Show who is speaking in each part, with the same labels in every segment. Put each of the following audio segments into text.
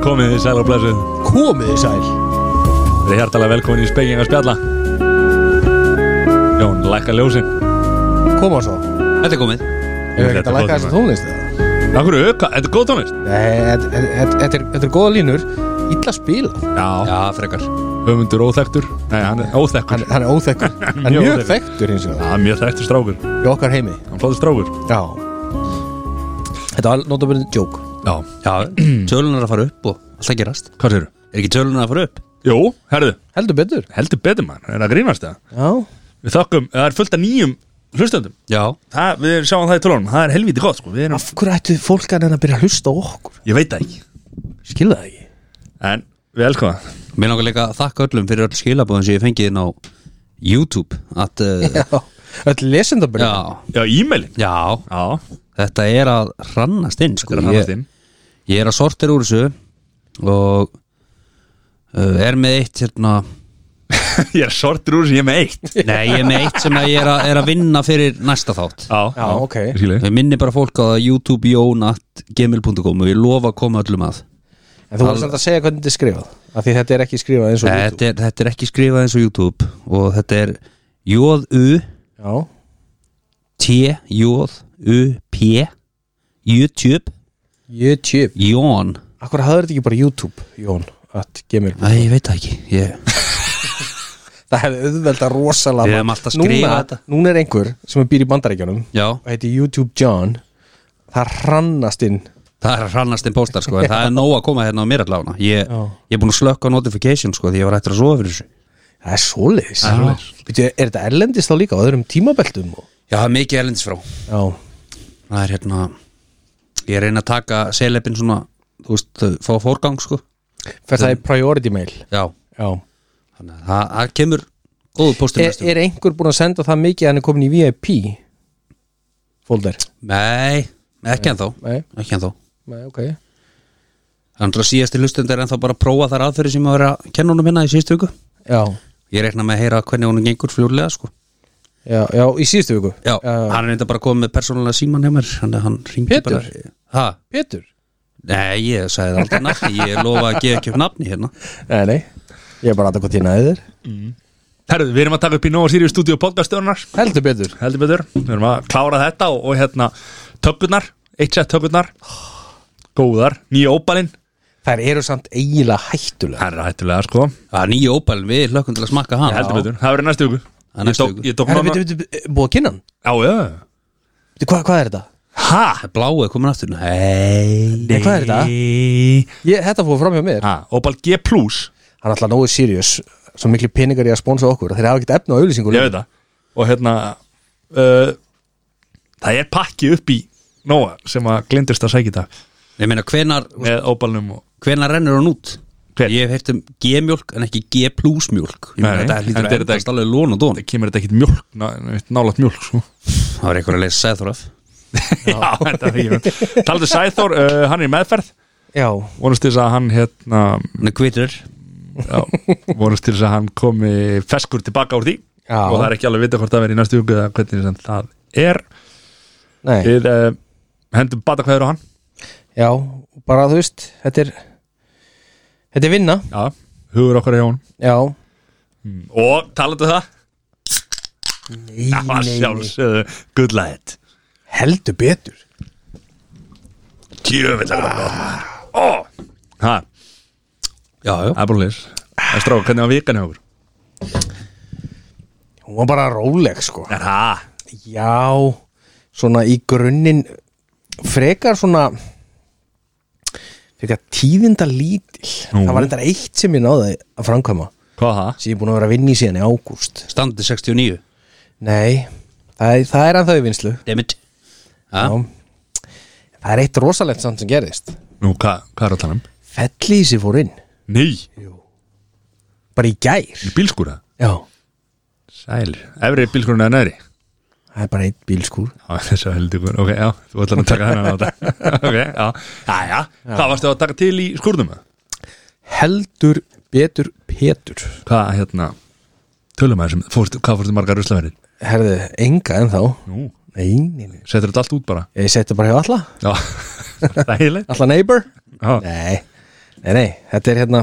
Speaker 1: Komið í sæl og blessuð
Speaker 2: Komið í sæl
Speaker 1: Þið er hjartalega velkomin í spekinga spjalla Jón, lækka ljósin
Speaker 2: Koma svo
Speaker 3: Þetta er komið
Speaker 2: Ef við geta að lækka þessa tónlist eða?
Speaker 1: Akkur, þetta er góð tónlist
Speaker 2: Nei, þetta- þetta- þetta þetta er- þetta er góða línur Illa spila
Speaker 1: Já,
Speaker 3: Já, frekar
Speaker 1: höfundur óþektur Nei, hann er
Speaker 2: Hann,
Speaker 1: óþekkur
Speaker 2: hann er óþekkur Hann er
Speaker 1: Mjög
Speaker 2: mjög
Speaker 1: óþekkur.
Speaker 2: þekktur hins vegar
Speaker 1: Já, mjög þekktur strákur
Speaker 2: Í okkar heimi
Speaker 1: Hann flóði strákur
Speaker 2: Já Þetta var notabörðin joke
Speaker 1: Já,
Speaker 3: Já, tölunar að fara upp og alltaf gerast
Speaker 1: hvað séru?
Speaker 3: Er ekki tölunar að fara upp?
Speaker 1: Jú, herðu,
Speaker 2: Heldur betur
Speaker 1: heldur betur mann Er það grínast það?
Speaker 2: Já
Speaker 1: Við þakkum, það er fullt af nýjum hlustöndum
Speaker 3: Já
Speaker 1: Það, við sjáum það í tölunum, það er helvítið gott sko Við erum,
Speaker 2: Af hverju ættu fólk að reyna að byrja að hlusta á okkur?
Speaker 1: ég veit það ekki
Speaker 2: Skilða það ekki
Speaker 1: En, við elskum það
Speaker 3: Mér langar líka að þakka öllum fyrir öll skilabóðum sem ég fengið inn á YouTube að, uh,
Speaker 2: Já Öll lesendabrið
Speaker 3: já,
Speaker 1: Já, e-mailin
Speaker 3: já,
Speaker 1: Já,
Speaker 3: þetta er að hrannast inn sko.
Speaker 1: þetta er hann að
Speaker 3: ég, ég er að sortir úr þessu og uh, er með eitt hérna,
Speaker 1: Ég er sortur úr sem ég er með eitt
Speaker 3: nei, ég er með eitt sem að ég er að, er að vinna fyrir næsta þátt
Speaker 1: Já,
Speaker 2: Já, ok.
Speaker 1: skilji.
Speaker 3: Ég minni bara fólk á youtube.jónat.gmail.com og ég lofa að koma öllum að
Speaker 2: En þú voru samt að segja hvernig þetta er skrifað Af því þetta er ekki skrifað eins og
Speaker 3: Nei,
Speaker 2: YouTube
Speaker 3: þetta er, þetta er ekki skrifað eins og YouTube og þetta er J-U-T-J-U-P
Speaker 2: Já
Speaker 3: YouTube
Speaker 2: YouTube
Speaker 3: Jón
Speaker 2: Akkur hafður þetta ekki bara YouTube, Jón At gemil
Speaker 3: Æ, ég veit það ekki ég,
Speaker 2: Það hefði auðvelda rosalega
Speaker 3: Við
Speaker 2: margt.
Speaker 3: hefum alltaf skrifað
Speaker 2: núna,
Speaker 3: þetta.
Speaker 2: núna er einhver sem er býr í bandaríkjunum
Speaker 3: Já,
Speaker 2: og heiti YouTube John það hrannast inn
Speaker 3: það er hrannastinn póstar sko, en það er nóg að koma hérna á mér allavega ég,
Speaker 2: Já.
Speaker 3: ég er búin að slökka á notification sko, því ég var hættur að sofa fyrir þessu
Speaker 2: það er svoleiðis
Speaker 3: Það er svoleiðis.
Speaker 2: Bíddu, er þetta erlendist þá líka á öðrum tímabeltum og...
Speaker 3: Já, það er mikið erlendis frá
Speaker 2: já,
Speaker 3: Það er hérna Ég er að reyna að taka selebin svona þú veist, fá fórgang sko
Speaker 2: fer það í priority mail
Speaker 3: Já,
Speaker 2: já.
Speaker 3: þannig að það, það kemur góðu póstur
Speaker 2: Er, er einhver búin að senda það mikið að hann er komin í VIP folder
Speaker 3: Nei, ekki ennþá
Speaker 2: nei,
Speaker 3: Ekki ennþá
Speaker 2: nei, ok já,
Speaker 3: Þannig að síðasti hlustund er ennþá bara að prófa þar aðferði sem að vera að kenna honum hérna í síðustu viku Ég rekna með að heyra hvernig honum gengur fljóðlega sko
Speaker 2: já, já í síðustu viku
Speaker 3: Já, hann er enda bara komið með persónulega síman hjá mér Þannig að hann ringi
Speaker 2: Pétur?
Speaker 3: bara ha?
Speaker 2: Pétur
Speaker 3: Nei, ég sagði það aldrei nafni Ég lofa að gefa ekki upp nafni hérna
Speaker 2: nei, nei, ég er bara að hvað tína þér
Speaker 1: Herðu, við erum að taka upp í Nova Sirius Studio podcastöðunar
Speaker 2: heldur betur
Speaker 1: Heldur betur, við erum að klára þetta og, og hérna tökurnar, eitt sett tökurnar Góðar, nýja óbalinn
Speaker 2: þær eru samt eiginlega hættulega
Speaker 1: Það er hættulega sko,
Speaker 3: Það er nýja ópælin, við hlökkum til að smakka hann
Speaker 1: heldur betur, það verður í næstu viku
Speaker 3: Það er
Speaker 1: Ég
Speaker 3: næstu
Speaker 1: tók-
Speaker 3: viku.
Speaker 1: Ég tók
Speaker 2: Herra,
Speaker 1: nána
Speaker 2: bíddu, bíddu, bíddu, eh, búið að kynna hann
Speaker 1: Já, já
Speaker 2: Bíddu, Hvað, hvað er þetta?
Speaker 1: Ha?
Speaker 3: Bláu er komin aftur Nei
Speaker 2: Nei, hvað er þetta? Ég, þetta fór fram hjá mér
Speaker 1: Ha, óbal G plus,
Speaker 2: Hann er alltaf nógu sirius Svo miklu peningar í að sponsa okkur Þeir hafa ekkert efna á auðlýsingur
Speaker 1: ég veit það Og hérna uh, Það er pakki upp í Nóa sem að glindist að sækja það
Speaker 3: Ég meina, hvenar,
Speaker 1: með óbalnum og
Speaker 3: hvenar rennur hann út?
Speaker 1: Hver?
Speaker 3: Ég hef heyrt um G-mjólk en ekki G-plus-mjólk Ég meina,
Speaker 1: Nei,
Speaker 3: þetta
Speaker 1: en
Speaker 3: hlýtur að
Speaker 1: þetta er
Speaker 3: endast alveg lón og dón
Speaker 1: það kemur þetta ekkit mjólk, ná, neitt nálægt mjólk sko.
Speaker 3: Það var einhver að lesa Sæðþoraf
Speaker 1: Já, þetta er ekki Taldu Sæþór, uh, hann er í meðferð
Speaker 2: Já,
Speaker 1: vonast til þess að hann hérna
Speaker 3: Hann er kvitur
Speaker 1: já, vonast til þess að hann komi feskur tilbaka úr því
Speaker 2: Já.
Speaker 1: og það er ekki alveg vita hvort það verið í næstu hugu eða hvernig sem það er
Speaker 2: nei,
Speaker 1: Við uh, hendum bata hverður á hann
Speaker 2: já Bara þú veist, þetta er Þetta er vinna
Speaker 1: Já, hugur okkar hjá hann
Speaker 2: Já,
Speaker 1: Og talandu það,
Speaker 2: nei,
Speaker 1: það var sjálfsögðu good light
Speaker 2: Heldur betur
Speaker 1: Tjöfellar oh. Það
Speaker 3: Já, já
Speaker 1: er bara lýs En stráka, hvernig var vikan hjá okkur?
Speaker 2: Hún var bara róleg sko
Speaker 1: Er það?
Speaker 2: Já, svona í grunninn Frekar svona Frekar tíðinda lítil
Speaker 1: Nú.
Speaker 2: Það var endar eitt sem ég náði að framkvæma
Speaker 1: Hvað var það?
Speaker 2: sem ég er búin að vera að vinna í síðan í ágúst
Speaker 3: Standið 69
Speaker 2: Nei, það er, það er ennþá í vinslu
Speaker 3: Dammit
Speaker 2: Já.
Speaker 3: Já,
Speaker 2: Það er eitt rosalegt samt sem gerðist
Speaker 1: Nú, hvað, hvað er að tala um?
Speaker 2: Fellísi fór inn,
Speaker 1: Nei,
Speaker 2: bara í gær
Speaker 1: í bílskúra
Speaker 2: Já,
Speaker 1: Sæl, efri bílskúrun eða næri
Speaker 2: það er bara eitt bílskúr
Speaker 1: Já, þess að heldur ykkur, ok, já, þú ætlar að taka hennan á þetta Ok, já, já, já, hvað varstu að taka til í skúrnum? eða?
Speaker 2: Heldur betur Petur
Speaker 1: Hvað, hérna, tölum aðeins, um- fórstu, hvað fórstu margar ruslaverðin?
Speaker 2: Herðu, enga ennþá
Speaker 1: Nú,
Speaker 2: Nei, nei, nei
Speaker 1: setur þetta allt út bara
Speaker 2: Ég seti bara hjá alla,
Speaker 1: Já, það er heilig
Speaker 2: alla neighbor
Speaker 1: Já,
Speaker 2: Nei, Nei, nei, þetta er hérna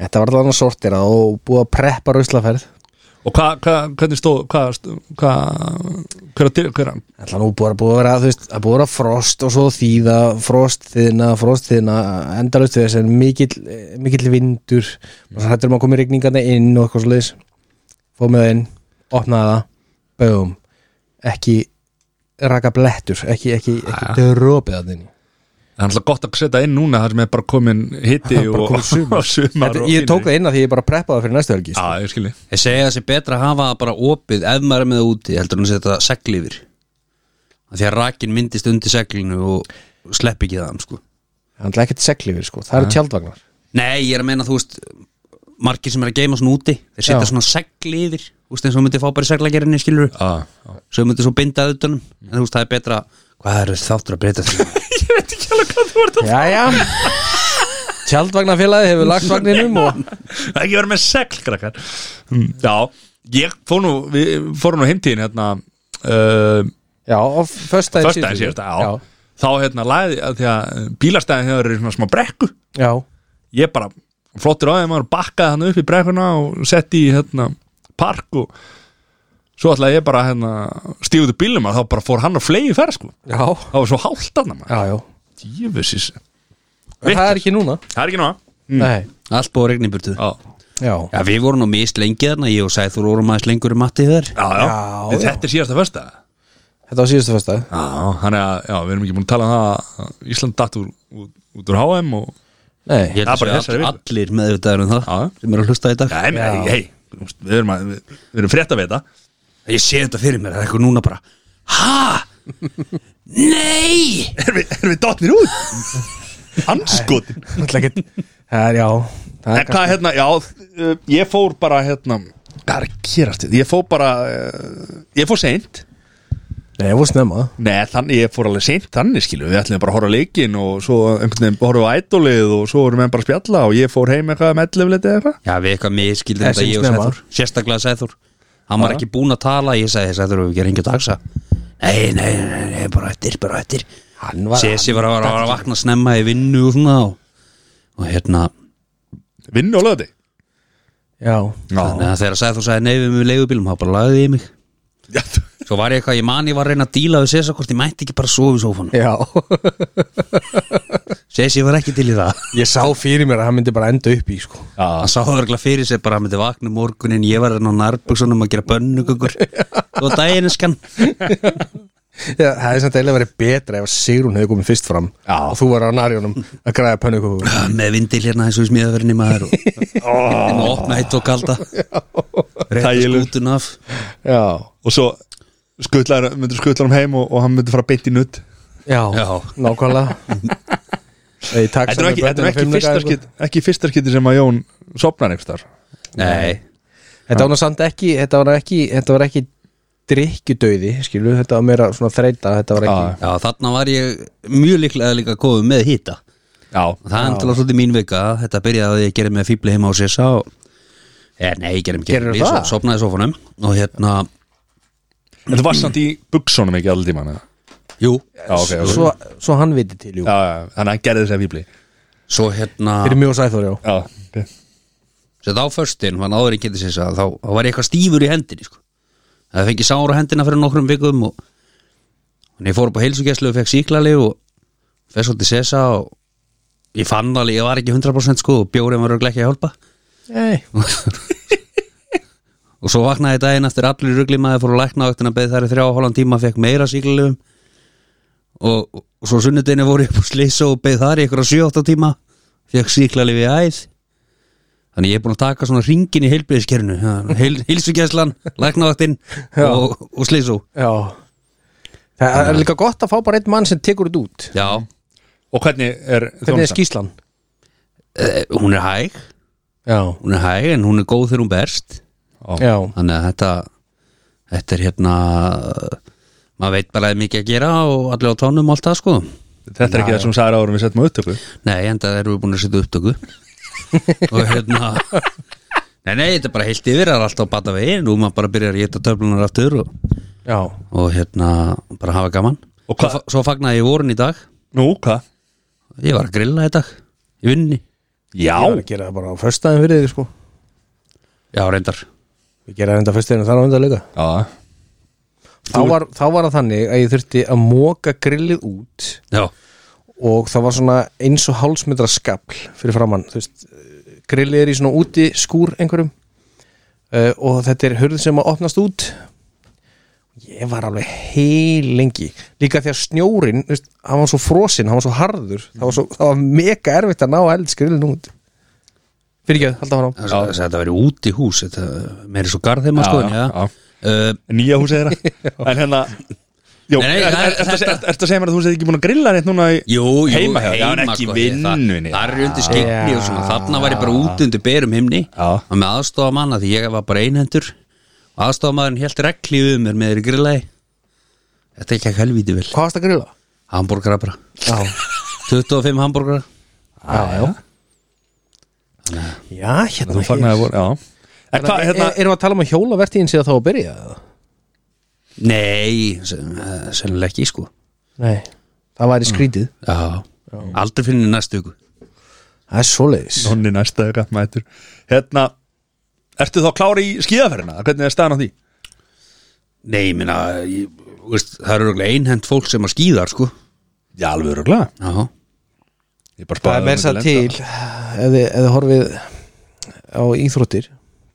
Speaker 2: Þetta var allan að sortira og búið að preppa ruslaferð
Speaker 1: Og hvað, hva, hvernig stóð, hvað, hvað, hverja til, hverja,
Speaker 2: Ætla nú búið að búið að vera, þú veist, að búið að vera frost og svo þýða, frost þýðna, frost þýðna, endalaust þess en mikill, eh, mikill vindur og svo hættur um að koma í rigningarna inn og eitthvað svoleiðis fóð með það inn, opnaði það, bögum ekki raka blettur, ekki, ekki, ekki dropið að þinni.
Speaker 1: það er alltaf gott að setja inn núna þar sem er bara komin hitti
Speaker 2: Bara
Speaker 1: og,
Speaker 2: komið sumar.
Speaker 1: og sumar
Speaker 2: Þetta,
Speaker 1: og
Speaker 2: ég tók
Speaker 1: fínir.
Speaker 2: það inn að því ég bara preppaði það fyrir næstu helgi
Speaker 1: Já,
Speaker 2: sko.
Speaker 1: ég skilji
Speaker 3: Ég segja að það sé betra að hafa það bara opið ef maður er með það úti heldur en að setja það segl yfir Af Því að rakin myndist undir seglinu og og slepp ekki það sko.
Speaker 2: Það er ekkert seglifir sko, það eru tjaldvagnar
Speaker 3: Nei, ég er að meina þú veist margir sem er að geima svona úti þeir setja
Speaker 2: Já.
Speaker 3: svona segl yfir þú veist eins og myndi fá bara í seglagerinni skilur
Speaker 1: Já, já.
Speaker 3: svo myndi svo binda að utanum en þú veist það er betra hvað er þáttur að breyta því
Speaker 2: Jæja Tjaldvagnafélagi hefur lagt vagninum og
Speaker 1: Ekki vera með segl, krakkar Mm, Já, ég fór nú, við fórum nú heimtíðin hérna uh,
Speaker 2: Já, og föstudaginn
Speaker 1: Föstaðin síðast, já. Þá hérna lagði, að því að bílastæðin hefur verið svona smá brekku
Speaker 2: já Já,
Speaker 1: Ég bara, flottur á þeim maður bakkaði hann upp í brekkuna og setti í hérna park og svo ætlaði ég bara hérna stífuðu bílum að þá bara fór hann að flegi ferð sko
Speaker 2: já,
Speaker 1: Það var svo hált hann að maður
Speaker 2: já, já.
Speaker 1: Jöfusis
Speaker 2: En Það er ekki núna
Speaker 1: Það er ekki náða
Speaker 2: Nei,
Speaker 3: allt búið að regna í burtu
Speaker 1: Já,
Speaker 2: já
Speaker 3: Já, við vorum nú mist lengi þarna, ég og Sæþur vorum aðeins lengur um matti þér
Speaker 1: já, já.
Speaker 2: Já,
Speaker 1: En
Speaker 2: já.
Speaker 1: Þetta er síðasta fyrsta
Speaker 2: Þetta var síðustu föstudag
Speaker 1: Já, þannig að já, við erum ekki búin að tala um það að Ísland datt úr, út, út úr HM og
Speaker 2: Nei,
Speaker 3: Ég
Speaker 1: Það er
Speaker 3: held
Speaker 1: bara
Speaker 3: að
Speaker 1: þessari
Speaker 3: séu all,
Speaker 1: viku.
Speaker 3: allir meðvitaður um það
Speaker 1: Já.
Speaker 3: sem eru að hlusta í dag
Speaker 1: Nei, nei,
Speaker 2: Já.
Speaker 1: hei, við erum, að, við, við erum frétt að veita
Speaker 3: Ég sé þetta fyrir mér, það er eitthvað núna bara Ha? Nei!
Speaker 1: Erum við, erum við dottnir út? Anskotin
Speaker 2: alltaf ekki Það er, já Það
Speaker 1: En
Speaker 2: er
Speaker 1: hvað hérna, já, uh, ég fór bara hérna Hvað er að gerast þetta? Ég fór bara, uh, ég fór seint
Speaker 2: Nei, ég voru snemma
Speaker 1: Nei, þannig, ég fór alveg seint þannig skilu Við ætlum bara að horfa á leikinn og svo einhvern veginn horfa á ædolið og svo vorum við bara að spjalla og ég fór heim eitthvað með ellefliti eða eitthvað
Speaker 3: Já, við eitthvað miskildir
Speaker 2: Það
Speaker 3: þetta
Speaker 2: sé
Speaker 3: ég og
Speaker 2: snemma.
Speaker 3: Sæþur Sérstaklega Sæþur Hann var
Speaker 1: Já.
Speaker 3: ekki búinn að tala, ég sagði Sæþur við gerum ekki að dagsa Nei, nei, nei, nei, bara eftir, bara eftir
Speaker 2: Hann var
Speaker 3: Sessi var að, var að vakna snemma í vinnu og svona og, og hérna
Speaker 1: Vinnu á löði
Speaker 2: Já,
Speaker 1: Já,
Speaker 3: Þannig að þegar Sæþur sagði nei við með leigubílum þá bara lagði ég mig
Speaker 1: já þú-
Speaker 3: Svo var ég eitthvað, ég man ég var að reyna að díla við Sessa hvort ég mætti ekki bara að sofa í sófanum
Speaker 2: já
Speaker 3: Sessi var ekki til í það
Speaker 2: Ég sá fyrir mér að hann myndi bara enda upp í, sko
Speaker 1: já,
Speaker 3: Hann sá örgulega fyrir sér bara að hann myndi vakna um morgunin ég var enn á nærbuksunum að gera bönnugugur og daginskan
Speaker 2: Já, það er samt eiginlega verið betra ef Sigrun hefði komið fyrst fram
Speaker 1: Já.
Speaker 2: og þú var á narjónum að græða pönnuköku
Speaker 3: með vindil hérna eins og í smíðaverðinni maður og oh. opna heitt og kalda reyta
Speaker 1: Þægilegur.
Speaker 3: skútun af
Speaker 2: Já,
Speaker 1: og svo skuttlar, myndir skuttlar um heim og, og hann myndir fara beint í nutt
Speaker 2: já,
Speaker 3: Já.
Speaker 2: nákvæmlega Nei, takk
Speaker 1: Þetta er ekki, þetta er ekki fyrsta
Speaker 2: sko.
Speaker 1: skiti ekki fyrsta skiti sem að Jón sopnar einhverstar
Speaker 3: Nei,
Speaker 2: Þetta var nú samt ekki Þetta var ekki, þetta var ekki drikkjudauði, skilu, þetta var meira svona þreita, þetta var ekki
Speaker 3: já þarna var ég mjög líklega líka góð með hýta
Speaker 1: Já,
Speaker 3: og það endur svolítið mín vika þetta byrjaði að ég gerði með fíbli heima á Sessa og eh, nei, ég gerði mig
Speaker 2: Gerðu
Speaker 3: ekki
Speaker 2: það?
Speaker 3: ég sopnaði í sófanum og hérna,
Speaker 1: þetta var samt í buksunum ekki allir tíman Já,
Speaker 3: jú
Speaker 1: ok, ok
Speaker 2: svo, svo hann viti til, jú
Speaker 1: Já, já, þannig að hann gerði þess að fíbli
Speaker 3: svo hérna
Speaker 2: Fyrir mjög sæþór, já
Speaker 1: Já, ok
Speaker 3: Sett á föstin, hann áður ekki til þess að þá, þá var ég eitthvað stífur í hendinni sko. Það fengi sár á hendina fyrir nokkrum vikum og en ég fór upp á heilsugæslu og fekk síklali og fekk svolítið sessa og ég fann alveg, ég var ekki 100% sko og bjórið var örugglega ekki að hjálpa
Speaker 2: Nei,
Speaker 3: og svo vaknaði ég daginn eftir allir ruglimaði fór að lækna á eftir að beði þær í þrjá og hálfan tíma fekk meira síklalifum og, og svo sunnudeginu voru ég upp á slýsa og beði þar í ykkur á 7-8 tíma fekk síklalif í æð þannig ég er búin að taka svona ringin í heilbriðiskerinu heil, heilsugæslan, læknaðaktinn og, og slýsa
Speaker 2: já Það er líka gott að fá bara einn mann sem tekur þetta út
Speaker 3: já,
Speaker 1: Og hvernig er
Speaker 2: Hvernig er
Speaker 1: þjónustan?
Speaker 2: skýslan?
Speaker 3: eh, hún er hæg
Speaker 2: Já,
Speaker 3: hún er hæg en hún er góð þegar hún berst
Speaker 2: já,
Speaker 3: þannig að þetta þetta er hérna maður veit bara að mikið að gera og allir á tánum og allt það sko
Speaker 1: Þetta er ekki það sem hún sagði árum við settum á upptöku
Speaker 3: Nei, en það erum við búin að setja upptöku og hérna Nei, nei, þetta er bara heilt yfir, það er alltaf að bata veginn og maður bara byrjar að geta töflunar aftur og,
Speaker 2: já
Speaker 3: og hérna, bara hafa gaman
Speaker 1: Og hvað-
Speaker 3: Svo, fa- svo fagnaði ég vorun í dag
Speaker 1: Nú, hvað?
Speaker 3: Ég var að grilla í dag í vinninni
Speaker 1: Já,
Speaker 2: Ég var að gera það bara á föstaðin fyrir þig sko
Speaker 3: Já, reyndar
Speaker 2: Ég gera það enda föstaðin og þar á enda líka
Speaker 1: já
Speaker 2: þá var, þá var það þannig að ég þurfti að móka grillið út
Speaker 3: Já,
Speaker 2: og það var svona eins og hálsmetra skafl fyrir framann þú veist, grillið er í svona úti skúr einhverjum uh, og þetta er hurð sem að opnast út ég var alveg heil lengi, líka því að snjórin þú veist, hann var svo frosinn, hann var svo harður það var, svo, það var mega erfitt að ná eldsgrillin út fyrir ekki, haldið hann á
Speaker 3: það sagði að þetta verið út í hús þetta, Mér er svo garð þeim
Speaker 1: Já,
Speaker 3: að sko
Speaker 1: já, já.
Speaker 3: Uh,
Speaker 1: Nýja húsið þeirra En hérna Jó,
Speaker 3: Nei, nei,
Speaker 1: er- er-
Speaker 3: það-
Speaker 1: ertu að
Speaker 3: þetta-
Speaker 1: segja- ertu að segja mér að þú segir ekki búin að grilla neitt núna í
Speaker 3: Jú, jú,
Speaker 1: heima hjá, þér? já, en ekki
Speaker 3: sko, ég- það-
Speaker 1: vinnunni
Speaker 3: Það er undir skyggni og svona,
Speaker 2: Já.
Speaker 3: þarna var ég bara út undir berum himni
Speaker 1: Já.
Speaker 3: og með aðstofa manna því ég var bara einhendur og aðstofa maðurinn helt regli um mér með þeirri grillaði Þetta er ekki að helvíti vel
Speaker 2: hvað varst að grilla?
Speaker 3: Hamburgara bara,
Speaker 2: Já,
Speaker 3: 25 hamburgara
Speaker 2: já, já Já, hérna
Speaker 1: Þú fagnaði voru, já En hvað,
Speaker 2: er,
Speaker 1: hérna
Speaker 2: er, erum við að tala um að hjólavertíðin sé þá að byrja? eða?
Speaker 3: Nei, sem- eh, sennilega ekki sko
Speaker 2: Nei, það væri skrítið
Speaker 3: Já, aldrei finni næstu ykkur
Speaker 2: Það er svoleiðis
Speaker 1: Nonni næsta eða mætur Hérna, ertu þá klári í skíðaferðina? Hvernig er staðan á því?
Speaker 3: Nei, ég minna, ég, þú veist, það eru örugglega einhent fólk sem að skýðar sko
Speaker 1: Já, alveg öruglega
Speaker 3: Já,
Speaker 1: Ég bara
Speaker 2: Það
Speaker 1: spáði
Speaker 2: er með
Speaker 1: myndi
Speaker 2: þess að
Speaker 1: lenda.
Speaker 2: til ef þið, ef þið horfið á íþróttir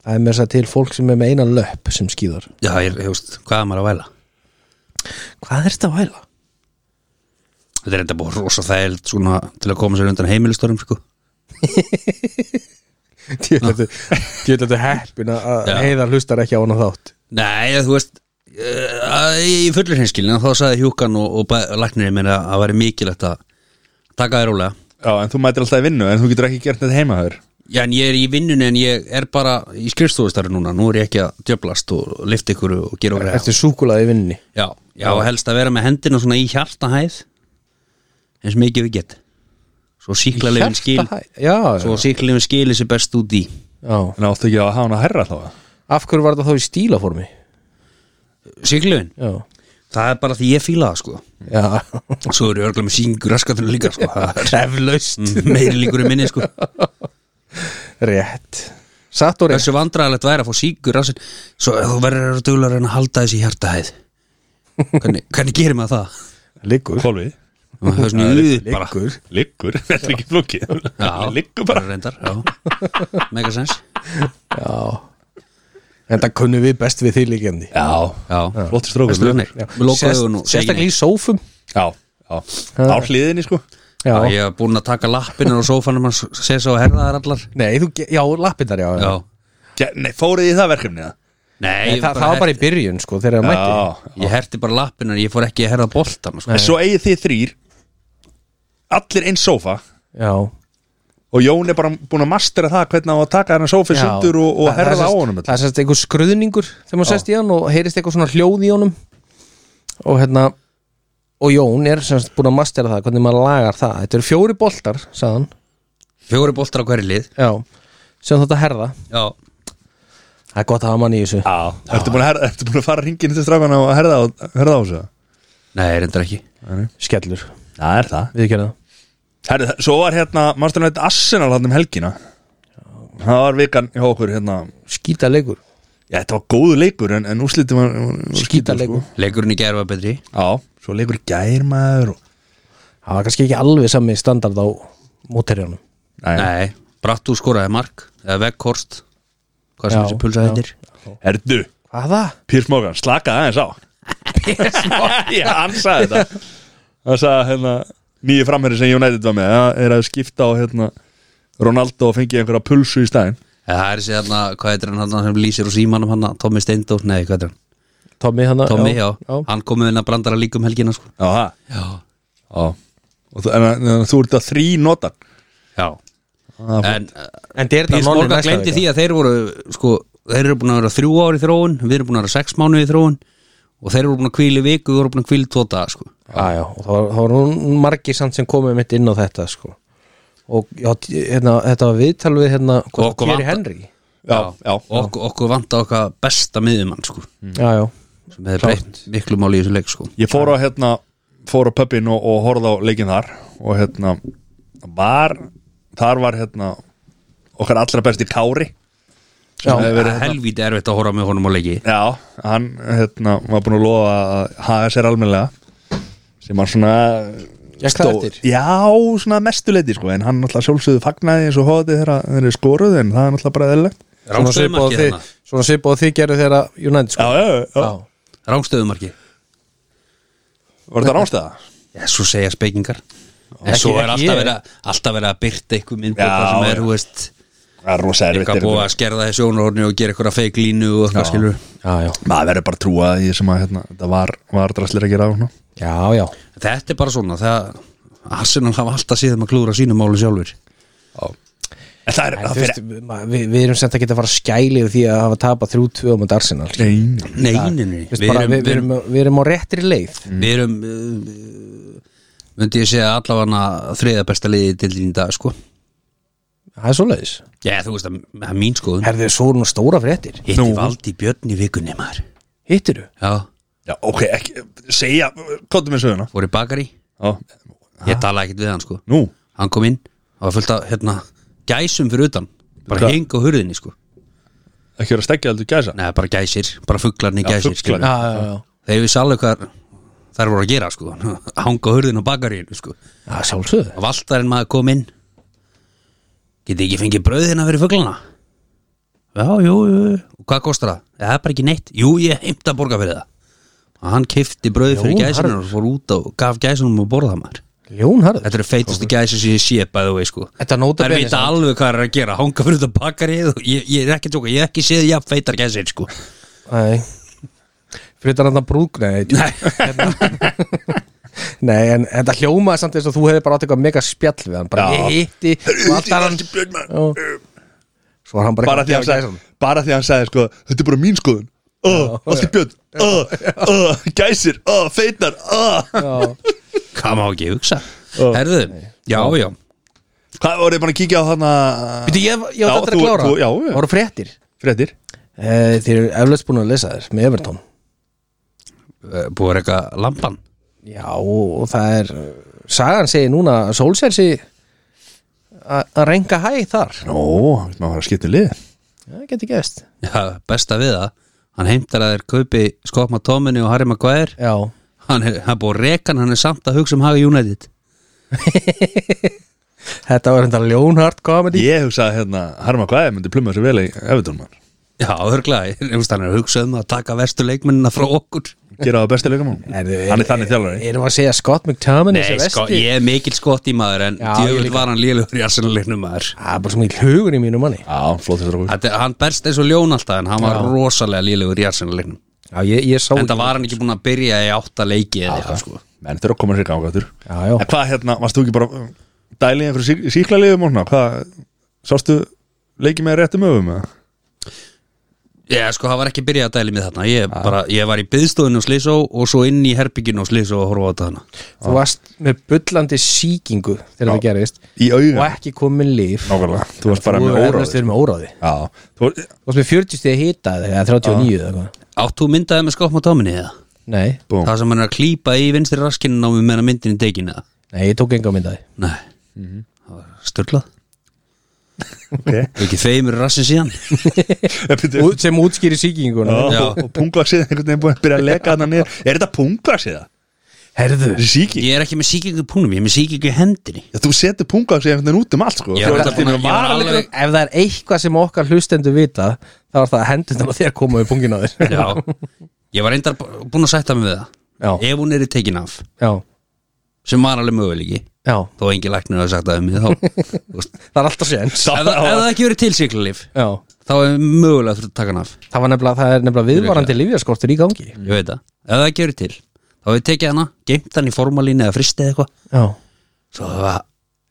Speaker 2: það er með þess að til fólk sem er með eina löpp sem skýðar
Speaker 3: já, ég, ég veist, hvað er maður að væla?
Speaker 2: Hvað er þetta að væla?
Speaker 3: Þetta er enda bara rosa þægild svona til að koma sér undan heimilistörum sko.
Speaker 2: Djöldlega heppin að
Speaker 3: Já.
Speaker 2: heiðar hlustar ekki á hana þátt
Speaker 3: Nei, þú veist eh, í fullur hinskilin þá sagði hjúkan og, og læknirinn mér að það væri mikilvægt að taka þér rólega
Speaker 1: Já, en þú mætir alltaf í vinnu En þú getur ekki gert þetta heima þér
Speaker 3: Já, en ég er í vinnunni en ég er bara í skrifstofustari núna, nú er ég ekki að djöblast og lifta ykkur og gera okkur
Speaker 2: Ertu súkulaði í vinninni
Speaker 3: Já, já, helst að vera með hendina svona í hjartahæð eins mikið við get svo síklarlefin skil
Speaker 2: Já,
Speaker 3: svo síklarlefin skili sér best út í
Speaker 2: já
Speaker 1: En áttu ekki að hafa hana að herra þá
Speaker 2: Af hverju var þetta þá í stílaformi?
Speaker 3: síklarlefin,
Speaker 2: Já
Speaker 3: það er bara því ég fíla það sko
Speaker 2: Já
Speaker 3: Svo eru örgla með síngur raskatunum líka sko. Það er
Speaker 2: Treflaust
Speaker 3: Meiri líkur í minni sko.
Speaker 2: Rétt Satt og rétt
Speaker 3: Þessu vandræðalegt væri að fá síngur raskat Svo þú verður að dugla að reyna að halda þessi hjartahæð Hvernig, hvernig gerir maður það?
Speaker 2: Liggur
Speaker 1: Kólfið
Speaker 3: Maður hefur svona í uð bara
Speaker 2: Liggur
Speaker 1: Liggur, þetta er ekki flókið
Speaker 3: Já,
Speaker 1: Liggur bara
Speaker 3: reyndar, já. Mega sens
Speaker 2: Já En það kunnum við best við því líkjandi
Speaker 1: Já,
Speaker 3: Já,
Speaker 1: flottir strókur
Speaker 3: Veistu þannig?
Speaker 1: Já,
Speaker 3: Við lokaðu
Speaker 2: Sérst-
Speaker 3: augun og segjum
Speaker 2: Sérstaklega í sófum
Speaker 1: já Á hliðinni sko
Speaker 3: Já, ég hef búin að taka lappinu og sófanum að sé svo að herða þar allar
Speaker 2: Nei, þú, ge- já, lappirnar, já,
Speaker 3: Já,
Speaker 2: já.
Speaker 1: Ja, Nei, fórið í það verkefnið það?
Speaker 3: nei
Speaker 2: Nei, það, það var bara í byrjun, sko, þegar það mætti
Speaker 1: Já,
Speaker 3: Ég herti bara lappinu en ég fór ekki að herða boltan sko.
Speaker 1: En svo eigið þið þrýr Allir einn sófa
Speaker 2: Já,
Speaker 1: Og Jón er bara búin að mastera það Hvernig á að taka hennar sófi
Speaker 2: já.
Speaker 1: sundur og, og
Speaker 2: Það- það er
Speaker 1: herða á
Speaker 2: sest-
Speaker 1: honum
Speaker 2: Það er sérst einhver skruðningur þegar maður sest í hann og heyrist eitthvað svona hljóð í honum og hérna og Jón er sérst búin að mastera það hvernig maður lagar það, þetta eru fjóri boltar sagðan,
Speaker 3: Fjóri boltar á hverju lið
Speaker 2: já sem þetta herða,
Speaker 3: Já,
Speaker 2: það er gott að hafa mann í þessu
Speaker 1: Já, ertu búin að, herða, ertu búin að fara hringin til strákana og herða, á- herða á þessu?
Speaker 3: nei, reyndar ekki
Speaker 2: skellur,
Speaker 1: Það er það
Speaker 2: við gerum
Speaker 1: Herri, það- Svo var hérna, mannstu nætti Arsenal hann um helgina Það var vikan hjá okkur hérna
Speaker 2: það skýta leikur,
Speaker 1: Já, þetta var góðu leikur en, en úslitið var, var, var skítur,
Speaker 2: Skítaleikur.
Speaker 3: Leikurinn í gær var betri
Speaker 1: Já, svo leikur gærmaður og...
Speaker 2: það var kannski ekki alveg sami standard á móterjónum
Speaker 3: Nei, Brattú skoraði mark eða Veghorst hvað sem
Speaker 2: Já,
Speaker 3: þessi pulsa
Speaker 2: já.
Speaker 3: heitir
Speaker 1: Erdu,
Speaker 2: Hvaða?
Speaker 1: Pírs Mógan, slakaði aðeins á Já, hann sagði þetta Hann sagði hérna nýju framherri sem United var með Það er að skipta á hérna Ronaldo og fengi einhverja pulsu í staðinn
Speaker 3: Eða Það er þessi hérna, hvað heitir hann hann sem lýsir og símanum hann, Tommy Steindór, nei, hvað heitir hann
Speaker 2: Tommy hann
Speaker 3: Tommy, já,
Speaker 2: já.
Speaker 3: hann komið inn að brandara líka um helgina sko.
Speaker 1: Já, það
Speaker 3: Já,
Speaker 1: Já Og þú, en, en, en þú ert að þrý notan
Speaker 3: já
Speaker 1: Það
Speaker 3: En
Speaker 2: En þetta er
Speaker 3: Pís
Speaker 2: þetta nonni
Speaker 3: Morgan
Speaker 2: næsta
Speaker 3: glemdi
Speaker 2: vika.
Speaker 3: því að þeir voru sko, þeir eru búin að vera þrjú ár í þróun við erum búin að vera sex mánuði í þróun og þeir eru búin að kvíli viku, við vorum búin að kvíli tóta sko.
Speaker 2: Já, já, og það var, það var nú margir samt sem komið mitt inn á þetta sko. og já, t- hérna, þetta var viðtal við hérna,
Speaker 3: Og okkur
Speaker 2: Thierry
Speaker 3: vantar-
Speaker 2: Henry
Speaker 1: Já, já,
Speaker 3: og okkur, okkur vanta okkar besta miðumann sko,
Speaker 2: já, já,
Speaker 3: sem hefur breytt miklu máli í þessu leik sko.
Speaker 1: Ég fór á hérna Fór á pöppin og, og horfði á leikinn þar Og hérna Var þar var hérna okkar allra besti Kári sem
Speaker 2: Já.
Speaker 1: hefur verið hérna
Speaker 3: helvítið erfitt að horfa með honum á leiki
Speaker 1: Já, hann hérna var búin að lofa að haga sér almennilega sem var svona
Speaker 2: Gekk það eftir?
Speaker 1: Já, svona mestuleiti sko en hann náttúrulega sjálfsögðu fagnaði eins og hóði þegar þeir eru skoruð en það er náttúrulega bara eðlilegt
Speaker 2: Svona svipað og
Speaker 3: Rángstöðumarki
Speaker 2: þið-
Speaker 3: þarna
Speaker 2: Svona svipað og þið gerðu þegar að United sko
Speaker 1: já, já,
Speaker 3: Rángstöðumarki
Speaker 1: Var þetta rámstæða?
Speaker 3: Já, svo segja spekingar En
Speaker 2: Ekki-
Speaker 3: svo
Speaker 2: ekki
Speaker 3: er
Speaker 2: ég.
Speaker 3: alltaf verið að- alltaf verið að byrta eitthvað
Speaker 1: Já,
Speaker 3: myndbóta sem er,
Speaker 1: já.
Speaker 3: hú veist
Speaker 1: Það er rosa erfitt
Speaker 3: eitthvað
Speaker 1: er
Speaker 3: búið
Speaker 1: þetta.
Speaker 3: að skerða þessi ónurhorni og gera eitthvað feik línu og eitthvað skilur
Speaker 2: Já, já,
Speaker 1: Maður verður bara að trúa því sem að hérna, þetta var, var draslir að gera svona.
Speaker 2: já, já
Speaker 3: Þetta er bara svona það Arsenal hafa alltaf síðan að klúra sínu máli sjálfur
Speaker 1: En það er
Speaker 2: En
Speaker 1: það
Speaker 2: þú veist,
Speaker 1: fyrir
Speaker 2: ma- við, við erum semt að geta að fara að skæli yfir því að hafa tapað 3-2 á mjönd Arsenal Þú
Speaker 1: Nei,
Speaker 3: Nei, nei, nei
Speaker 2: veist, bara, við, við, erum, við erum á réttri leið
Speaker 3: við erum uh, myndi ég segja allavega þriða besta liði til þín í dag sko
Speaker 2: Það er svoleiðis
Speaker 3: Já, þú veist að það er mín skoðun
Speaker 2: Herðu svo nú stóra fréttir
Speaker 3: Hitti valdi Björn í vikunni maður
Speaker 2: Hittir þú?
Speaker 3: Já,
Speaker 1: já, ok, ekki, segja Kóttu með söguna
Speaker 3: voru í bakari
Speaker 1: já.
Speaker 3: Ég talaði ekkert við hann sko
Speaker 1: Nú,
Speaker 3: Hann kom inn og var fullt af hérna, gæsum fyrir utan Bara
Speaker 1: Hvað?
Speaker 3: heng á hurðinni sko
Speaker 1: ekki verið að stekja heldur gæsa
Speaker 3: Nei, bara gæsir, bara fugglarni
Speaker 1: Já,
Speaker 3: gæsir
Speaker 1: fuglar.
Speaker 3: skilur.
Speaker 2: Já, já, já
Speaker 3: Þeir vissi alveg hvað þær voru að gera sko Hanga á hurðin og bakaríinu sko
Speaker 2: Já, sjálfsögðu
Speaker 3: Og valtarinn maður kom inn Geti ekki fengið brauðina fyrir fugglana Já, jú, jú jú. Og hvað kostar það? Já, það er bara ekki neitt Jú, ég heimta að borga fyrir það Og hann kifti brauð fyrir
Speaker 2: Jón
Speaker 3: gæsinu og fór út og gaf gæsinum að borða maður
Speaker 2: Ljónharður
Speaker 3: Þetta eru feitustu gæsir sem ég sé bæðu vei sko
Speaker 2: Þetta nota
Speaker 3: Það
Speaker 2: bene
Speaker 3: vita
Speaker 2: samt.
Speaker 3: alveg hvað það er að gera Hanga fyrir þetta bakarið og ég, ég er ekki tjóka Ég hef ekki séð jafn feitar gæsir sko
Speaker 2: Nei Fritar hann að brúkna
Speaker 3: Nei. Hérna,
Speaker 2: Nei, en þetta hljómaði samt þess að þú hefði bara átt eitthvað mega spjall við hann bara
Speaker 1: Já.
Speaker 2: ég hitti og allt að hann
Speaker 1: bara,
Speaker 2: Já. Svo var hann bara
Speaker 1: bara, því hann
Speaker 2: eitthvað að
Speaker 1: sagði, bara því hann sagði sko, Þetta er bara mín skoðun Ó, Allt í björn, ó, ó, gæsir, ó, feitar ó.
Speaker 2: gæsa hann. Já.
Speaker 3: Hvað má ekki hugsa Herðu, já, já
Speaker 1: Hvað voruð þið bara að kíkja á þarna
Speaker 2: Býtu, ég, ég
Speaker 1: Já,
Speaker 2: var þetta að
Speaker 1: þú-
Speaker 2: klára
Speaker 1: þú- já, já.
Speaker 2: Það voru fréttir
Speaker 1: Fréttir
Speaker 2: Eh, Þið eru eflaust búin að lesa þér með Everton
Speaker 3: Eh, Búið er eitthvað lampan
Speaker 2: Já, og það er Sagan segir núna að Solskjær sé að renga hæ þar
Speaker 1: Nó, við maður að fara að skipta um lið
Speaker 2: Það geti gæst
Speaker 3: Já, besta við það Hann heimtar að þeir kaupi Skopma Tomini og Harry Maguire
Speaker 2: Já,
Speaker 3: Hann er, hann er búið rekan, hann er samt að hugsa um Haga United
Speaker 2: þetta var þetta ljónhart komedi
Speaker 1: Ég hugsaði hérna, Harma Kvæði myndi pluma sér vel í Evertónmann
Speaker 3: Já, örglega, hann er að hugsa um að taka verstu leikmennina frá okkur
Speaker 1: Gera það besti leikamál Hann er þannig þjálfari
Speaker 2: Erum við að segja Scott McTominay sé
Speaker 3: Nei,
Speaker 2: vesti?
Speaker 3: sko, ég er mikil skott í maður en
Speaker 2: Já, ég
Speaker 3: djöfull
Speaker 2: líka.
Speaker 3: var hann lélugur í Arsenal-leiknum maður
Speaker 2: Það er bara svo mikið hugur í mínu manni
Speaker 1: Já, sko. flótið sér okkur
Speaker 3: Þetta, hann berst eins og ljón alltaf en hann var rosalega lélugur í Arsenal-leiknum
Speaker 2: Já, ég, ég sá
Speaker 3: En það var hann ekki búin að byrja í átta leiki eða eitthvað sko
Speaker 1: Menn þeir eru að koma sér í ganga aftur
Speaker 2: Já, já.
Speaker 1: En hvað hérna, varst þú ekki bara um, dæli í einhverju sík, síklaliðum og svona Hvað, sástu leikið með réttum öfum eða?
Speaker 3: Já, sko, það var ekki byrjað að dæli mig þarna Ég, bara, ég var í byðstofinu og slísó og svo inn í herbygginu og slísó og horfa á þetta hana
Speaker 2: Þú varst með bullandi sýkingu þegar það gerist
Speaker 1: Í
Speaker 2: og
Speaker 1: augun
Speaker 2: ekki komin líf
Speaker 1: Nákvæmlega, þú varst bara
Speaker 2: Þú
Speaker 1: með
Speaker 2: hefur eflaust
Speaker 1: óráði
Speaker 2: verið með óráði
Speaker 1: Já, þú varst
Speaker 2: Þú varst með 40 stegi hita eða 39 eða eitthvað
Speaker 3: Átt þú myndaði með skopma tóminni eða?
Speaker 2: Nei,
Speaker 1: Búm.
Speaker 3: Það sem hann er að klípa í vinstri raskinn á mig meðan myndin í deginni eða?
Speaker 2: nei, ég tók enga myndaði
Speaker 3: Nei, það var störlað
Speaker 1: Ok.
Speaker 3: Ekki feimur rassin síðan
Speaker 1: Ég byrju-
Speaker 2: Út- sem útskýri sýkinguna
Speaker 1: Já,
Speaker 3: Já.
Speaker 1: og- og pungvaksið einhvern veginn búin að byrja að leka hann niður Er þetta pungvaksið það?
Speaker 2: Herðu,
Speaker 1: Þessi síki?
Speaker 3: Ég er ekki með sýkingu í púnum, ég er með sýkingu í hendinni
Speaker 1: Já, þú setur pungvaksið einhvern veginn út um allt sko
Speaker 3: Ég
Speaker 1: Þú
Speaker 3: var
Speaker 1: ert
Speaker 3: alltaf búin
Speaker 1: allt í einu
Speaker 3: að- ég var
Speaker 1: varalega-
Speaker 3: alveg-
Speaker 2: ef það er eitthvað sem okkar hlustendur vita þá er það að hendunar á þér koma við pungin á þér
Speaker 3: Já, ég var reyndar búin að sætta mig við það
Speaker 2: Já.
Speaker 3: Ef hún er í tekin af
Speaker 2: Já,
Speaker 3: sem var alveg möguleiki
Speaker 2: já,
Speaker 3: þó engin læknir hafa sagt það um mig þá, þú veist,
Speaker 2: það er alltaf séns
Speaker 3: ef, það- ef það ekki verið tilsýklarlif
Speaker 2: Já,
Speaker 3: þá er mögulega þurft að taka hann af
Speaker 2: það var nefnilega, það er nefnilega viðvarandi lífjarskortur í gangi
Speaker 3: ég veit það, ef það ekki verið til þá hefur tekið hana, geimt hann í formalínu eða fristi eða eitthvað
Speaker 2: Já
Speaker 3: svo það var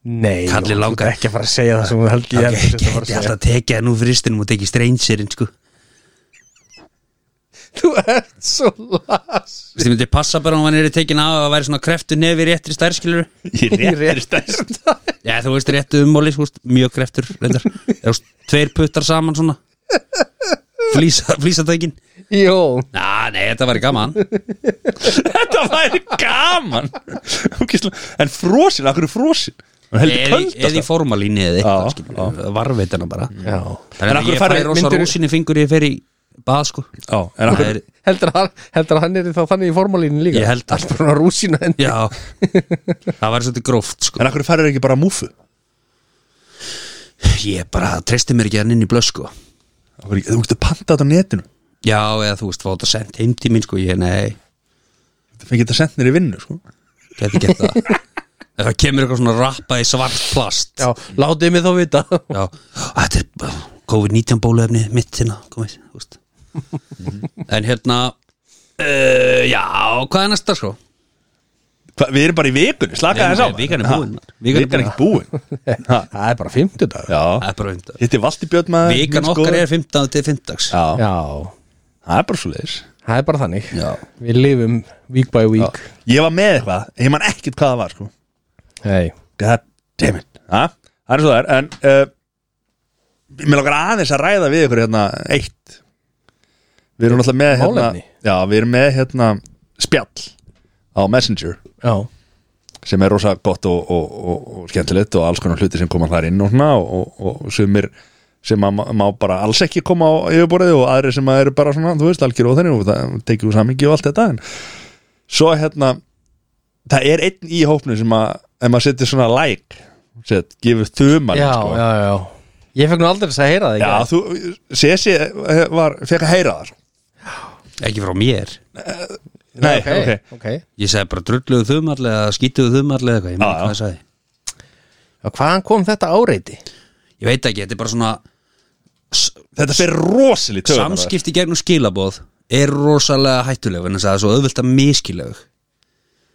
Speaker 2: Nei, Jón,
Speaker 3: Kalli
Speaker 2: þú
Speaker 3: langar-
Speaker 2: ert ekki að fara að segja það sem þú held ég
Speaker 3: ég
Speaker 2: heldur
Speaker 3: geti
Speaker 2: þetta að
Speaker 3: alltaf
Speaker 2: segja.
Speaker 3: tekið hann úr fristinum og tekið strangerinn sko
Speaker 2: Þú ert svo las
Speaker 3: Þú veist, ég myndi passa bara hann var nýri tekin af að það væri svona kreftur nefi réttri stærskilur
Speaker 1: Í réttri stærð
Speaker 3: Já, þú veist, réttu ummáli, þú veist, mjög kreftur reyndar. Þú veist, Tveir puttar saman svona Flýsa, flýsatækin
Speaker 2: Jón
Speaker 3: Ná, nei, þetta væri gaman
Speaker 1: Þetta væri gaman Ógeðslega- En frosin, akkur er frosin Hún heldur
Speaker 3: Eða-
Speaker 1: köld
Speaker 3: eða í formalínu eða
Speaker 1: Já,
Speaker 3: eitthvað skilur, varveitana bara
Speaker 2: Já.
Speaker 1: En
Speaker 3: þannig
Speaker 1: af
Speaker 3: að
Speaker 1: hverju
Speaker 3: ég
Speaker 1: farið-
Speaker 3: færi rosa
Speaker 2: myndirðu-
Speaker 3: rúsinni fingur ég fer í bað sko
Speaker 1: Já, en
Speaker 3: Það
Speaker 1: akkur
Speaker 3: er,
Speaker 2: heldur að, hann- heldur að hann er þá þannig í formálínu líka
Speaker 3: Ég held það.
Speaker 2: Allt bara svona rúsína henni
Speaker 3: já það var svolítið gróft sko
Speaker 1: En akkur færir ekki bara múfu
Speaker 3: ég bara treysti mér ekki hann inn í blöð sko
Speaker 1: Akkur, Þú ertu pantað þetta á netinu
Speaker 3: já eða þú veist fá þetta sent heim til mín sko ég nei
Speaker 1: Þú fengið þetta sent nýr í vinnu sko.
Speaker 3: geti gett það ef það kemur eitthvað svona rappa í svart plast
Speaker 2: Já, látið mig þá vita
Speaker 3: já þetta er bara COVID-19 bóluefni mitt hérna komið þú veist. en hérna uh, já hvað er næsta sko
Speaker 1: Hva, Við erum bara í vikunni, slaka
Speaker 3: Nei,
Speaker 1: þess á
Speaker 3: nei, vikan er búin. Vikan er
Speaker 1: Vikan er ekki búin
Speaker 2: Það er bara 50 dag
Speaker 1: Já,
Speaker 3: það er bara vinda
Speaker 1: hitti Valdi Björn maður
Speaker 3: vikan
Speaker 1: minn
Speaker 3: okkar
Speaker 1: skoðun.
Speaker 3: er 15 til 15
Speaker 1: Já,
Speaker 2: Já,
Speaker 1: það er bara svo leiðis
Speaker 2: það er bara þannig
Speaker 3: já
Speaker 2: Við lifum week by week
Speaker 1: Ég var með eitthvað, ég man ekkert hvað það var sko.
Speaker 2: Hei,
Speaker 1: God damn it ha? Það er svo það er, en uh, Mér langar aðeins að ræða við ykkur hérna Eitt Við erum alltaf með hérna,
Speaker 2: Málefni?
Speaker 1: Já, við erum með hérna spjall Á Messenger
Speaker 2: já,
Speaker 1: sem er rosa gott og, og, og, og skemmtilegt og alls konar hluti sem koma þar inn og, svona og, og, og sumir sem að ma- má bara alls ekki koma á yfirborðið og aðri sem að eru bara svona, þú veist, algjör og þenni og það tekið úr samingi og allt þetta en svo hérna það er einn í hópnum sem að ef maður setur svona like set, gefur þuman
Speaker 2: já,
Speaker 1: sko.
Speaker 2: já, já Ég fekk nú aldrei þess að heyra það
Speaker 1: já, þú, Sessi var, fekk að heyra það sko.
Speaker 3: ekki frá mér
Speaker 1: nei,
Speaker 2: ok,
Speaker 1: ok,
Speaker 2: ok,
Speaker 3: Ég sagði bara drulluðu þumalli eða skítuðu þumalli eða eitthvað, ég
Speaker 1: Já,
Speaker 3: maður
Speaker 1: já.
Speaker 3: hvað ég sagði
Speaker 2: Já, Hvaðan kom þetta áreiti?
Speaker 3: Ég veit ekki, þetta er bara svona
Speaker 1: þetta fer rosalít
Speaker 3: samskipti gegnum skilaboð er rosalega hættuleg en þess að það er svo auðvelt að miskileg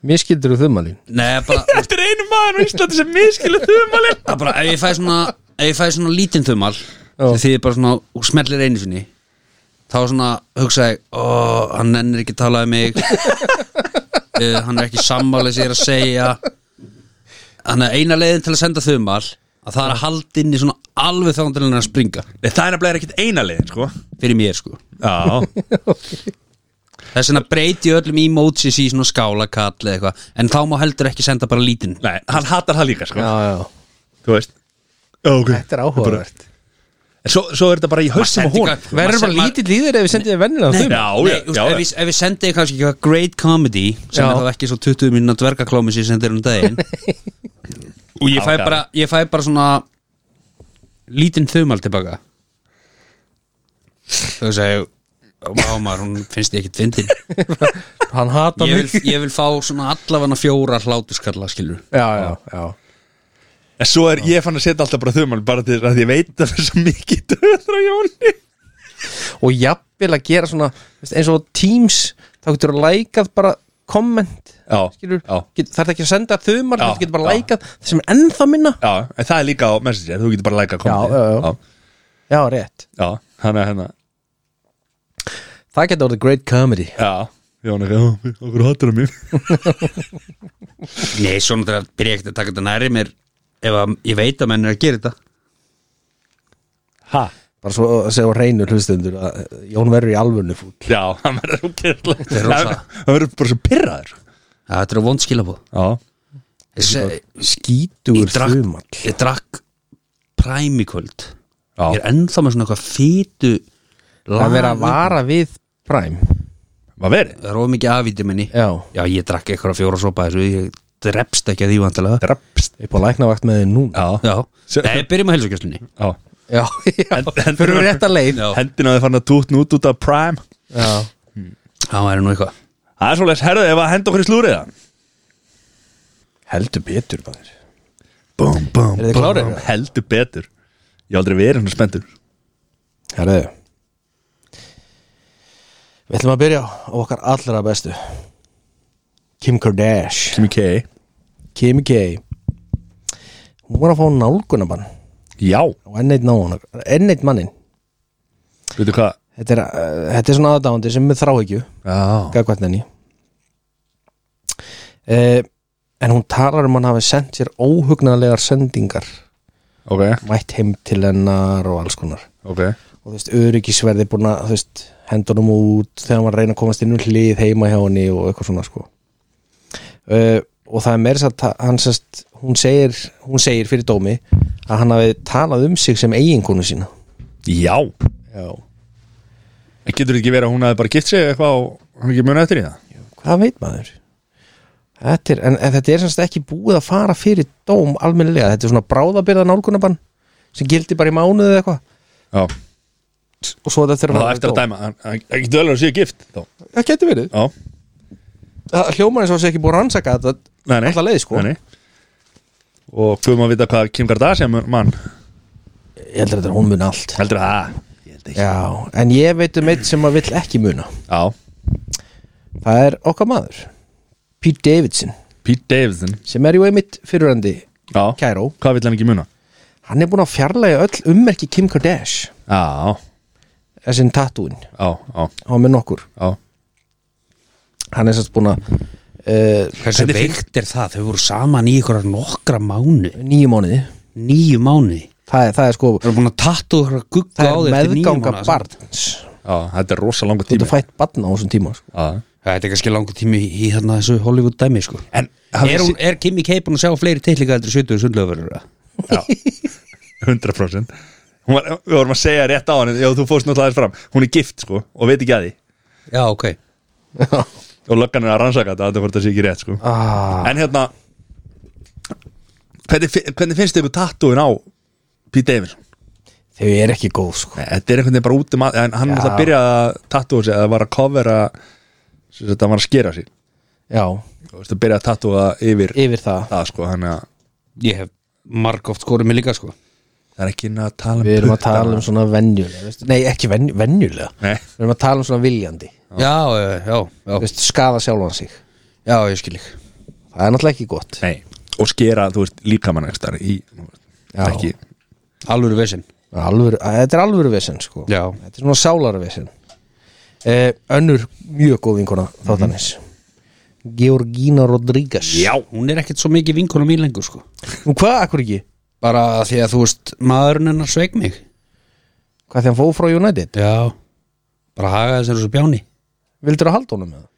Speaker 2: Mér skildur þú þumalín
Speaker 3: Nei, bara,
Speaker 1: Þetta er einu maður á Íslandi sem miskilu þumalinn
Speaker 3: það er bara ef ég fæ svona ef ég fæ svona lítinn þumal sem því bara svona og smellir einu sinni þá svona hugsa ég ó, hann nennir ekki að tala um mig uh, hann er ekki sammálega sér að segja þannig að eina leiðin til að senda þumal að það er að halda inn í svona alveg þangandilin að springa
Speaker 1: Nei, það er nefnilega ekkert einalegin, sko
Speaker 3: fyrir mér sko
Speaker 1: Já,
Speaker 3: þess vegna breyti öllum emojis í svona skálakall eða eitthvað en þá má heldur ekki senda bara lítinn
Speaker 1: nei, hann hatar það líka, sko
Speaker 2: Já, já,
Speaker 1: Þú veist Já, ok
Speaker 2: þetta er áhugavert
Speaker 1: En svo, svo er þetta bara í haustum á
Speaker 3: Maður
Speaker 1: hún
Speaker 3: sendi eitthvað-
Speaker 2: Verður bara
Speaker 3: maður-
Speaker 2: lítill í þér ef við sendið þér vennilega
Speaker 3: Nei,
Speaker 2: þum
Speaker 1: Já,
Speaker 3: nei,
Speaker 1: já,
Speaker 3: þú veist,
Speaker 1: já, já.
Speaker 3: ef, við, ef við sendið kannski eitthvað great comedy sem
Speaker 2: Já.
Speaker 3: er þá ekki svo 20 minna dvergaklómi sem ég sendir um daginn og ég fæ,
Speaker 1: Já,
Speaker 3: bara, ég fæ bara svona lítinn þumal tilbaka þú veist að Mámar, hún finnst ég ekkit fyndin
Speaker 2: Hann hata
Speaker 3: ég
Speaker 2: mig
Speaker 3: vil, ég vil fá svona allafana fjóra hlátuskalla skilur
Speaker 2: Já, já, já
Speaker 1: En svo er, ég fann að setja alltaf bara þumal bara til að ég veit að það er svo mikið döður á Jóni
Speaker 2: Og jafnvel að gera svona veist, eins og á Teams, þá getur þú lækað bara komment
Speaker 1: Já,
Speaker 2: skilur,
Speaker 1: já,
Speaker 2: get, það er ekki að senda
Speaker 1: Já,
Speaker 2: þumar það getur bara
Speaker 1: já.
Speaker 2: lækað, það sem er ennþá minna
Speaker 1: já, en það er líka á Messenger, þú getur bara læka að koma
Speaker 2: Já, já, já. já, rétt,
Speaker 1: Já, hann er hennar
Speaker 2: það getur orðið great comedy
Speaker 1: Já, Jóni, já, okkur hattur á mér
Speaker 3: Nei, svona þegar byrja ekkert að taka þetta næri mér ef að, ég veit að menn er að gera þetta
Speaker 1: Ha?
Speaker 2: bara svo að segja á reynu hlustundur að eh, Jón verður í alvörnu fúll
Speaker 1: Já, hann verður ógeðslega-
Speaker 3: er rosa.
Speaker 1: Hann verður bara svo pyrraður
Speaker 3: Já, þetta er vond skilabóð
Speaker 1: Já,
Speaker 3: Ég, se-
Speaker 2: skítur
Speaker 3: Ég drakk-
Speaker 2: þumall
Speaker 3: ég drakk Prime í kvöld
Speaker 1: já,
Speaker 3: Ég er ennþá með svona eitthvað fýtu
Speaker 2: að vera að vara við Prime
Speaker 1: maður verið
Speaker 3: Það er of mikið afvítið minni
Speaker 2: já,
Speaker 3: Já, ég drakk eitthvað fjóra sopa þessu Ég drepst ekki að því vantilega
Speaker 1: Drapst
Speaker 2: ég er búin að lækna vakt með þið núna
Speaker 1: Já,
Speaker 3: Já,
Speaker 1: Sér-
Speaker 3: Nei, byrjum á helsugjastlunni
Speaker 1: já
Speaker 2: já, já,
Speaker 1: en-
Speaker 2: fyrir við rétt að leið
Speaker 3: Já.
Speaker 1: Hendina þið fann að tútn út út af Prime
Speaker 2: já,
Speaker 3: Það er nú eitthvað
Speaker 1: Það er svolítið, herðu, ef að henda okkur í slúriða
Speaker 2: heldur betur maður
Speaker 1: Bum, bum,
Speaker 2: Eru þið klárir?
Speaker 1: Heldur betur Ég hef aldrei verið hann spenntur
Speaker 2: herðu við ætlum að byrja á okkar allra bestu Kim Kardashian
Speaker 1: Kimi K
Speaker 2: Kimi K hún var að fá nálgunabann
Speaker 1: Já,
Speaker 2: og enn eitt náðan enn eitt mannin
Speaker 1: veitu hvað
Speaker 2: þetta er, uh, þetta er svona aðdáandi sem með þráhyggju
Speaker 1: Já
Speaker 2: gagvært henni uh, en hún talar um að hann hafi sendt sér óhugnarlegar sendingar
Speaker 1: Ok,
Speaker 2: mætt heim til hennar og alls konar
Speaker 1: ok
Speaker 2: og þú veist, öryggisverði búin að þú veist, hendunum út þegar hann var að reyna að komast inn um hlið heima hjá henni og eitthvað svona sko uh, og það er meira satt hann sest, hún, segir, hún segir fyrir dómi að hann hafi talað um sig sem eiginkonu sína
Speaker 1: Já
Speaker 2: Já.
Speaker 1: En getur ekki verið að hún hafi bara gift sig eitthvað og hann ekki muna eftir í það?
Speaker 2: hvað veit maður þetta er, en, en þetta er semst ekki búið að fara fyrir dóm almennilega, þetta er svona bráðabyrða nálgunabann sem gildi bara í mánuði eða eitthvað
Speaker 1: Já,
Speaker 2: og svo þetta er
Speaker 1: það er eftir að dæma Hann hann- hann getur vel að sé gift þá
Speaker 2: það getur verið,
Speaker 1: Já,
Speaker 2: það hljómar eins og sé ekki búið að rannsaka þetta
Speaker 1: nei, nei
Speaker 2: Alla leið, sko.
Speaker 1: nei, nei. Og hvað maður vita hvað Kim Kardashian mann
Speaker 2: ég heldur að þetta er hún mun allt
Speaker 1: Heldur það? Ég held ekki
Speaker 2: já, en ég veit um eitt sem maður vill ekki muna
Speaker 1: Já,
Speaker 2: það er okkar maður Pete Davidson,
Speaker 1: Pete Davidson
Speaker 2: sem er jú einmitt fyrirandi
Speaker 1: Já,
Speaker 2: Kæró,
Speaker 1: hvað vill hann ekki muna?
Speaker 2: hann er búin að fjarlæga öll ummerki Kim Kardashian,
Speaker 1: Já,
Speaker 2: þessin tattúin
Speaker 1: já, já,
Speaker 2: á með nokkur,
Speaker 1: já
Speaker 2: hann er sérst búin að uh,
Speaker 3: Hversu
Speaker 1: Hvernig
Speaker 3: veikt er það? Þau voru saman í ykkur nokkra mánu
Speaker 2: nýju mánuði
Speaker 3: Nýju mánu
Speaker 2: það er, það er sko
Speaker 3: Þau eru búin að tattu ykkur að gugga á
Speaker 2: það
Speaker 3: þér
Speaker 2: er
Speaker 3: eftir níu
Speaker 2: meðganga
Speaker 3: mánaða sko. samt.
Speaker 2: barns
Speaker 1: Já, þetta er rosa langa
Speaker 2: þú
Speaker 1: tími
Speaker 2: ert að fætt barn á þessum tíma sko.
Speaker 1: Já.
Speaker 3: Það er kannski langur tími í í þarna þessu Hollywood dæmi sko
Speaker 1: En
Speaker 3: Er, hún, er Kimi K búin að sjá fleiri teitlinga heldur 70 sundlöfur?
Speaker 1: Já, 100% Hún var, Við vorum að segja rétt á hann Já, þú fórst náttúrulega aðeins fram Hún er gift, sko, og veit ekki að því
Speaker 3: Já, ok
Speaker 1: Og löggan er að rannsaka þetta, þetta voru þetta sé ekki rétt, sko
Speaker 2: ah,
Speaker 1: En hérna Hvernig, fi- hvernig finnst þið ykkur tattúin á Pete Davidson?
Speaker 2: þau eru ekki góð sko.
Speaker 1: Nei, Þetta er einhvern veginn bara út um að En hann
Speaker 2: Já.
Speaker 1: ætla að byrja að tattúa sig Það var að covera Þetta var að skera sig
Speaker 2: já,
Speaker 1: Þú veist að byrja að tattúa yfir
Speaker 2: yfir það
Speaker 1: það, sko Þannig að
Speaker 3: Ég hef margóft skorið mig líka sko
Speaker 1: það er ekki inn að tala um
Speaker 2: við erum að
Speaker 1: puttana.
Speaker 2: tala um svona venjulega veistu? nei, ekki venju, venjulega
Speaker 1: Nei,
Speaker 2: við erum að tala um svona viljandi
Speaker 3: Já, já, já, já,
Speaker 2: Vist, skafa sjálfan sig
Speaker 3: já ég skil ekki
Speaker 2: það er náttúrulega ekki gott
Speaker 1: nei Og skera, þú veist, líkamann ekki þar í
Speaker 2: Já.
Speaker 1: Ekki
Speaker 3: Alvöru vesinn
Speaker 2: alvöru, þetta er alvöru vesen sko.
Speaker 3: Já.
Speaker 2: þetta er svona sálara vesen eh, önnur mjög góð vinkona þáttanis Georgina Mhm. Rodríguez
Speaker 1: Já
Speaker 3: Hún er ekkert svo mikið vinkona mín lengur sko
Speaker 2: Nú, hvað, akkur ekki?
Speaker 3: Bara af því að þú veist, maðurinn hennar sveik mig
Speaker 2: hvað þegar hann fóð frá United?
Speaker 3: Já Bara hagaði sér þessu bjáni
Speaker 2: vildur að halda honum með það?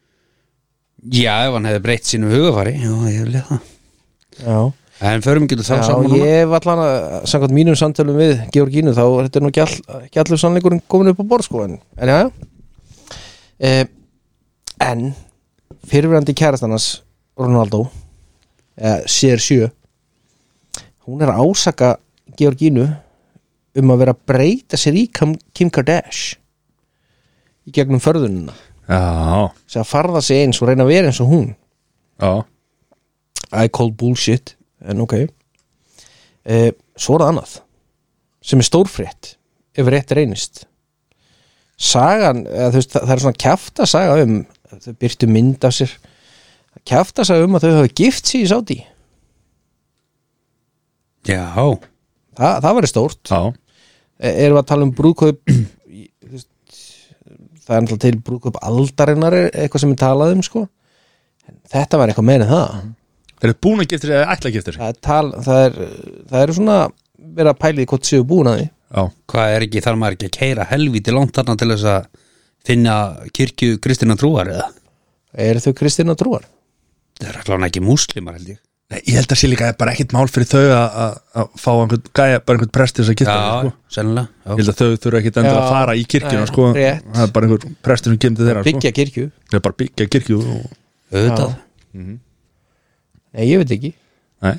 Speaker 3: Já, ef hann hefði breytt sínu hugafari Já, ég vil það
Speaker 2: Já,
Speaker 3: En förum getur þá
Speaker 2: já
Speaker 3: saman núna.
Speaker 2: ég var allan að samkvæmt mínum samtölum við Georgínu þá er þetta nú ekki, all, ekki allur sannleikurinn komin upp á borð sko en, en já, já eh, en fyrirverandi kærastannars Ronaldo eh, CR7 hún er að ásaka Georgínu um að vera að breyta sér í Kim Kim Kardashian í gegnum förðunina
Speaker 1: Já,
Speaker 2: sem að farða sig eins og reyna að vera eins og hún
Speaker 1: já
Speaker 2: I call bullshit en ok eh, svo er það annað sem er stórfrétt ef rétt reynist sagan, eða, þú veist, það, það er svona kjafta saga um, þau byrtu mynd af sér kjafta saga um að þau hafi gift sig í sáti
Speaker 3: Já,
Speaker 2: Þa, það verið stórt
Speaker 1: Já,
Speaker 2: e, erum við að tala um brúðkaup í- þú veist, það er náttúrulega til brúðkaup aldarinnar er eitthvað sem er talað um sko En þetta var eitthvað meira en það
Speaker 1: þeir eru búin að gifta sig eða ætla að gifta sig
Speaker 2: það er, tal, það er, það er svona verið að pæli því hvort séu búin að því
Speaker 1: Já,
Speaker 3: hvað er ekki, þarf maður ekki að keira helvíti langt þarna til þess að finna kirkju Kristina trúar eða?
Speaker 2: Eru þau kristina trúar?
Speaker 3: Það er allan ekki múslimar held ég
Speaker 1: Nei, ég held að sé líka bara ekkit mál fyrir þau að- að að fá einhvern gæja, bara einhvern prest til þess að gifta sig,
Speaker 3: Já,
Speaker 1: sko
Speaker 3: sennilega
Speaker 1: Ég
Speaker 3: já.
Speaker 1: held að þau þurfa ekkit endur
Speaker 2: Já,
Speaker 1: að fara í kirkjuna,
Speaker 2: nei,
Speaker 1: sko
Speaker 2: rétt.
Speaker 1: Það er bara einhvern prestur sem kemur til þeirra, sko
Speaker 2: Byggja kirkju?
Speaker 1: Það er bara að byggja kirkju og...
Speaker 3: Auðvitað
Speaker 2: Nei, ég veit ekki
Speaker 1: Nei,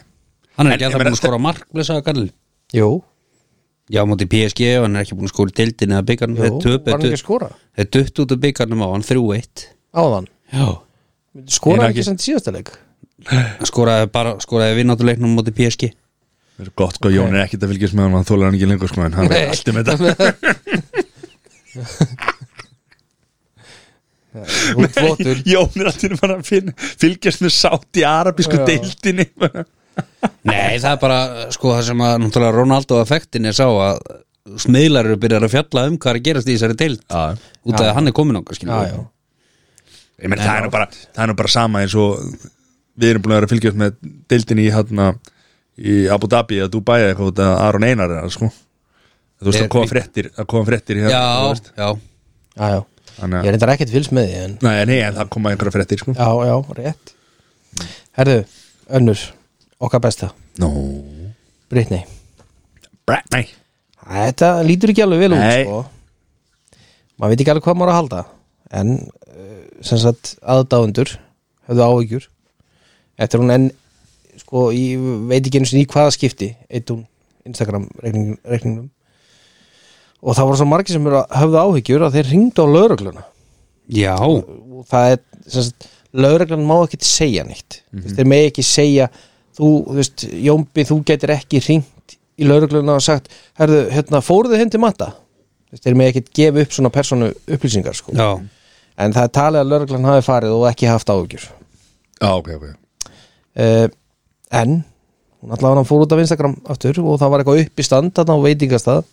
Speaker 3: Hann er
Speaker 1: En-
Speaker 3: ekki
Speaker 1: ég
Speaker 3: alltaf
Speaker 1: meina,
Speaker 3: búin að skora á mark blessaða gall
Speaker 2: Jú,
Speaker 3: Já, á móti PSG og hann er ekki búin að skora í deildin eða byggarnum
Speaker 2: jú,
Speaker 3: Þeir töpu-
Speaker 2: var hann ekki að skora?
Speaker 3: þeir dutt út af byggarnum á hann 3-1
Speaker 2: Áðan
Speaker 3: Já
Speaker 2: Skora
Speaker 1: Ég er
Speaker 2: ekki
Speaker 1: ekki-
Speaker 2: sem síðastaleg
Speaker 3: Hann skoraði bara, skoraði vinnátuleiknum á móti PSG
Speaker 1: það er gott, sko, Jón er ekkit að fylgjast með hann, hann þólar hann ekki lengur, sko En hann
Speaker 2: Nei.
Speaker 1: er allt um þetta
Speaker 2: Þú ert flottur
Speaker 1: Jón er alltaf bara að finna, fylgjast með sátt í arabísku
Speaker 2: Já.
Speaker 1: deildinni bara.
Speaker 3: Nei, það er bara, sko, það sem að náttúrulega Ronaldo-effektin er sá að smiðlar eru byrjar að fjalla um hvað er að gerast í þessari deild
Speaker 1: Já,
Speaker 3: út af að hann er komin
Speaker 2: Já,
Speaker 3: okkar, skiljum
Speaker 2: já
Speaker 1: Ég meni, það, er nú bara, það er nú bara sama eins og við erum búin að vera að fylgjast með deildinni í, hana, í Abu Dhabi eða Dubai eða eitthvað út af Aron Einar er, sko. þú veist
Speaker 3: Er-
Speaker 1: að koma fréttir að koma fréttir hérna, þú
Speaker 3: já,
Speaker 1: veist.
Speaker 3: já
Speaker 2: Já, já
Speaker 1: Þannig að-
Speaker 2: Ég er reyndar ekkert fylgst með því en
Speaker 1: Nei, nei, en það koma einhverja fréttir sko.
Speaker 2: Já, já, rétt Herðu, önnur, okkar besta
Speaker 1: Nú
Speaker 2: Britney
Speaker 1: Bratney
Speaker 2: Þetta lítur ekki alveg vel
Speaker 1: Nei.
Speaker 2: út sko. maður veit ekki alveg hvað maður á að halda en uh, sem sagt aðdáðundur höfðu áhyggjur eftir hún en sko, ég veit ekki einu sinni í hvaða skipti eitt hún Instagram reikning, reikningnum og það voru svo margir sem eru að- höfðu áhyggjur að þeir ringdu á laurugluna
Speaker 3: Já,
Speaker 2: og það er sem sagt, lögreglan má ekki segja neitt mm -hmm. þeir megi ekki segja þú, þú veist, Jómbi, þú getur ekki ringt í lögregluna og sagt herðu, hérna, fóruðu hindi matta Þú veist, þeir megi ekki gefa upp svona persónu upplýsingar sko.
Speaker 3: já,
Speaker 2: en það er talið að lögreglan hafi farið og ekki haft áhugjur
Speaker 1: Já, ok, ok
Speaker 2: uh, en hún allavega hann fór út af Instagram aftur og það var eitthvað upp í stand þarna á veitingastað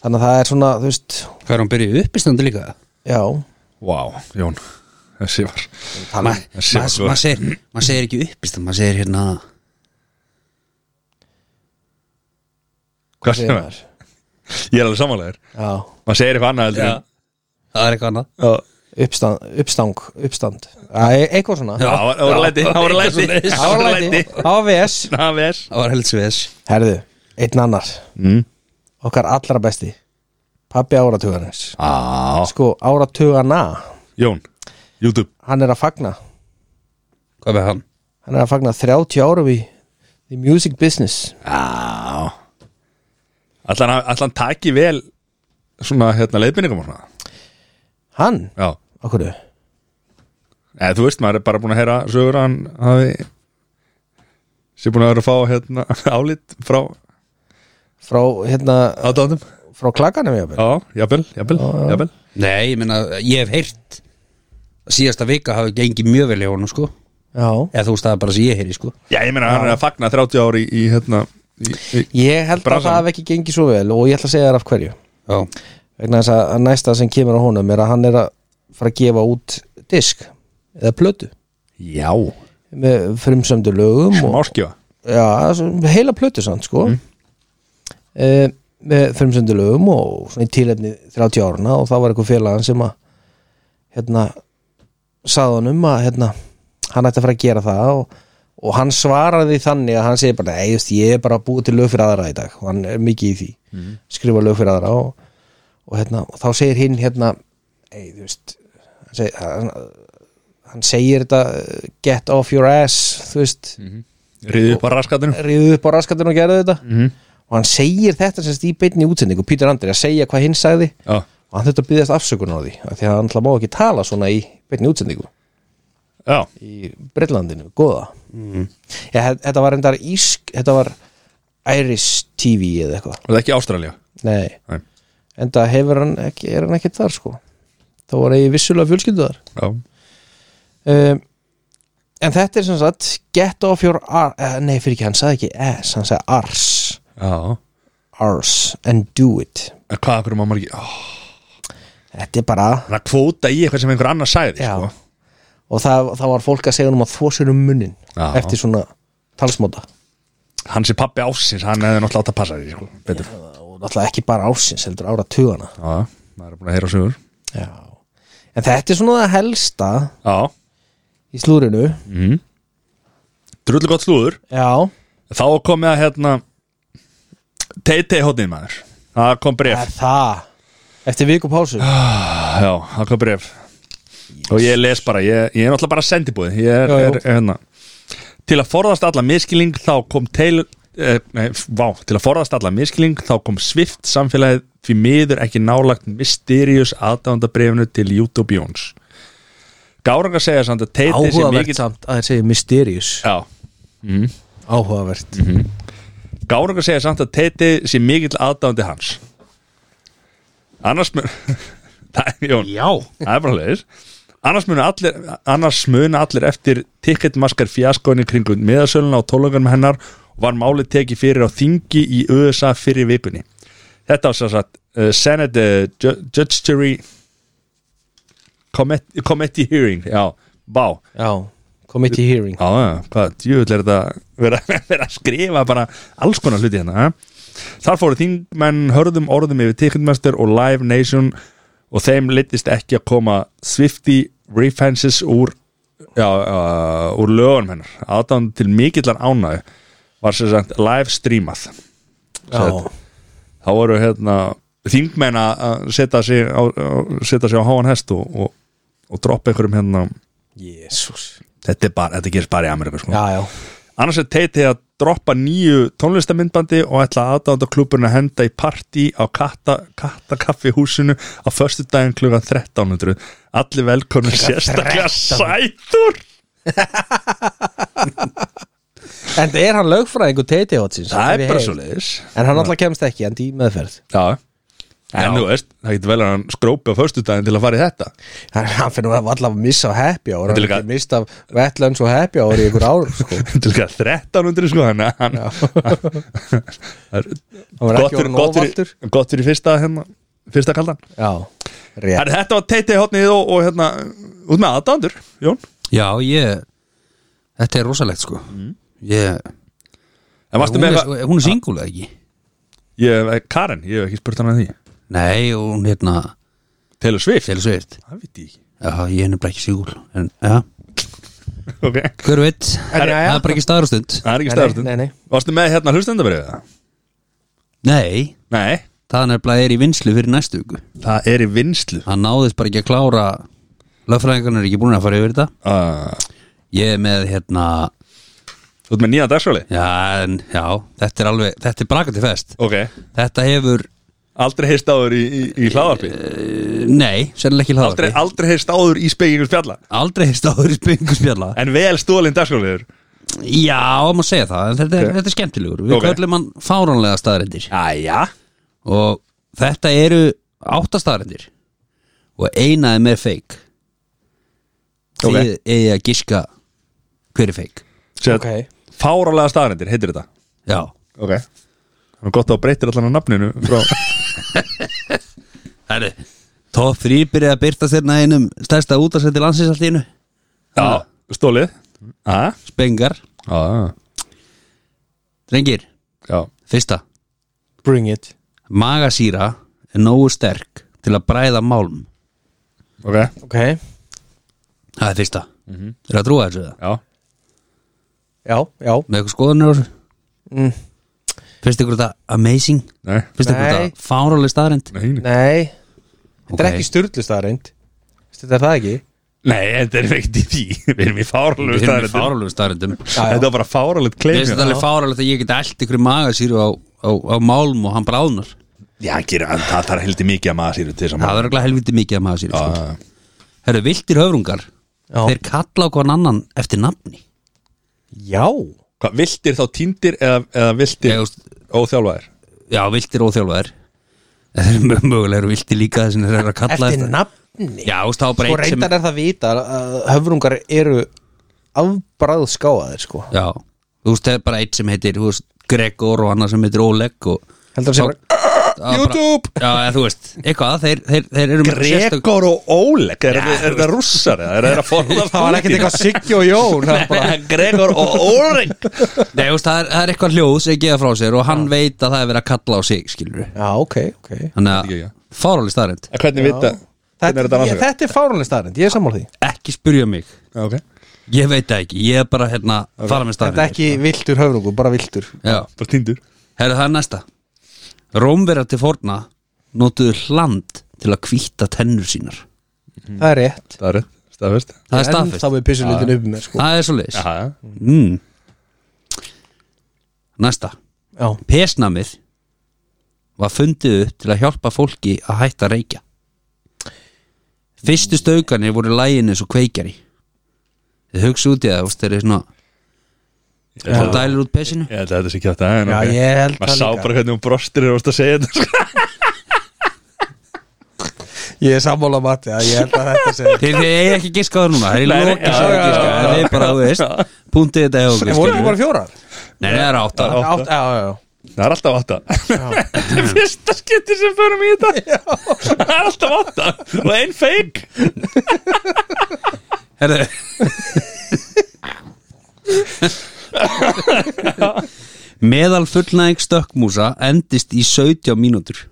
Speaker 2: þannig að það er svona, þú veist,
Speaker 3: hvað er hún byrjuð uppistandi líka?
Speaker 2: já
Speaker 1: Vá, Jón Þessi var
Speaker 3: Ma-
Speaker 2: um
Speaker 1: Þessi var
Speaker 3: ma-
Speaker 1: góð.
Speaker 3: Maður segir, mað segir ekki uppistandi, maður segir hérna
Speaker 1: Hvað sem er?
Speaker 2: maður?
Speaker 1: Ég er alveg samanlegar
Speaker 2: já,
Speaker 1: Maður segir eitthvað annað heldur en-
Speaker 3: það er eitthvað annað
Speaker 1: Já,
Speaker 2: uppstand, uppstang, uppstand Æ, eitthvað svona
Speaker 3: Já.
Speaker 1: það var- það voru læti Það voru
Speaker 3: eitthvað
Speaker 1: læti
Speaker 3: svoleiðis.
Speaker 1: Það voru læti
Speaker 2: AVS
Speaker 1: Það verð
Speaker 3: Það var heldsveðis
Speaker 2: Herðu, einn annar
Speaker 1: Mm.
Speaker 2: Okkar allra besti Pappi áratugarins
Speaker 1: Á
Speaker 2: Sko, áratugana
Speaker 1: Jón YouTube
Speaker 2: Hann er að fagna
Speaker 3: Hvað með hann?
Speaker 2: Hann er að fagna 30 árum í The music business
Speaker 1: Já Allan, allan taki vel svona hérna leiðbynningum og svona
Speaker 2: Hann,
Speaker 1: Já
Speaker 2: okkur
Speaker 1: Eða þú veist, maður er bara búin að heyra sögur að hann hafi sér búin að vera að fá hérna álit frá
Speaker 2: Frá, hérna,
Speaker 1: aðdáðum
Speaker 2: frá klakanum ég
Speaker 1: Já, jafnvel, jafnvel, jafnvel
Speaker 3: Nei, ég meina, ég hef heyrt að síðasta vika hafi gengið mjög vel í honum sko
Speaker 2: Já
Speaker 3: eða þú veist það er bara sem ég heyri sko
Speaker 1: Já, ég meina hann er að fagna 30 ári í, í hérna í, í,
Speaker 2: Ég held að
Speaker 1: Bransanum.
Speaker 2: það hef ekki gengið svo vel og ég ætla að segja þér af hverju
Speaker 3: Já,
Speaker 2: vegna þess að næsta sem kemur á honum er að hann er að fara að gefa út disk eða plötu
Speaker 1: Já
Speaker 2: með frumsömdu lögum og,
Speaker 1: Máskjöfa
Speaker 2: já, svo- heila plötu samt sko mm. með frumsendilögum og svona í tílefni 30 árna og það var eitthvað félagann sem að hérna sagði honum að hérna hann ætti að fara að gera það og, og hann svaraði því þannig að hann segi bara nei, just, ég er bara að búa til lög fyrir aðra í dag og hann er mikið í því, skrifa lög fyrir aðra og, og hérna, og þá segir hinn hérna, ei, þú veist hann segir, hann, hann segir þetta eh, get off your ass þú veist,
Speaker 1: Riðið upp að raskatinu
Speaker 2: ríðu upp á raskatinn og gerðu þetta og hann segir þetta sem sagt í beinni útsendingu Pítur Andri að segja hvað hinn sagði
Speaker 1: Já
Speaker 2: og hann þetta byggðast afsökun á því af því að hann alltaf má ekki tala svona í beinni útsendingu
Speaker 1: Já
Speaker 2: í Bretlandinu, góða Já, þe- þetta var endar ísk þetta var Iris TV eða eitthvað,
Speaker 1: Og það er ekki Ástralja
Speaker 2: nei
Speaker 1: Nei.
Speaker 2: enda hefur hann ekki, er hann ekki þar sko þá var ég vissulega fjölskyldu þar
Speaker 1: Já
Speaker 2: um, en þetta er sem sagt get off your ar, eh, nei fyrir ekki, hann sagði ekki ass, hann sagði ars
Speaker 1: Já
Speaker 2: ours and do it
Speaker 1: En hvað akkur má maður ekki Ó,
Speaker 2: þetta er bara
Speaker 1: Hann að kvóta í eitthvað sem einhver annar sæði
Speaker 2: Já.
Speaker 1: sko.
Speaker 2: og það, það var fólk að segja um að þvo sér um munnin
Speaker 1: Já.
Speaker 2: eftir svona talsmóta
Speaker 1: Hann sé pappi ásins Hann hefði náttúrulega átt að passa því sko. Betur Já
Speaker 2: og náttúrulega ekki bara ársins heldur ára tugana
Speaker 1: Já Maður er búin að heyra sögur
Speaker 2: Já. en þetta er svona það helsta
Speaker 1: Já
Speaker 2: í slúrinu
Speaker 1: mm. Drullu gott slúður
Speaker 2: Já,
Speaker 1: Þá kom ég að hérna Teitei hóttin maður Það kom bref
Speaker 2: er það eftir viku pásu
Speaker 1: Já, það kom bref Og ég les bara, ég, ég er náttúrulega bara sendibúið Ég er,
Speaker 2: Já, já.
Speaker 1: er, er hérna Til að forðast alla miskilling þá kom teil, eh, nei, vá, Til að forðast alla miskilling þá kom Swift samfélagið því miður ekki nálagt Mysterious aðdándabrefinu til YouTube Jóns Gáranga segja samt að Teitei sé
Speaker 2: áhugavert
Speaker 1: mikið
Speaker 2: samt að þeir segja mysterious Mhm.
Speaker 1: Já,
Speaker 2: áhugavert
Speaker 1: Gárungur segir samt að Teiti sé mikill aðdáðandi hans Annars mun Það er Jón
Speaker 3: Já.
Speaker 1: Það er bara leiðis Annars munu allir, annars muna allir eftir ticketmaskar fjaskóinu kringum meðasöluna og tólungan með hennar og var málið tekið fyrir á þingi í USA fyrir vikunni. Þetta var sér sagt uh, Senate uh, Ju- Judiciary Committee, Committee Hearing, já, bá.
Speaker 2: Já, committee hearing
Speaker 1: Já, já, hvað, djúvill er þetta vera, vera að skrifa bara alls konar hluti hérna eh? Þar fóru þingmenn hörðum orðum yfir Ticketmaster og Live Nation og þeim litist ekki að koma Swifty references úr já, uh, úr lögunum hennar aðdáðan til mikillar ánæðu var sér sagt live streamað
Speaker 2: Já,
Speaker 1: þá voru hérna þingmenn að setja sig á, á- setja sig á háan hest og, og, og droppa einhverjum hérna
Speaker 2: jésús
Speaker 1: þetta, er bara, þetta gerist bara í Ameríku sko.
Speaker 2: Já, já,
Speaker 1: annars er teiti að droppa nýju tónlistamindbandi og ætla aðdánda klubun að henda í partí á katta, kattakaffi húsinu á föstu daginn klugan 1300 allir velkonur sérstaklega sætur
Speaker 2: en er hann lögfræðingur teiti átsins
Speaker 1: það er bara svo leiðis
Speaker 2: En hann alltaf kemst ekki, hann dý meðferð
Speaker 1: já En
Speaker 3: Já.
Speaker 1: þú veist, það getur vel að hann skrópi á föstudaginn til að fara í þetta
Speaker 2: Hann, hann finnur að alltaf að missa á happy hour
Speaker 1: Þetta er
Speaker 2: Hann
Speaker 1: líka-
Speaker 2: ekki mista af Wetlands og happy hour í ykkur ár sko.
Speaker 1: Til líka 1300 sko hann, hann, hann
Speaker 2: Hann var ekki orðin
Speaker 1: gott, fyrir,
Speaker 2: óvaldur
Speaker 1: gott fyrir fyrsta hérna, fyrsta kaldan
Speaker 2: Já, rétt
Speaker 1: Herri, Þetta var teiti hótnið og, og hérna út með aðdándur, Jón
Speaker 3: Já, ég Þetta er rosalegt sko ég,
Speaker 1: Mm. En varstu
Speaker 3: hún,
Speaker 1: með
Speaker 3: er,
Speaker 1: eitthvað-
Speaker 3: hún er singulega ekki
Speaker 1: Ég, eh, Karen, ég hef ekki spurt hann að því
Speaker 3: Nei, og hún hérna
Speaker 1: Taylor Swift
Speaker 3: Félix Veirt
Speaker 1: Það veit ég ekki
Speaker 3: Já, ég er nefnilega ekki singul En, já,
Speaker 1: okay.
Speaker 3: hver veit Það
Speaker 2: já, já.
Speaker 3: er bara ekki staðarstund
Speaker 1: Það er ekki
Speaker 2: Nei,
Speaker 1: stærstund
Speaker 2: nei, nei.
Speaker 1: Varstu með hérna hlustendabrið það?
Speaker 3: Nei,
Speaker 1: Nei
Speaker 3: það nefnilega er í vinslu fyrir næstu viku
Speaker 1: Það er í vinslu
Speaker 3: Hann náðist bara ekki að klára Löffræðingarnir er ekki búin að fara yfir þetta
Speaker 1: uh,
Speaker 3: Ég er með hérna
Speaker 1: Þú ert með nýja dagsfjóli?
Speaker 3: Já, en, já, þetta er alveg Þetta er brakandi fest
Speaker 1: Ok
Speaker 3: Þetta hefur,
Speaker 1: Aldrei heist áður í, í, í hláðarpi
Speaker 3: eh, nei, sennilega ekki hláður
Speaker 1: Aldrei, aldrei heist áður í spekingu spjalla
Speaker 3: aldrei hefst áður í spyngu spjalla
Speaker 1: En vel stólinn dagsfjóliður
Speaker 3: Já, maður segja það, en þetta er,
Speaker 1: Ok.
Speaker 3: þetta er skemmtilegur Við
Speaker 1: Ok.
Speaker 3: köllum hann fáránlega staðarendir
Speaker 1: Æja
Speaker 3: Og þetta eru átta staðarendir Og eina er með feik
Speaker 1: Ok.
Speaker 3: Þið eigi að giska hver er feik
Speaker 1: Sér,
Speaker 2: Ok,
Speaker 1: okay. Fáralega staðarindir, heitir þetta
Speaker 3: Já,
Speaker 1: Ok Það er gott að þú breytir allan að nafninu frá
Speaker 3: það er Top 3 byrjaði að byrta þérna einum stærsta útarsætti landsins allt í einu
Speaker 1: Já, stólið Já,
Speaker 3: Spengar,
Speaker 1: já,
Speaker 3: drengir,
Speaker 1: Ah. já
Speaker 3: fyrsta
Speaker 2: bring it
Speaker 3: Magasýra er nógu sterk til að bræða málm
Speaker 1: Ok,
Speaker 2: Ok, já,
Speaker 3: Það er fyrsta mm -hmm. Er að trúa þessu það?
Speaker 1: já
Speaker 2: já
Speaker 3: Með eitthvað skoðanir á þessu?
Speaker 2: mm.
Speaker 3: Finnst ykkur þetta amazing?
Speaker 1: Nei,
Speaker 3: Finnst ykkur
Speaker 2: Nei.
Speaker 3: þetta fárálega staðarind?
Speaker 1: nei, nei.
Speaker 2: Nei, þetta er
Speaker 3: Ok.
Speaker 2: ekki styrlust aðreind Þetta er það ekki
Speaker 1: nei þetta er ekkert í því Við erum í fáralegu
Speaker 3: Við erum í
Speaker 1: staðarindum
Speaker 3: fárálega staðarindum Mér
Speaker 2: Já, já.
Speaker 1: Þetta var bara fáralegt kleim
Speaker 3: finnst þetta alveg fárálegt að ég geti allt ykkur í magasýru á, á, á málm og hann bráðnar
Speaker 1: Já, hann gerir, hann, það þarf heldur mikið að maður sér um til saman
Speaker 3: Það er ekki helviti mikið af magasýru sko.
Speaker 1: Já,
Speaker 3: Herru, viltir höfrungar
Speaker 2: Já,
Speaker 3: Þeir kalla á hvern annan eftir nafni
Speaker 2: já.
Speaker 1: Hvað, viltir þá týndir eða, eða viltir
Speaker 3: Ég, þú veist,
Speaker 1: óþjálfaðir?
Speaker 3: Já, viltir óþjálfaðir En Þeir eru mögulega eru viltir líka þess að þeir eru að kalla
Speaker 2: Eftir nafni
Speaker 3: Já, þú veist, þá er bara
Speaker 2: Sko
Speaker 3: eitt sem
Speaker 2: reyndar er það vita að höfrungar eru afbræð skáaðir sko
Speaker 3: Já, þú veist, það er bara eitt sem heitir þú veist, Gregor og annar sem heitir Oleg og
Speaker 2: Heldur að sé
Speaker 3: Sá- Það var bara-
Speaker 1: YouTube!
Speaker 3: Já, eða, þú veist, eitthvað, þeir, þeir, þeir eru með sérstök-
Speaker 1: Gregor og Óleg, er, er, er það rússar? eða? Er það að forða
Speaker 2: Það var ekkert eitthvað Siggi og Jón það var bara,
Speaker 1: Gregor og Óleg
Speaker 3: Nei, þú veist, það er, það er eitthvað hljóð sem geða frá sér og hann veit að það er verið að kalla á sig, skilur við
Speaker 2: Já, ok, ok
Speaker 3: Þannig
Speaker 1: Ekki, já.
Speaker 3: að fáráli staðrind
Speaker 1: En hvernig vita, hvernig
Speaker 2: Þetta,
Speaker 1: er þetta
Speaker 2: ég,
Speaker 1: annars?
Speaker 2: þetta er fáránlega staðrind, ég er sammála því
Speaker 3: Ekki spyrja mig,
Speaker 1: Já, ok
Speaker 3: ég veit það ekki Ég er bara hérna, fara með staðrind
Speaker 2: Þetta er ekki viltur höfrungur, bara viltur
Speaker 3: Já,
Speaker 1: Bara týndur
Speaker 3: herðu það er næsta Rómverjar til forna notuðu hland til að hvíta tennur sínar
Speaker 2: Það er rétt
Speaker 1: Það er rétt, staðfest
Speaker 3: Mm. Það er
Speaker 2: Þá
Speaker 3: staðfest,
Speaker 2: er pissulitin upp með sko
Speaker 3: það er svo leis
Speaker 1: Já, já
Speaker 3: mm. Næsta
Speaker 2: Já,
Speaker 3: Pesnamið var fundið upp til að hjálpa fólki að hætta að reykja Fyrstu staukanir voru lægin eins og kveikjari Þið hugsa út í það, þú veist, þeir eru svona
Speaker 1: Ég held
Speaker 3: og
Speaker 1: að-
Speaker 3: dælir út pesinu
Speaker 1: ég held að þetta sé kjátt aðeins
Speaker 2: Já, ég held
Speaker 1: Maður
Speaker 2: það
Speaker 1: sá
Speaker 2: líka.
Speaker 1: bara hvernig hún brostir og varst að segja þetta sko.
Speaker 2: ég er sammála mati að ég held að þetta sé
Speaker 3: Þeir þeir eigi ekki giska á það núna, þeir eru
Speaker 1: Nei, nei,
Speaker 3: lokið
Speaker 1: já,
Speaker 3: sem
Speaker 2: já,
Speaker 3: þeir giska
Speaker 2: já,
Speaker 3: en Þeir bara, þú veist, púntið þetta hjá okkur
Speaker 2: En voru ekki
Speaker 3: skilurðu.
Speaker 2: bara fjórar?
Speaker 3: Nei, það er átta
Speaker 1: Já.
Speaker 2: Átt, já, já, já
Speaker 1: Það er alltaf átta Þetta er fyrsta skipti sem förum í þetta Það er alltaf átta Og einn feik
Speaker 3: Herðu Meðal fullnæðing stökkmúsa endist í 17 mínútur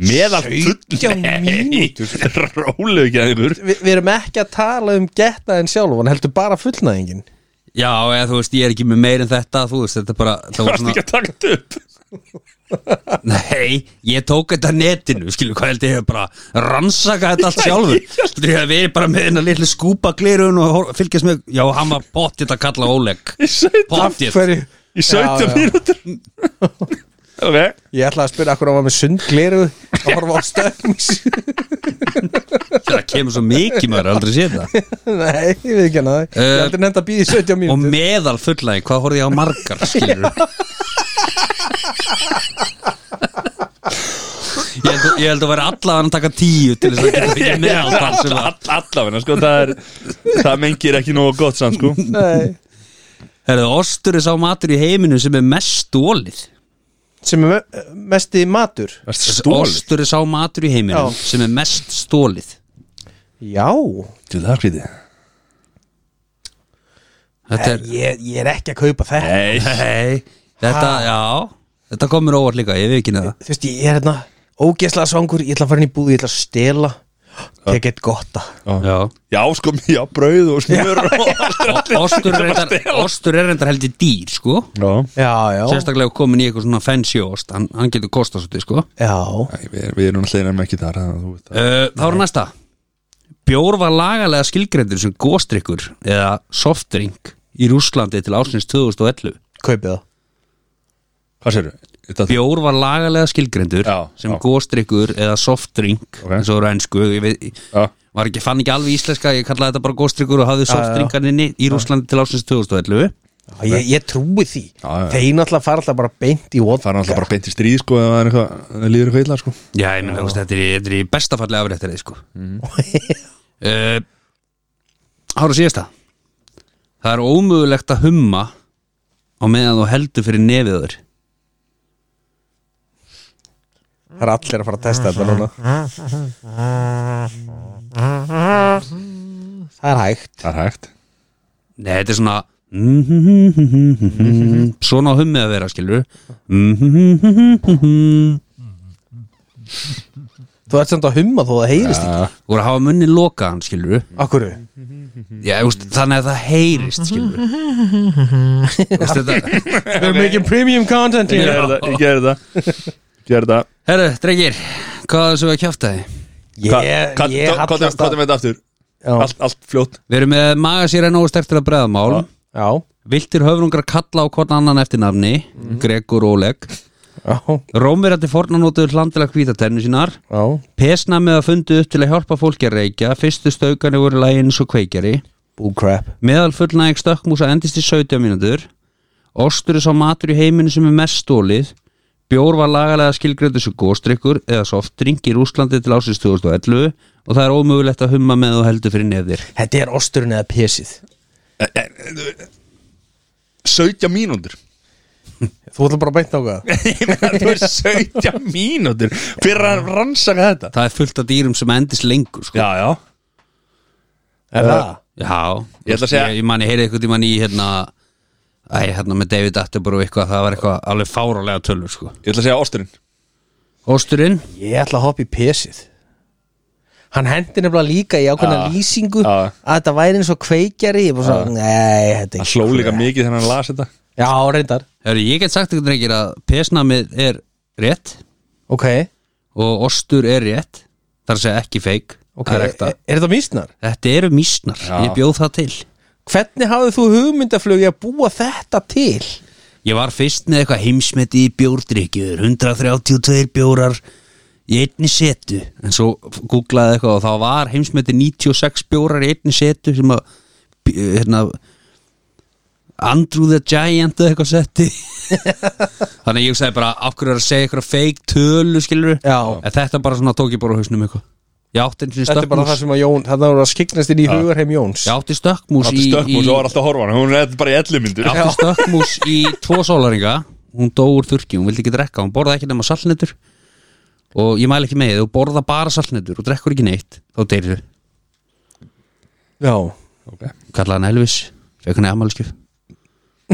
Speaker 1: meðal full
Speaker 2: 17 mínútur.
Speaker 1: rólu ekki aðeins
Speaker 2: Vi, við erum ekki að tala um getnaðin sjálfan heldur bara fullnæðingin
Speaker 3: Já, eða þú veist, ég er ekki með meir en þetta Þú veist, þetta er bara það var
Speaker 1: varst ekki að taka þetta upp
Speaker 3: Nei, ég tók þetta netinu Skilu, hvað held ég hef bara rannsaka þetta allt sjálfur Þú veist, við erum bara með hennar litlu skúpa glirun og hor- fylgjast með Já, hann var pottið að kalla Oleg
Speaker 1: í 17,
Speaker 3: Pottið
Speaker 2: Hverju?
Speaker 1: í 17
Speaker 2: já.
Speaker 1: mínútur ok
Speaker 2: ég ætlaði að spyrja akkur að var með sundgleru að horfa á stöms
Speaker 3: Það kemur svo mikið maður, aldrei sé það
Speaker 2: nei, ég veit ekki hana það ég
Speaker 3: Eh,
Speaker 2: heldur nefnd að býði 17
Speaker 3: Og
Speaker 2: mínútur
Speaker 3: meðal fullæðing, hvað horfði ég á margar skilur ég, held, ég held að vera allavega að taka tíu til þess að geta ekki meðaltal sem var
Speaker 1: All- allavega sko það er það mengir ekki nógu gott sann sko
Speaker 2: Nei.
Speaker 3: Herðu, ostur er sá matur í heiminu sem er mest stólið
Speaker 2: sem er me- mesti matur
Speaker 1: stólið
Speaker 3: Ostur er sá matur í heiminu
Speaker 2: Já.
Speaker 3: sem er mest stólið
Speaker 2: já
Speaker 1: til það skrítið
Speaker 3: Þetta er,
Speaker 2: ég, ég er ekki að kaupa þetta
Speaker 1: nei
Speaker 3: hei, þetta,
Speaker 2: Ha?
Speaker 3: já Þetta komur óvart líka, ég veit ekki neða
Speaker 2: þú veist, ég er hérna ógeðslega svangur, ég ætla að fara inn í búð, ég ætla að stela tek eitt gotta
Speaker 3: Já
Speaker 1: já sko já brauð og smjör og
Speaker 3: Ostur er reyndar, ostur er reyndar heldur dýr, sko
Speaker 1: já
Speaker 2: já, já,
Speaker 3: Sérstaklega komin í eitthvað svona fancy ost Hann, hann getur kostað svolítið, sko
Speaker 2: já
Speaker 1: Æ, við, við erum alltaf einnig ekki þar þannig að þú veist það.
Speaker 3: Uh, þá er næsta Bjór var lagalega skilgrendur sem góstrykkur eða softdrink í Rússlandi til ásins 2011
Speaker 2: kaupið það
Speaker 1: Hvað sérðu? Þetta
Speaker 3: Bjór var lagalega skilgrendur
Speaker 1: Já,
Speaker 3: sem
Speaker 1: já.
Speaker 3: góstrykkur eða softdrink
Speaker 1: Ok.
Speaker 3: eins og reynsku ég veit,
Speaker 1: Já,
Speaker 3: var ekki, fann ekki alveg íslenska ég kallaði þetta bara góstrykkur og hafði softdrinkaninni í Rússlandi til ásins 2011
Speaker 2: Já, Ég, ég trúi því
Speaker 1: Já, já.
Speaker 2: Þeir náttúrulega fara alltaf bara beint í vodka
Speaker 1: fara alltaf bara beint í stríð sko ef það er eitthvað, það líður eitthvað illa sko
Speaker 3: Já, ég meina, þú veist, þetta er, í- þetta er í bestafalli afréttir sko. uh, Háru síðasta Það er ómögulegt að humma á meðan þú heldur fyrir nefiður
Speaker 2: Það er allir að fara að testa þetta núna Það er hægt
Speaker 1: Það er hægt
Speaker 3: Nei, þetta er svona Svona á hummið að vera, skilur Þú
Speaker 2: Þú ert samt að humma þó það heyrist ekki
Speaker 3: voru að hafa munni lokaðan, skilur
Speaker 2: Akkur
Speaker 3: Já, úst, þannig að það heyrist, skilur Úst, þetta...
Speaker 2: We're making premium content
Speaker 1: Ég gerði það, ég gerði það Ég gerði það
Speaker 3: Herru, drengir, hvað er þessu að kjafta þið?
Speaker 1: Hva-
Speaker 2: Ég,
Speaker 1: hvað-
Speaker 2: ég
Speaker 1: hvað- hvað-
Speaker 2: hallast
Speaker 1: Hvað er
Speaker 2: að
Speaker 1: með þetta aftur?
Speaker 2: Já.
Speaker 1: Allt, allt fljótt
Speaker 3: Við erum með maga sér en óvist eftir að breðamál
Speaker 1: Já.
Speaker 2: Já,
Speaker 3: Viltir höfrungar kalla á hvort annan eftir nafni
Speaker 1: Mhm.
Speaker 3: Gregor Oleg
Speaker 2: já,
Speaker 3: Rómverjandi fornanótuður hlandilega hvítaternu sínar
Speaker 2: já
Speaker 3: Pesnamið að fundu upp til að hjálpa fólki að reykja Fyrstu staukani voru lægin svo kveikjari
Speaker 2: Bullcrap
Speaker 3: Meðal fullnæg stökkmúsa endist í 17 mínútur Ostur er sá matur í heiminu sem er mest stólið Bjór var lagalega skilgröndu sem góstrykkur eða softdrink í Rússlandi til ásins 2011 og það er ómögulegt að humma með og heldur fyrir nefðir
Speaker 2: Þetta er osturinn eða pésið
Speaker 1: 17 mínútur
Speaker 2: Þú ætlar bara að beint ákvað
Speaker 1: Ég meina, Þú er 17 mínútur Fyrir að rannsaka þetta
Speaker 3: Það er fullt af dýrum sem endist lengur sko.
Speaker 1: Já, já Eh,
Speaker 2: Er það?
Speaker 3: Já,
Speaker 1: Ég ætla að segja-
Speaker 3: ég, ég man ég heyrði eitthvað tíman í hérna Æ, hérna með David Attenborough og eitthvað, það var eitthvað alveg fárálega tölur sko.
Speaker 1: Ég ætla að segja ásturinn
Speaker 3: Ósturinn,
Speaker 2: Ég ætla að hoppa í pésið Hann hendi nefnilega líka í ákveðna
Speaker 1: Já,
Speaker 2: lýsingu
Speaker 1: já.
Speaker 2: að þetta væri eins og kveikjari ég bara svo, nei, þetta er
Speaker 1: Það hló líka mikið þegar hann las þetta
Speaker 2: Já, reyndar
Speaker 3: hefur ég get sagt eitthvað drengir að pesnamið er rétt
Speaker 2: Ok,
Speaker 3: og ostur er rétt þar að segja ekki feik
Speaker 2: ok
Speaker 3: það er
Speaker 2: Er,
Speaker 3: ekta.
Speaker 2: er það mísnar?
Speaker 3: Þetta eru mísnar,
Speaker 1: Já.
Speaker 3: ég bjóð það til
Speaker 2: Hvernig hafði þú hugmyndaflögi að búa þetta til?
Speaker 3: Ég var fyrst með eitthvað heimsmeti í bjórdrykkjur 132 bjórar í einni setu en svo googlaði eitthvað og þá var heimsmeti 96 bjórar í einni setu sem að b- hérna, Andrew the Giant eða eitthvað setti þannig að ég sagði bara af hverju er að segja eitthvað fake tölu skilur
Speaker 2: Já.
Speaker 3: en þetta bara svona tók ég bara á hausnum eitthvað ég átti einu sinni
Speaker 2: Þetta er bara það
Speaker 3: stökkmús
Speaker 2: sem að Jón, þarna voru að skiknast inn í hugarheim Jóns
Speaker 3: ég átti stökkmús
Speaker 1: Átti
Speaker 3: í,
Speaker 1: stökkum og
Speaker 3: í,
Speaker 1: svo var alltaf að horfa á hana Hún er bara í 11 mínútur
Speaker 3: Ég átti stökkmús í tvo sólaringa hún dó úr þurki, hún vildi ekki drekka hún borða ekki nema saltnetur og ég mæli ekki með, því, þú borða bara saltnetur og drekkur ekki neitt, þá deyrir þau
Speaker 2: Já.
Speaker 1: okay.
Speaker 3: kallaði hann Elvis, fekk hann í ammálskjöf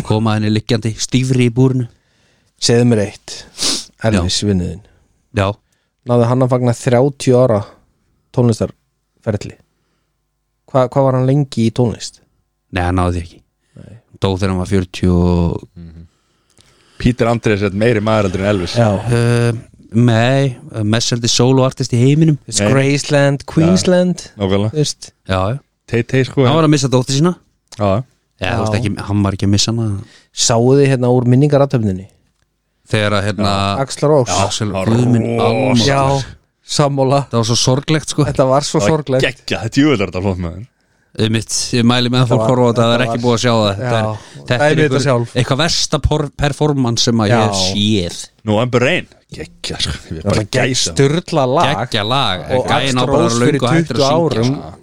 Speaker 3: komaði henni liggjandi stífri í búrinu
Speaker 2: Segðu mér eitt Elvis vinnuðin
Speaker 3: já,
Speaker 2: náði hann að fagna 30 ára tónlistarferli Hva, hvað var hann lengi í tónlist?
Speaker 3: Nei, hann náði því ekki Dó þegar hann var 40 og
Speaker 1: Pítur Andrés er meiri maður heldur en Elvis
Speaker 2: Já,
Speaker 3: uh, Nei, mest heldur soloartist í heiminum
Speaker 2: Þú veist, Graceland, Queensland
Speaker 1: Nákvæmlega
Speaker 2: þú veist,
Speaker 3: Já, já
Speaker 1: Tay-Tay sko
Speaker 3: Hann
Speaker 1: en-
Speaker 3: var að missa dóttir sína
Speaker 1: Já,
Speaker 3: Já,
Speaker 2: Já.
Speaker 3: þú veist ekki, hann var ekki að missa hana
Speaker 2: sáuði hérna úr minningaratöfninni
Speaker 3: Þegar að hérna
Speaker 2: Axlar Ós
Speaker 3: Axel
Speaker 1: Já,
Speaker 3: Guðminn
Speaker 1: rosa.
Speaker 3: Almáttugur.
Speaker 2: Já, sammála
Speaker 3: Það var svo sorglegt sko
Speaker 2: Þetta var svo
Speaker 1: það var
Speaker 2: sorglegt
Speaker 1: geggja, þetta júvilar þetta flott maður
Speaker 3: Ég mitt, ég mæli með að fólk
Speaker 2: var-
Speaker 3: horfa á þetta, það er
Speaker 2: þetta
Speaker 3: ekki
Speaker 2: var-
Speaker 3: búið að sjá það Þetta
Speaker 2: Já,
Speaker 3: er, þetta
Speaker 2: það er
Speaker 3: er
Speaker 2: við þetta
Speaker 3: eitthvað,
Speaker 2: sjálf.
Speaker 3: eitthvað versta por- performance sem að ég
Speaker 2: Já.
Speaker 3: séð
Speaker 1: Nú, Amber Rain, geggja sko Ég er bara
Speaker 2: Þetta er
Speaker 1: gæsa
Speaker 2: Sturla lag
Speaker 3: Gekkja lag,
Speaker 2: og
Speaker 3: gæin á
Speaker 2: Axlar
Speaker 3: bara að
Speaker 2: Ós
Speaker 3: vera
Speaker 2: fyrir
Speaker 3: löngu hættur
Speaker 2: 20
Speaker 3: að syngja
Speaker 2: árum
Speaker 3: sko.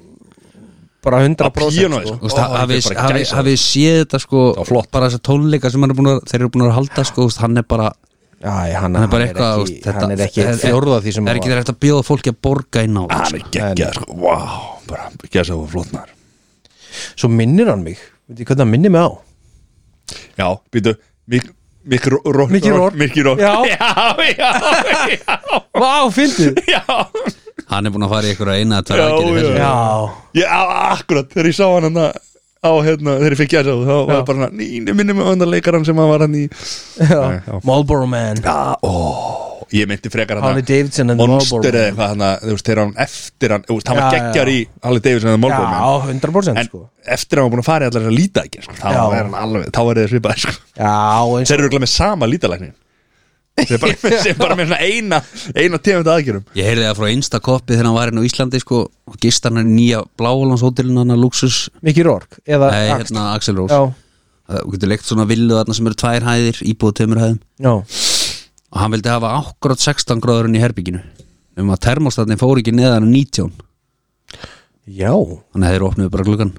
Speaker 2: bara
Speaker 1: Á
Speaker 2: 100%
Speaker 1: píanói,
Speaker 2: sko.
Speaker 3: Þú veist,
Speaker 1: Ó,
Speaker 3: ha-
Speaker 1: þetta
Speaker 3: hafið
Speaker 1: er bara
Speaker 3: hafið-
Speaker 1: gæsa.
Speaker 3: hafið séð þetta sko
Speaker 1: var flott.
Speaker 3: bara þessa tónleika sem hann er búin að, þeir eru búin að halda sko, þú veist, hann er bara,
Speaker 2: Æ, hann,
Speaker 3: hann er bara
Speaker 2: hann
Speaker 3: eitthvað þú
Speaker 2: ekki,
Speaker 3: veist, þetta-
Speaker 2: hann er ekki
Speaker 3: er-
Speaker 2: fjórða því sem
Speaker 3: er ekki þetta að bjóða fólki að borga inn á þetta,
Speaker 1: Ah, Hann
Speaker 3: sko.
Speaker 1: er geggja sko, vá Bara gæsa og flott maður
Speaker 2: svo minnir hann mig veit ég hvernig hann minnir mig á
Speaker 1: Já, býtu, Mikki Rók
Speaker 2: Mickey Rourke.
Speaker 1: Mikki Rók
Speaker 2: Já.
Speaker 1: já, já,
Speaker 2: Vá, fyndið
Speaker 1: já, já.
Speaker 3: sko. hann er búin að fara í einhverja eina að
Speaker 1: Já,
Speaker 3: tala
Speaker 1: já.
Speaker 3: ekki
Speaker 2: Já,
Speaker 1: Ég, á, akkurat, þegar ég sá hann hann á hérna, þegar ég fikk gæsa þá var það bara hann, ný, minni með öndar leikarann sem hann var hann í
Speaker 2: já.
Speaker 1: já.
Speaker 2: Marlboro Man
Speaker 1: Já, ó, ég myndi frekar hann
Speaker 2: Harley Davidson and the
Speaker 1: Monster
Speaker 2: Marlboro
Speaker 1: eða
Speaker 2: Man
Speaker 1: eitthvað hann að, þú veist, þegar hann eftir hann, þú veist, hann var
Speaker 2: Já,
Speaker 1: geggjar
Speaker 2: já.
Speaker 1: í Harley Davidson eða Marlboro
Speaker 2: Já,
Speaker 1: Man
Speaker 2: 100%
Speaker 1: en
Speaker 2: sko
Speaker 1: eftir að hann var búin að fara í allar þessar lítækir sko, þá
Speaker 2: Já.
Speaker 1: er hann alveg, þá er þið svipað sko.
Speaker 2: Já, eins
Speaker 1: þeir eru örugglega með sama lítalæknin þeir bara, sem bara með svona eina eina tegund aðgjörum
Speaker 3: ég heyrði það frá einsta koppi þegar hann var inn á Íslandi sko, og gist hann í nýja bláhólandshótelin hann að Luxus,
Speaker 2: Mickey Rourke eða
Speaker 3: nei,
Speaker 2: Axl.
Speaker 3: hérna Axel Rós
Speaker 2: Já,
Speaker 3: þú getur leikt svona villu þarna sem eru tvær hæðir íbúið tömur hæðum
Speaker 2: já,
Speaker 3: og hann vildi hafa akkurat 16 gráðurinn í herbygginu um að termostatni fór ekki neðan en 19
Speaker 2: já
Speaker 3: þannig að þeir opnuðu bara gluggan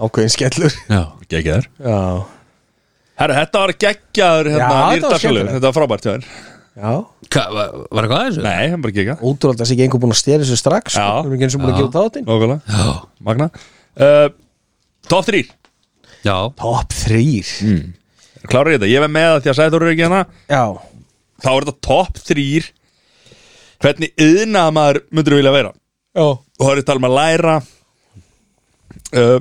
Speaker 2: Ákveðin skellur
Speaker 3: já,
Speaker 1: geggjar
Speaker 2: Já,
Speaker 1: Herru, þetta var geggjaður hérna,
Speaker 2: Já, þetta var
Speaker 1: nýrdagsfjölu
Speaker 2: skemmtilegt.
Speaker 1: Þetta var frábært hjá þér
Speaker 2: já
Speaker 3: Hva, var, var eitthvað að þessu?
Speaker 1: Nei, hann bara geggjað
Speaker 2: Ótrúlega sé ekki einhver búin að stela þessu strax sko.
Speaker 1: Já.
Speaker 2: Við erum ekki eins og búin að
Speaker 3: Já.
Speaker 2: gefa þáttinn
Speaker 1: Nógulega,
Speaker 3: Já,
Speaker 1: magna uh, Top 3
Speaker 3: já,
Speaker 2: Top 3
Speaker 1: Klára þetta, ég verð með það því að Sæður eru ekki hana
Speaker 2: Já,
Speaker 1: Þá er þetta top 3 Hvernig yðnað maður myndur vilja vera
Speaker 2: já,
Speaker 1: Og það er talað um að læra uh,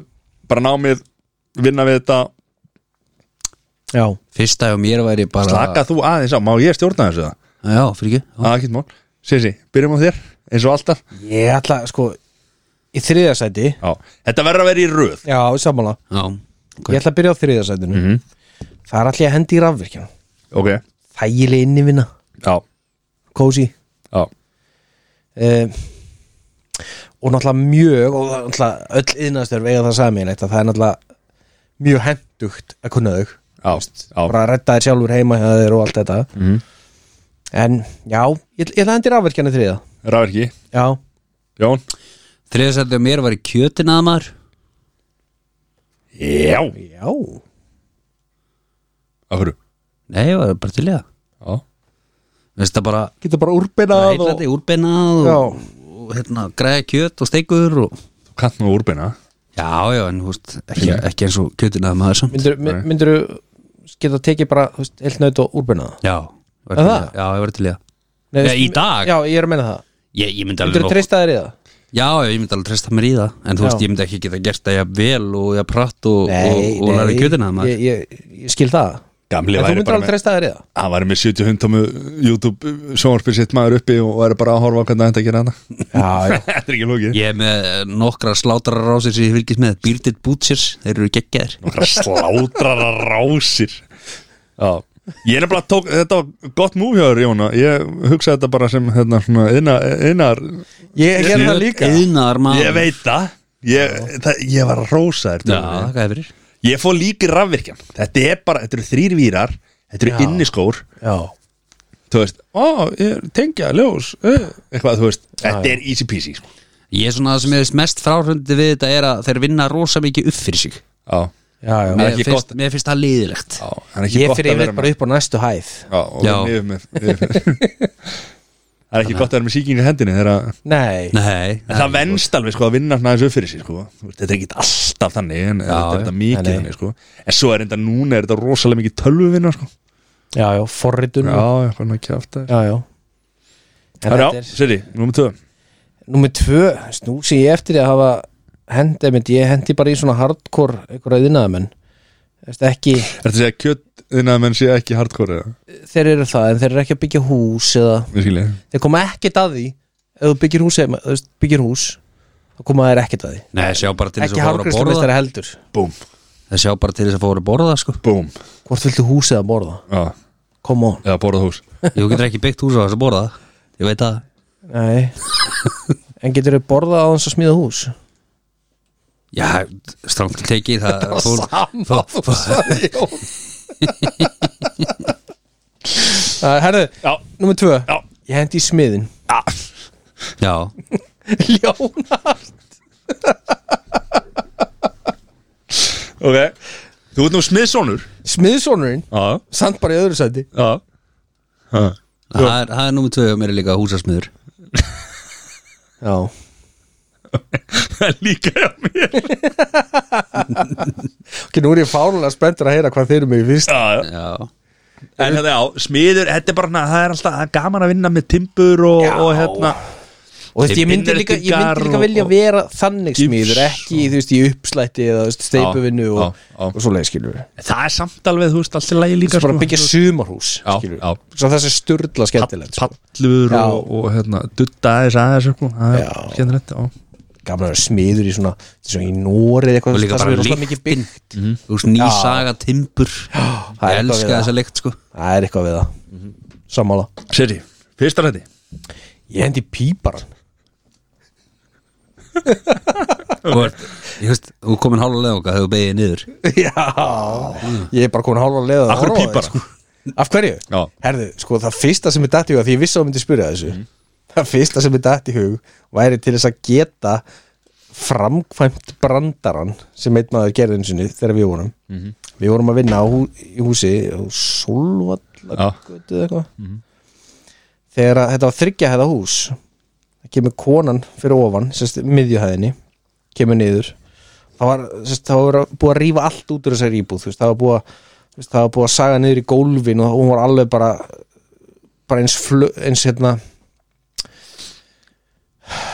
Speaker 1: Bara námið Vinna við þetta
Speaker 2: já
Speaker 3: fyrsta hjá mér væri bara
Speaker 1: Slaka þú aðeins á, má ég stjórna þessu það?
Speaker 3: Já, fyrir ekki
Speaker 1: Það er ekkert mál Sissi, byrjum á þér, eins og alltaf
Speaker 2: Ég ætla sko Í þriðasæti
Speaker 1: Já. Þetta verður að vera í röð
Speaker 2: Já, sammála
Speaker 3: Já,
Speaker 2: Ég ætla að byrja á þriðasætinu mm -hmm. Það er allir að hendi í rafvirkjana
Speaker 1: Ok,
Speaker 2: Þægileg innivina,
Speaker 1: já,
Speaker 2: kósi
Speaker 1: já
Speaker 2: uh, Og náttúrulega mjög Og það er náttúrulega öll yðnastörf eiga það saminleitt að það er náttúrulega Mjög hendugt að kunna þau
Speaker 1: Já, já,
Speaker 2: Bara að redda þér sjálfur heima hjá þér og allt þetta -hmm. En já, ég, ég ætla að hendi rafvirkjana í þriða
Speaker 1: rafverki
Speaker 2: Já,
Speaker 1: Jón
Speaker 3: þriðasætti hjá mér væri kjötin að maður
Speaker 1: Já
Speaker 2: já
Speaker 1: Akkur
Speaker 3: Nei, ég var bara til í það
Speaker 1: Já
Speaker 3: Veist það bara
Speaker 2: Geta bara úrbeinað og...
Speaker 3: heilandi, úrbeinað og, og hérna, græða kjöt og steikur og
Speaker 1: Þú kannt nú úrbina
Speaker 3: Já, já, en þú veist, ekki, ekki eins og kjötin að maður samt
Speaker 2: Myndur,
Speaker 1: Nei.
Speaker 2: myndur geta tekið bara þú veist, heilt naut og úrbeinað það?
Speaker 3: Já, ég var
Speaker 2: Er
Speaker 3: til í
Speaker 2: það?
Speaker 3: það. já, ég var til í það
Speaker 2: Nei,
Speaker 3: Já,
Speaker 2: þú veist,
Speaker 3: í dag?
Speaker 2: Já, ég er að meina það
Speaker 3: Ég, ég myndi alveg
Speaker 2: Myndur treysta þér í það?
Speaker 3: Já, já, ég myndi alveg treysta mér í það En þú veist,
Speaker 2: Já.
Speaker 3: ég myndi ekki geta gert það ég vel og ég pratt og, og,
Speaker 2: Nei,
Speaker 3: og
Speaker 2: nei,
Speaker 3: læra kjötin að maður
Speaker 2: ég, ég, ég skil það
Speaker 1: Gamli
Speaker 2: En þú
Speaker 1: væri
Speaker 2: myndir
Speaker 1: bara
Speaker 2: alveg
Speaker 1: með
Speaker 2: treysta þér í það
Speaker 1: Hann væri með 70 hundtómu YouTube sjónvarpið sitt maður uppi og væri bara að horfa á hvernig þetta gerir hana
Speaker 2: Já, já,
Speaker 1: Þetta er ekki lókið
Speaker 3: Ég er með nokkra slátrarar á sér sem ég fylgist með Bearded Butchers, þeir eru geggjaðir
Speaker 1: Nokkra slátrara rásir Já Ég er nefnilega tók, þetta var gott múfjáður Jóna Ég hugsaði þetta bara sem hérna svona innar, innar
Speaker 2: ég gerði
Speaker 1: hérna
Speaker 2: það líka
Speaker 3: Yðnar maður
Speaker 1: Ég veit það Ég, það, ég var að rósa þér
Speaker 3: Já,
Speaker 1: Dóri.
Speaker 3: það er fyrir
Speaker 1: Ég fór líki rafvirkjan Þetta er bara, þetta eru þrýr vírar Þetta eru
Speaker 2: Já.
Speaker 1: inniskór
Speaker 2: Já,
Speaker 1: Þú veist, ó, ég er tengja, ljós eh, Eitthvað, þú veist, þetta er easy peasy sko.
Speaker 3: Ég er svona það sem ég veist mest fráhrundi við þetta er að þeir vinna rosa mikið upp fyrir sig
Speaker 1: Já,
Speaker 2: já, já
Speaker 3: Mér
Speaker 1: ekki
Speaker 3: finnst, mér finnst það liðilegt
Speaker 1: já, það er ekki
Speaker 2: Ég
Speaker 1: gott
Speaker 2: fyrir
Speaker 1: að vera
Speaker 2: yfirleitt bara upp á næstu hæð
Speaker 1: með Já, og
Speaker 3: Já.
Speaker 1: niður með niður með. Það er ekki gott að vera með sýkinga hendinni þegar að
Speaker 2: Nei,
Speaker 3: Nei,
Speaker 1: En það venst alveg sko að vinna svona aðeins upp fyrir sig sko Þú veist, Þetta er ekki alltaf þannig en þetta er
Speaker 3: já.
Speaker 1: þetta mikið
Speaker 2: Nei, nei.
Speaker 1: þannig sko En svo er þetta núna er þetta rosalega mikið tölvuvinna sko
Speaker 2: já, já, forritun
Speaker 1: Já, ég fann ekki aftur
Speaker 2: já, já. En
Speaker 1: Já,
Speaker 2: þetta er-
Speaker 1: Siri, númer 2
Speaker 2: Númer tvö, snúsi ég eftir því að hafa hendi, mynd, ég hendi bara í svona hardcore einhverja yðnaðamenn Þess, ekki,
Speaker 1: Þetta segja kjött innan að menn sé ekki hardcore eða?
Speaker 2: þeir eru það en þeir eru ekki að byggja hús eða,
Speaker 1: Ég skilji
Speaker 2: þeir koma ekkert að því ef þú byggir hús, heima- þú veist, byggir hús þá koma þeir ekkert að því
Speaker 3: Nei, sjá bara til þess
Speaker 2: ekki
Speaker 3: að fóra að borða
Speaker 2: hárgristamistari heldur
Speaker 1: Búm,
Speaker 3: Það sjá bara til þess að fóra að borða sko
Speaker 1: búm
Speaker 2: hvort viltu hús eða borða,
Speaker 1: Já,
Speaker 2: come on
Speaker 1: eða borðað hús
Speaker 3: Þú getur ekki byggt hús á þess að borða Ég veit að
Speaker 2: Nei. en getur þau borða á þess að smíða hús
Speaker 3: Já, strangt til tekið það fór,
Speaker 2: sama þú sagði Jón Æ, Herðu,
Speaker 1: Já.
Speaker 2: nummer tvö
Speaker 1: Já.
Speaker 2: Ég hendi í smiðin
Speaker 3: Já,
Speaker 2: Ljónar
Speaker 1: Ok Þú ert nú smiðsonur
Speaker 2: Smiðsonurinn,
Speaker 1: Já,
Speaker 2: samt bara í öðru sæti
Speaker 1: já Ha.
Speaker 3: það er, það er númer tvö og mér er líka húsasmiður
Speaker 2: Já
Speaker 1: Það er líka hjá mér
Speaker 2: Ok, nú er ég fárlega spenntur að heyra hvað þeir eru mig í fyrst
Speaker 1: Já, já
Speaker 3: Já,
Speaker 1: En hérna já, smiður, þetta er bara hana, það er alltaf það er gaman að vinna með timbur og,
Speaker 2: Já.
Speaker 1: og hérna
Speaker 2: Og þú veist, ég myndi líka, ég myndi líka vilja vera þannig
Speaker 1: Gifs
Speaker 2: smiður Ekki, þú veist, í uppslætti eða þú veist, steipuvinnu
Speaker 1: Já,
Speaker 2: og,
Speaker 1: já.
Speaker 2: og svo leið skilur við
Speaker 1: Það er samt alveg, þú veist, allt í lagi
Speaker 2: Þú
Speaker 1: líka
Speaker 2: veist, bara að
Speaker 1: sko.
Speaker 2: byggja sumarhús
Speaker 1: Já,
Speaker 2: skilur
Speaker 1: já.
Speaker 2: við Svo þessi sturla skemmtilegt sko.
Speaker 1: pallur
Speaker 2: Já.
Speaker 1: og, og hérna, dutta aðeins aðeins sko. það er
Speaker 2: Já.
Speaker 1: skemmtilegt, já.
Speaker 2: Gaman að vera smiður í svona, svona í Nórið eitthvað
Speaker 3: Og líka
Speaker 2: það sem
Speaker 3: bara
Speaker 2: er rosalega
Speaker 3: lyktin.
Speaker 2: mikið byggt
Speaker 3: þú veist nýsaga timbur
Speaker 2: það er eitthvað
Speaker 3: Ég
Speaker 2: við
Speaker 3: elska
Speaker 2: það.
Speaker 3: þessa leikt sko
Speaker 2: Það er eitthvað við það
Speaker 1: Mhm.
Speaker 2: Sammála
Speaker 1: Siri, fyrsta hætti
Speaker 2: Ég hendi píparan
Speaker 3: Og ég veist, þú er komin hálfa leðunga Þegar þú beðið niður
Speaker 2: Já Ég er bara komin hálfa leið að
Speaker 1: Af hverju
Speaker 2: horfa á þig,
Speaker 1: pípara?
Speaker 2: sko. Af hverju?
Speaker 1: Já.
Speaker 2: Herðu, sko það fyrsta sem er datt í hug Því ég vissi að þú myndi spyrja þessu
Speaker 1: Mhm.
Speaker 2: Það fyrsta sem er datt í hug Væri til þess að geta Framkvæmt brandaran Sem einn maður gerði einu sinni Þegar við vorum
Speaker 1: Mhm.
Speaker 2: Við vorum að vinna á hú, í húsi Solvallagötu eða eitthvað Þegar að, þetta var þryggja hæða hús Það kemur konan fyrir ofan sérst, miðjuhæðinni kemur niður það var, sérst, það var búið að rífa allt út úr þessari íbúð þú veist, það var búið að þú veist, það var búið að saga niður í gólfin og hún var alveg bara bara eins, flö, eins hérna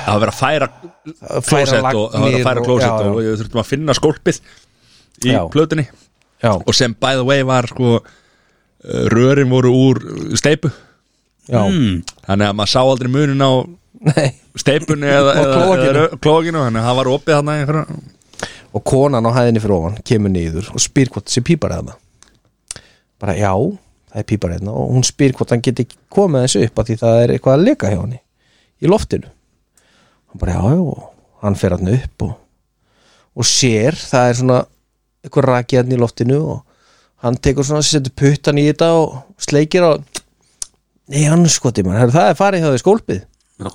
Speaker 1: að vera að færa klósett
Speaker 2: færa
Speaker 1: og, að vera að
Speaker 2: lagnir
Speaker 1: færa
Speaker 2: og-
Speaker 1: klósett
Speaker 2: já,
Speaker 1: og,
Speaker 2: já.
Speaker 1: og við þurftum að finna skólpið í
Speaker 2: Já.
Speaker 1: plötunni
Speaker 2: já,
Speaker 1: og sem by the way var sko eh, rörin voru úr steipu
Speaker 2: já,
Speaker 1: þannig að maður sá aldrei munin á
Speaker 2: nei
Speaker 1: steipunni eða,
Speaker 2: Og
Speaker 1: eða,
Speaker 2: klóakinu.
Speaker 1: eða rö- klóakinu þannig að það var opið þarna einhverja
Speaker 2: og konan á hæðinni fyrir ofan kemur niður og spyr hvort þessi pípari hérna bara já, það er pípari hérna og hún spyr hvort hann geti ekki komið þessu upp af því það er eitthvað að leka hjá henni í loftinu hann bara já, já, og hann fer hann upp og, og sér, það er svona eitthvað rakið hann í loftinu og hann tekur svona, setur puttan í þetta og sleikir og nei, hann skoti mann, Herra, það er farið hjá því skólpið Já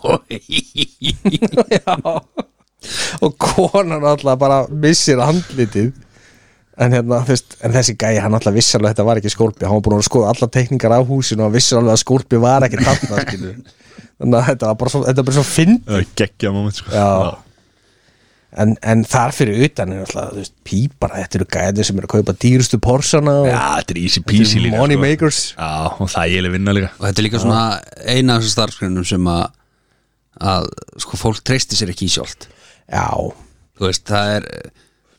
Speaker 2: Og konan alltaf bara missir andlitið En, hérna, þvist, en þessi gæi hann alltaf vissi alveg að þetta var ekki skólpi hann var búin að skoða alla tekningar á húsinu og hann vissi alveg að skólpi var ekki þarna skilur. þannig að þetta var bara svo, þetta var bara svo fynd
Speaker 1: geggja moment sko
Speaker 2: Já. en, en þar fyrir utan er alltaf þú veist, pípara, þetta eru gæðir sem eru að kaupa dýrustu porsana og
Speaker 1: Já, þetta er easy peasy líka
Speaker 2: money
Speaker 1: sko.
Speaker 2: makers
Speaker 1: Já, og það ég er vinna líka
Speaker 3: Og þetta er líka svona eina af þessum starfsgrunum sem að, að sko, fólk treysti sér ekki í sjálft
Speaker 2: sko. Já,
Speaker 3: Þú veist, það er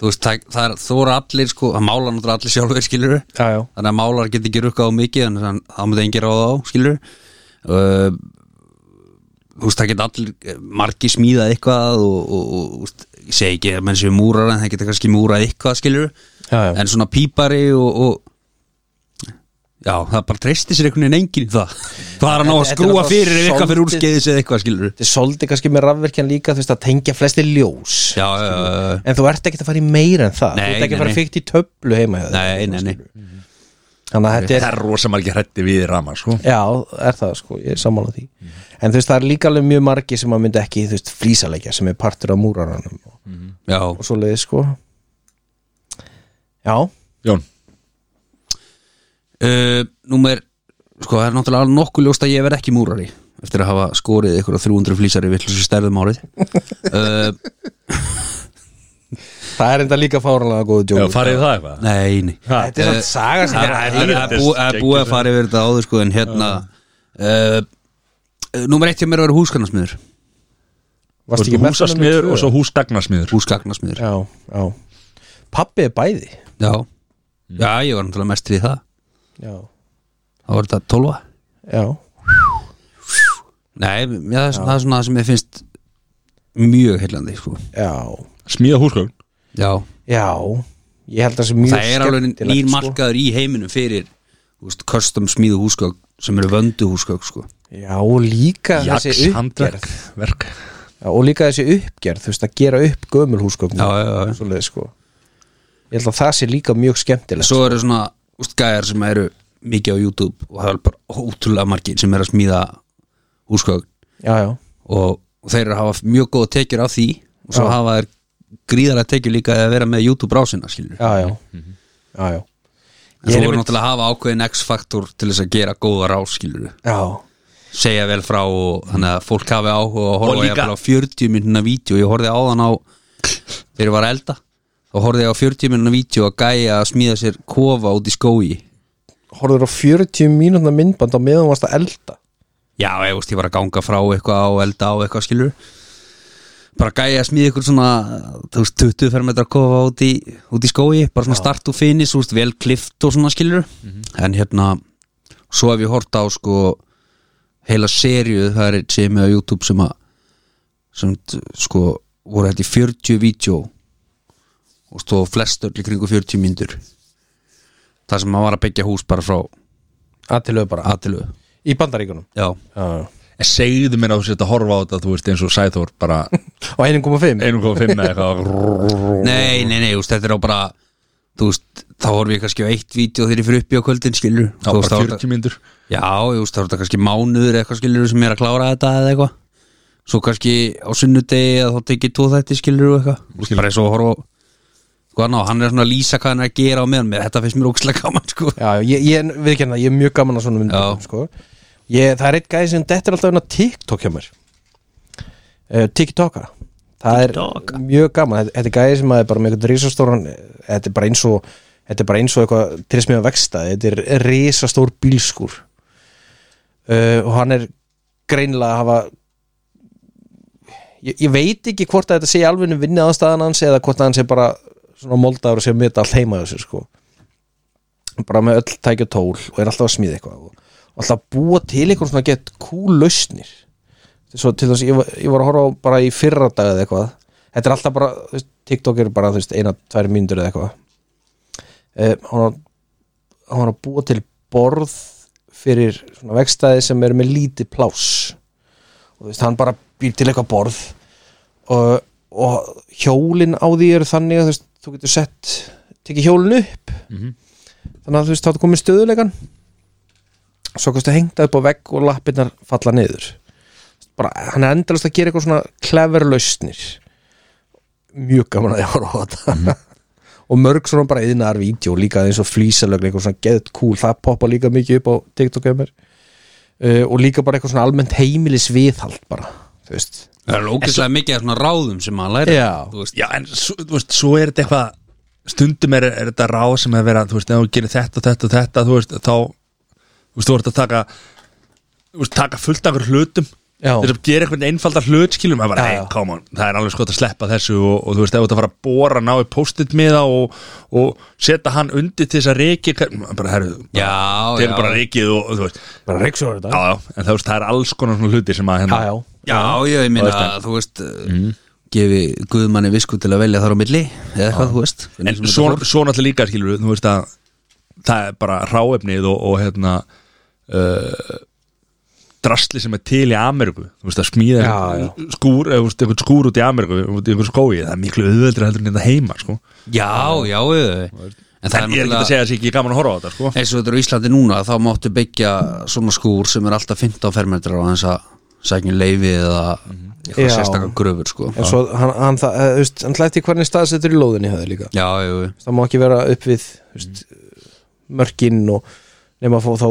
Speaker 3: þú veist, það, það er, þú eru allir sko, að mála náttúrulega allir sjálfur skilur
Speaker 2: já, já
Speaker 3: þannig að málar geti ekki rukkað á mikið þannig að það múti engi ráða á skilur uh, þú veist, það geta allir margi smíðað eitthvað og, og, og þú veist, ég segi ekki að menn séu múrar en það geta kannski múrað eitthvað skilur
Speaker 2: Já, já.
Speaker 3: en svona pípari og, og Já, það bara treysti sér einhvern veginn enginn í það Það er að ná
Speaker 2: Þetta
Speaker 3: að
Speaker 2: er
Speaker 3: skrúa
Speaker 2: náttúrulega
Speaker 3: fyrir ef eitthvað fyrir
Speaker 2: soldið-
Speaker 3: úrskeiðis eða eitthvað skilur
Speaker 2: Þetta er svolítið kannski með rafverkjan líka þú veist að tengja flesti ljós
Speaker 3: Já, já, já, já.
Speaker 2: En þú ert ekki að fara í meira en það
Speaker 3: Nei,
Speaker 2: Þú ert ekki
Speaker 3: nei,
Speaker 2: að fara
Speaker 3: nei.
Speaker 2: fyrkt í töflu heima hjá þér.
Speaker 3: Nei, nei, nei.
Speaker 2: Þannig að þetta
Speaker 1: Það
Speaker 2: er
Speaker 1: er rosa margir hrætti við rama sko
Speaker 2: Já, er það sko, ég er sammála því
Speaker 3: Mhm.
Speaker 2: En þú veist, það er líka alveg mjög margi sem að myndi ekki Þú veist, flísaleikja sem er partur af múraranum Og,
Speaker 3: já
Speaker 2: og svo leiði sko Já,
Speaker 1: Jón,
Speaker 3: uh, Númer, sko það er náttúrulega alveg nokkuð ljóst að ég verð ekki múrari eftir að hafa skorið ykkur á 300 flýsari vill þessu stærðum árið uh,
Speaker 2: það er enda líka fáranlega góð
Speaker 4: Já,
Speaker 2: djók
Speaker 4: farið það eitthvað
Speaker 3: Nei, nei
Speaker 4: Ha,
Speaker 2: þetta er svona saga sem
Speaker 3: Það
Speaker 2: er
Speaker 3: það er það er bú- það er búið að fara yfir þetta áður sko en hérna uh, Númer eitt hjá mér var húsgagnasmiður
Speaker 1: Þú
Speaker 2: varst
Speaker 1: veist,
Speaker 2: ekki með það númer
Speaker 1: húsasmiður
Speaker 2: tvö?
Speaker 1: og svo húsgagnasmiður
Speaker 3: Húsgagnasmiður Já,
Speaker 2: já, já pappi er bæði
Speaker 3: já, ég var náttúrulega mestur í það
Speaker 2: já,
Speaker 3: Það var þetta 12
Speaker 2: já,
Speaker 3: Nei, já, það, er, svona- það er svona það sem ég finnst mjög heillandi sko
Speaker 2: já,
Speaker 1: Smíða húsgögn
Speaker 3: Já,
Speaker 2: já ég held að það sé mjög
Speaker 3: það er alveg
Speaker 2: skemmtilegt,
Speaker 3: nýr
Speaker 2: sko.
Speaker 3: markaður í heiminum fyrir þú veist, custom smíðu húsgögg sem eru vöndu húsgögg sko
Speaker 2: já, og líka þessi
Speaker 1: Jax, handverk
Speaker 2: uppgerð
Speaker 1: Verk
Speaker 2: já, og líka þessi uppgerð, þú veist að gera upp gömul húsgögn
Speaker 3: Já, já, já, já.
Speaker 2: svoleiðis, sko. ég held að það sé líka mjög skemmtilegt
Speaker 3: Svo eru svona úst, gæjar sem eru mikið á YouTube og það er bara ótrúlega margir sem eru að smíða húsgögg
Speaker 2: já, já,
Speaker 3: og, og þeir eru að hafa mjög góða tekjur af því og svo hafa þeir gríðarlega tekjur líka að vera með YouTube rásina skilur
Speaker 2: já, já,
Speaker 3: Mhm.
Speaker 2: já, já.
Speaker 3: en
Speaker 2: Ég
Speaker 3: svo
Speaker 2: er
Speaker 3: eru
Speaker 2: einmitt-
Speaker 3: náttúrulega að hafa ákveðin X-faktor til þess að gera góða rás skilur
Speaker 2: já.
Speaker 3: segja vel frá og þannig að fólk hafi áhuga og
Speaker 1: Og
Speaker 3: horfa
Speaker 1: líka-
Speaker 3: jafnvel á 40 minna vídeo ég horfði á þann á þegar ég var að elda og horfði ég á 40 minna vídeo að gæja að smíða sér kofa út í skói
Speaker 2: horfður á 40 mínútna myndband á meðan þú varst að elda
Speaker 3: já, ég veist, ég var að ganga frá eitthvað og elda á eitthvað skilur bara gæja að smíða ykkur svona þú veist, 20 fermetra kofa út í, út í skói bara svona start og finish, þú veist, vel klift og svona skilur en hérna svo hef ég hort á sko heila serju, það er sem á YouTube sem að sem t- sko voru hætti 40 vídeo og stóð flest öll í kringu 40 myndur það sem maður var að byggja hús bara frá
Speaker 2: aðtilöðu bara
Speaker 3: aðtilu,
Speaker 2: í bandaríkunum
Speaker 3: já
Speaker 2: já.
Speaker 1: En segðu mér að þú sett að horfa á þetta Þú veist eins og Sæþór bara
Speaker 2: og einum koma fimm
Speaker 1: 1.5 eða eitthvað
Speaker 3: Nei, nei, nei, úst, þetta er á bara þú veist, þá horfum ég kannski á eitt vídeo þegar ég fyrir uppi á kvöldin, skilur
Speaker 1: Já, bara 40 myndur
Speaker 3: Já, ég veist, þá er þetta kannski mánuður eitthvað skilur sem er að klára þetta eða eitthvað Svo kannski á sunnudegi eða þá tekið tvo þætti skilur og eitthvað Þú veist, Bara eins og að horfa á- Sko hann á, hann er svona að lýsa hvað hann er að gera á meðan mér Þetta finnst mér ókslega gaman, sko
Speaker 2: já, já, ég, ég viðkjörna, ég er mjög gaman að svona myndbandum
Speaker 3: Já.
Speaker 2: sko. ég, það er eitt gæði sem dettur alltaf inn á TikTok hjá mér uh, TikToka það er mjög gaman þetta, þetta er gæði sem að er bara með eitthvað risastóran eh, þetta er bara eins og þetta er bara eins og eitthvað trismiða vexta þetta er risastór bílskur uh, og hann er greinilega að hafa ég, ég veit ekki hvort að þetta sé alveg vinni aðstæðan hans eða hvort að hann sé bara svona moldaður og sé að meta allt heima þessu sko bara með öll tækja tól og er alltaf að smíða eitthvað og og alltaf að búa til eitthvað svona gett cool lausnir svo til þess að ég, var- ég var að horfa á bara í fyrra dag eða eitthvað þetta er alltaf bara, þú veist, TikTok er bara þú veist, eina, tvær mínútur eða eitthvað eh, hann var- hann var að búa til borð fyrir svona vegstæði sem eru með lítið pláss og þú veist, hann bara býr til eitthvað borð og, og hjólin á því eru þannig að þú veist, þú getur sett tekið hjólin upp þannig að þú veist, þá er komið stöðuleikan svo kostu hengta upp á vegg og lappirnar falla niður bara, hann er endalast að gera eitthvað svona clever lausnir mjög gaman að ég horfa á þetta og mörg svona bara yðnar vídeo líka eins og flýsalögn, eitthvað svona get cool það poppa líka mikið upp á TikTok hjá mér uh, og líka bara eitthvað svona almennt heimilis viðhald bara, þú veist
Speaker 3: Það er ókslega mikið af svona ráðum sem maður læra
Speaker 2: Já.
Speaker 3: þú veist
Speaker 1: Já, en svo, þú veist, svo er þetta eitthvað stundum er, er þetta ráð sem er vera þú veist, ef þú gerir þetta og þetta og þetta þú veist, þá, þú veist, þú ert að taka þú veist, taka fullt af einhverjum hlutum
Speaker 2: Já.
Speaker 1: þess að gera einhvern einfaldar hlut skilum, það er bara,
Speaker 2: Já,
Speaker 1: hey,
Speaker 2: já.
Speaker 1: come on það er alveg skot að sleppa þessu og, og þú veist, ef þú ert að fara að bóra ná í post-it miða og, og setja hann undir til þess að reiki bara, herru,
Speaker 3: Já,
Speaker 1: þeir eru
Speaker 3: já.
Speaker 1: bara reikið og, og þú veist,
Speaker 2: bara reiksuður
Speaker 1: já, já, en þú veist, það er alls konar svona hluti sem að, hérna,
Speaker 2: já, já,
Speaker 3: Já, já, ég meina, þú veist mm. gefi guðmanni visku til að velja þar á milli eða eitthvað, þú veist
Speaker 1: en
Speaker 3: Hvernig sem þetta
Speaker 1: svo,
Speaker 3: fór.
Speaker 1: svo náttúrulega líka skilur þú veist að það er bara ráefnið og, og hérna uh, drastli sem er til í Ameriku þú veist að smíða
Speaker 2: Já,
Speaker 1: einhvern skúr eða þú veist, einhvern skúr út í Ameriku út í einhvern skói, það er miklu auðveldur heldur en þetta heima sko.
Speaker 3: Já, já, já, já. En það
Speaker 1: en ég er ekki að segja að sé ekki gaman að horfa á þetta sko.
Speaker 3: eins og þetta er á Íslandi núna þá máttu byggja svona skúr sem er alltaf 15 fermetrar og hans að sækja leifi eða eitthvað
Speaker 2: Já.
Speaker 3: sérstakar gröfur sko.
Speaker 2: en svo hann, hann það, eh, þú veist, hann hlætti hvernig staðsettur í lóðinni höfði líka
Speaker 3: Já, jú, jú.
Speaker 2: það má ekki vera upp við þú veist, mörkin og nema að fá þá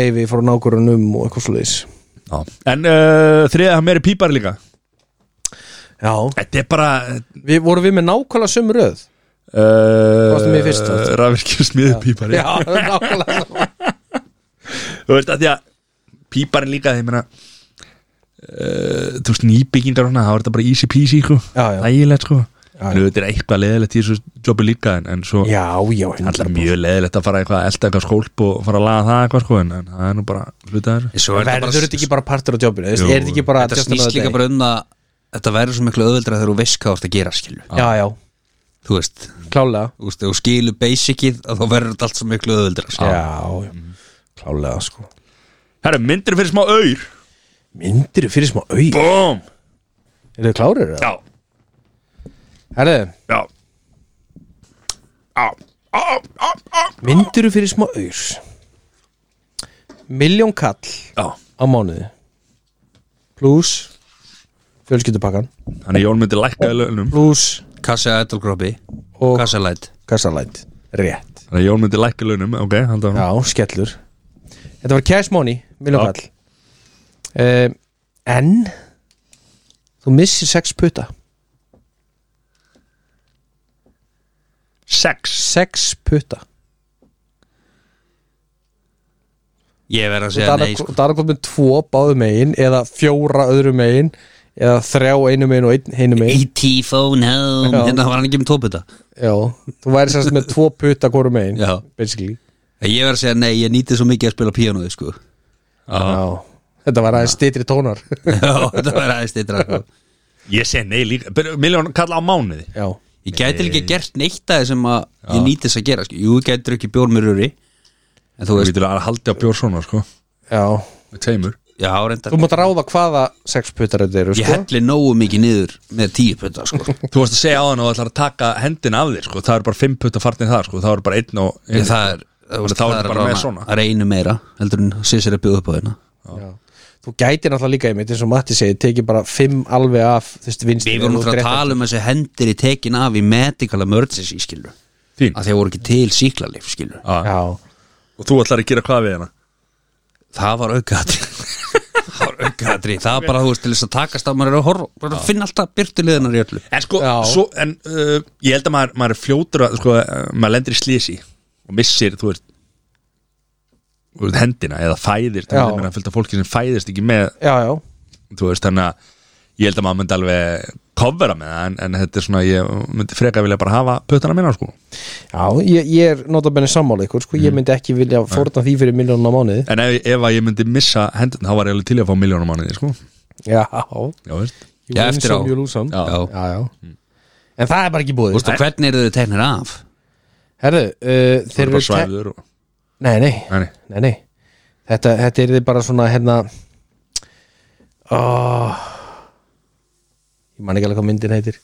Speaker 2: leifi frá nákvörunum og eitthvað svo leiðis
Speaker 1: Já. en uh, þriða, hann meiri pípar líka
Speaker 2: Já,
Speaker 1: Þetta er bara
Speaker 2: við vorum við með nákvæmlega sömu röð varstu með í fyrst,
Speaker 1: uh,
Speaker 2: þátt?
Speaker 1: Rafvirkjur smiðupípari
Speaker 2: nákvæmlega sömu
Speaker 1: Þú veist að því að píparin líka því meina Uh, þú veist nýbyggingar og hana það var þetta bara easy peasy sko
Speaker 2: Já, já.
Speaker 1: ægilegt sko
Speaker 2: já.
Speaker 1: en þetta er eitthvað leðilegt í þessu jobbi líka en, en svo
Speaker 2: Já, já,
Speaker 1: alltaf mjög leðilegt að fara eitthvað að elda eitthvað skólp og fara að laga það eitthvað sko en, en það er nú bara hluta þessu
Speaker 3: Svo er þetta bara-
Speaker 2: Verður þetta ekki bara partur á jobbinu?
Speaker 1: Jú,
Speaker 2: Jú, er þetta ekki bara
Speaker 3: Þetta snýst líka bara um það Þetta verður svo miklu öðveldra þegar þú veist hvað þú ert að gera skilu
Speaker 2: Já, já,
Speaker 3: Þú veist,
Speaker 2: klálega
Speaker 3: þú veist, ef þú skilu basicið að þá verður þetta allt svo miklu sko. öðveldra skilu.
Speaker 2: Já,
Speaker 3: Ah. Mhm.
Speaker 2: já klálega sko
Speaker 1: Herru, myndir fyrir smá auður
Speaker 2: Myndir fyrir smá au Er
Speaker 1: Bóm
Speaker 2: þið klárir?
Speaker 1: Já,
Speaker 2: Herðu,
Speaker 1: já Á, á, á, á
Speaker 2: myndir fyrir smá au Miljón kall
Speaker 1: Já,
Speaker 2: á mánuði Plus Fjölskyldupakkan
Speaker 1: þannig Jón myndi lækka í launum
Speaker 2: Plus
Speaker 3: Kassa Edelgrópi,
Speaker 2: Og-
Speaker 3: Kassa Light
Speaker 2: kassalæt Rétt
Speaker 1: Þannig Jón myndi lækka í launum, ok, handa hann
Speaker 2: Já, skellur Þetta var cash money, miljón
Speaker 1: Já.
Speaker 2: kall um, En Þú missir sex putta
Speaker 1: Sex
Speaker 2: Sex putta
Speaker 3: Ég verð að segja
Speaker 2: Það
Speaker 3: nei sko.
Speaker 2: er komið með tvo báðu megin Eða fjóra öðru megin Eða þrjá einu megin og einn hinu megin
Speaker 3: E.T. phone home
Speaker 2: Já.
Speaker 3: Hérna var hann ekki með tóputa
Speaker 2: Já, þú væri sérst með tvo putta hvoru megin
Speaker 3: Já.
Speaker 2: Basically
Speaker 3: Ég verð að segja nei, ég nýti svo mikið að spila píanóði sko.
Speaker 1: Já.
Speaker 2: Já Þetta var aðeins stýtri tónar
Speaker 3: Já, þetta var aðeins þetta sko.
Speaker 1: Ég segi nei líka Byrju, Miljón kalla á mánuði
Speaker 2: Já
Speaker 3: Ég gæti líka gert neitt að sem að ég nýti þess að gera sko. Jú, ég gæti ekki bjór með röri En
Speaker 1: Þú
Speaker 3: þú veist,
Speaker 1: getur að haldi á bjór svona, sko
Speaker 2: Já
Speaker 1: Með teimur
Speaker 3: já, reyndar
Speaker 2: Þú mátt ráða hvaða sex puttar þetta eru
Speaker 3: Ég
Speaker 2: sko
Speaker 3: helli nógu mikið niður með tíu pötta sko.
Speaker 1: Þú varst að segja á hann og ætlar að taka hendin af þér, sko Það er bara fimm putta fartin það, sko Það er bara einn og
Speaker 3: Ég, það er, það,
Speaker 1: veist,
Speaker 3: veist,
Speaker 1: þá
Speaker 3: það
Speaker 1: ertu
Speaker 3: er
Speaker 1: bara með svona.
Speaker 3: Það er einu meira heldur en Sissir er bjóð upp á hérna. þeirna
Speaker 2: Já. Þú gætir náttúrulega líka einmitt eins og Matti segir tekið bara fimm alveg af þú veist vinstri
Speaker 3: Við vorum
Speaker 2: og
Speaker 3: náttúrulega að
Speaker 2: dreppa.
Speaker 3: tala um þessi hendir í tekin af í medical emergency skilur
Speaker 1: Þín
Speaker 3: að þeir voru ekki til síklarleif skilur
Speaker 1: Já.
Speaker 2: Já,
Speaker 1: Og þú ætlar að gera hvað við hana
Speaker 3: Það var aukaðatri Það var aukaðatri Það var bara þú veist til þess að takast á maður er að horfa bara að finna alltaf byrtuliðunar í öllu
Speaker 1: En sko,
Speaker 2: Já.
Speaker 1: svo, en uh, ég held að maður, maður er fljótur að, sko, uh, maður lendir í slísi og missir, þú veist þú veist, hendina eða fæðist,
Speaker 2: Já.
Speaker 1: þannig að maður fylgta fólki sem fæðist ekki með,
Speaker 2: já, já,
Speaker 1: þú veist, þannig að ég held að maður myndi alveg covera með það en, en þetta er svona, ég myndi freka vilja bara hafa puttana minna, sko
Speaker 2: já ég, ég er notabenni sammála ykkur sko,
Speaker 3: Mhm.
Speaker 2: ég myndi ekki vilja forna því fyrir miljónum á mánuði
Speaker 1: En ef, ef að ég myndi missa hendina, þá var ég alveg til í að fá miljónum mánuði, sko
Speaker 2: Já,
Speaker 1: Já, veist
Speaker 2: Jú,
Speaker 3: Já, eftir á. Mm.
Speaker 2: sem, jú, lúsam.
Speaker 1: Já.
Speaker 2: já, já En það er bara ekki
Speaker 3: Þú
Speaker 2: búið
Speaker 3: veist, og hvernig eru þau teknir af?
Speaker 2: Herðu, uh, þeir
Speaker 1: Þeir
Speaker 2: eru
Speaker 1: bara
Speaker 2: te-
Speaker 1: svæður og,
Speaker 2: Nei, nei,
Speaker 1: nei, nei.
Speaker 2: nei, nei Þetta, þetta er þið bara svona hérna oh, Ég man ekki alveg hvað myndin heitir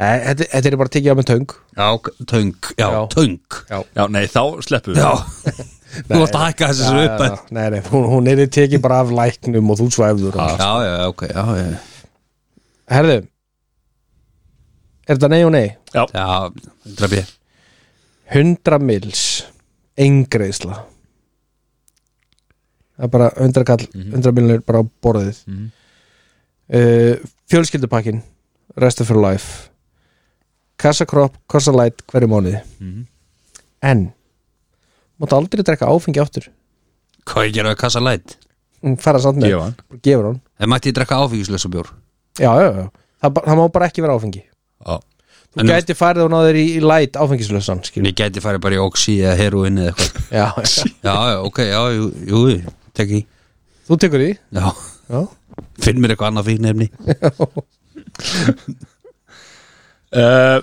Speaker 2: Nei, Þetta, þetta er bara tekið á með töng
Speaker 3: Já, k- töng,
Speaker 2: Já.
Speaker 3: já, töng
Speaker 1: Já, nei, þá sleppum við
Speaker 3: Já, þú vart að hækka
Speaker 2: Já,
Speaker 3: þessu upp
Speaker 2: já, já. Nei, nei, hún, hún er tekið bara af læknum og þú svæfður
Speaker 3: Já, já, já, ok, já, já
Speaker 2: Herðu Er þetta nei og nei?
Speaker 3: Já, draf ég
Speaker 2: 100 mils Engreisla Það er bara 100 kall 100 milnir bara á borðið mm
Speaker 1: Mhm.
Speaker 2: Fjölskyldupakkin Resta for life Kassakropp, kassalæt hverju mánuði
Speaker 1: Mhm.
Speaker 2: En Máttu aldrei drekka áfengi áttur
Speaker 3: Hvað ég gera að kassa læt?
Speaker 2: Hún fara samt með
Speaker 1: Gefa hann.
Speaker 2: Gefur hann
Speaker 3: En mætti ég drekka áfengislösa bjór
Speaker 2: já, já, já. Það, ba- það má bara ekki vera áfengi
Speaker 1: Já.
Speaker 2: Þú
Speaker 3: En-
Speaker 2: gæti farið og náður í, í læt áfengislössan skilur.
Speaker 3: Ég gæti farið bara í oxi eða heroin eða eitthvað
Speaker 2: Já, já.
Speaker 3: Já, já, ok, já, jú, jú, tek í
Speaker 2: Þú tekur því
Speaker 3: Já,
Speaker 2: já.
Speaker 3: finn mér eitthvað annað fíknefni
Speaker 1: Uh,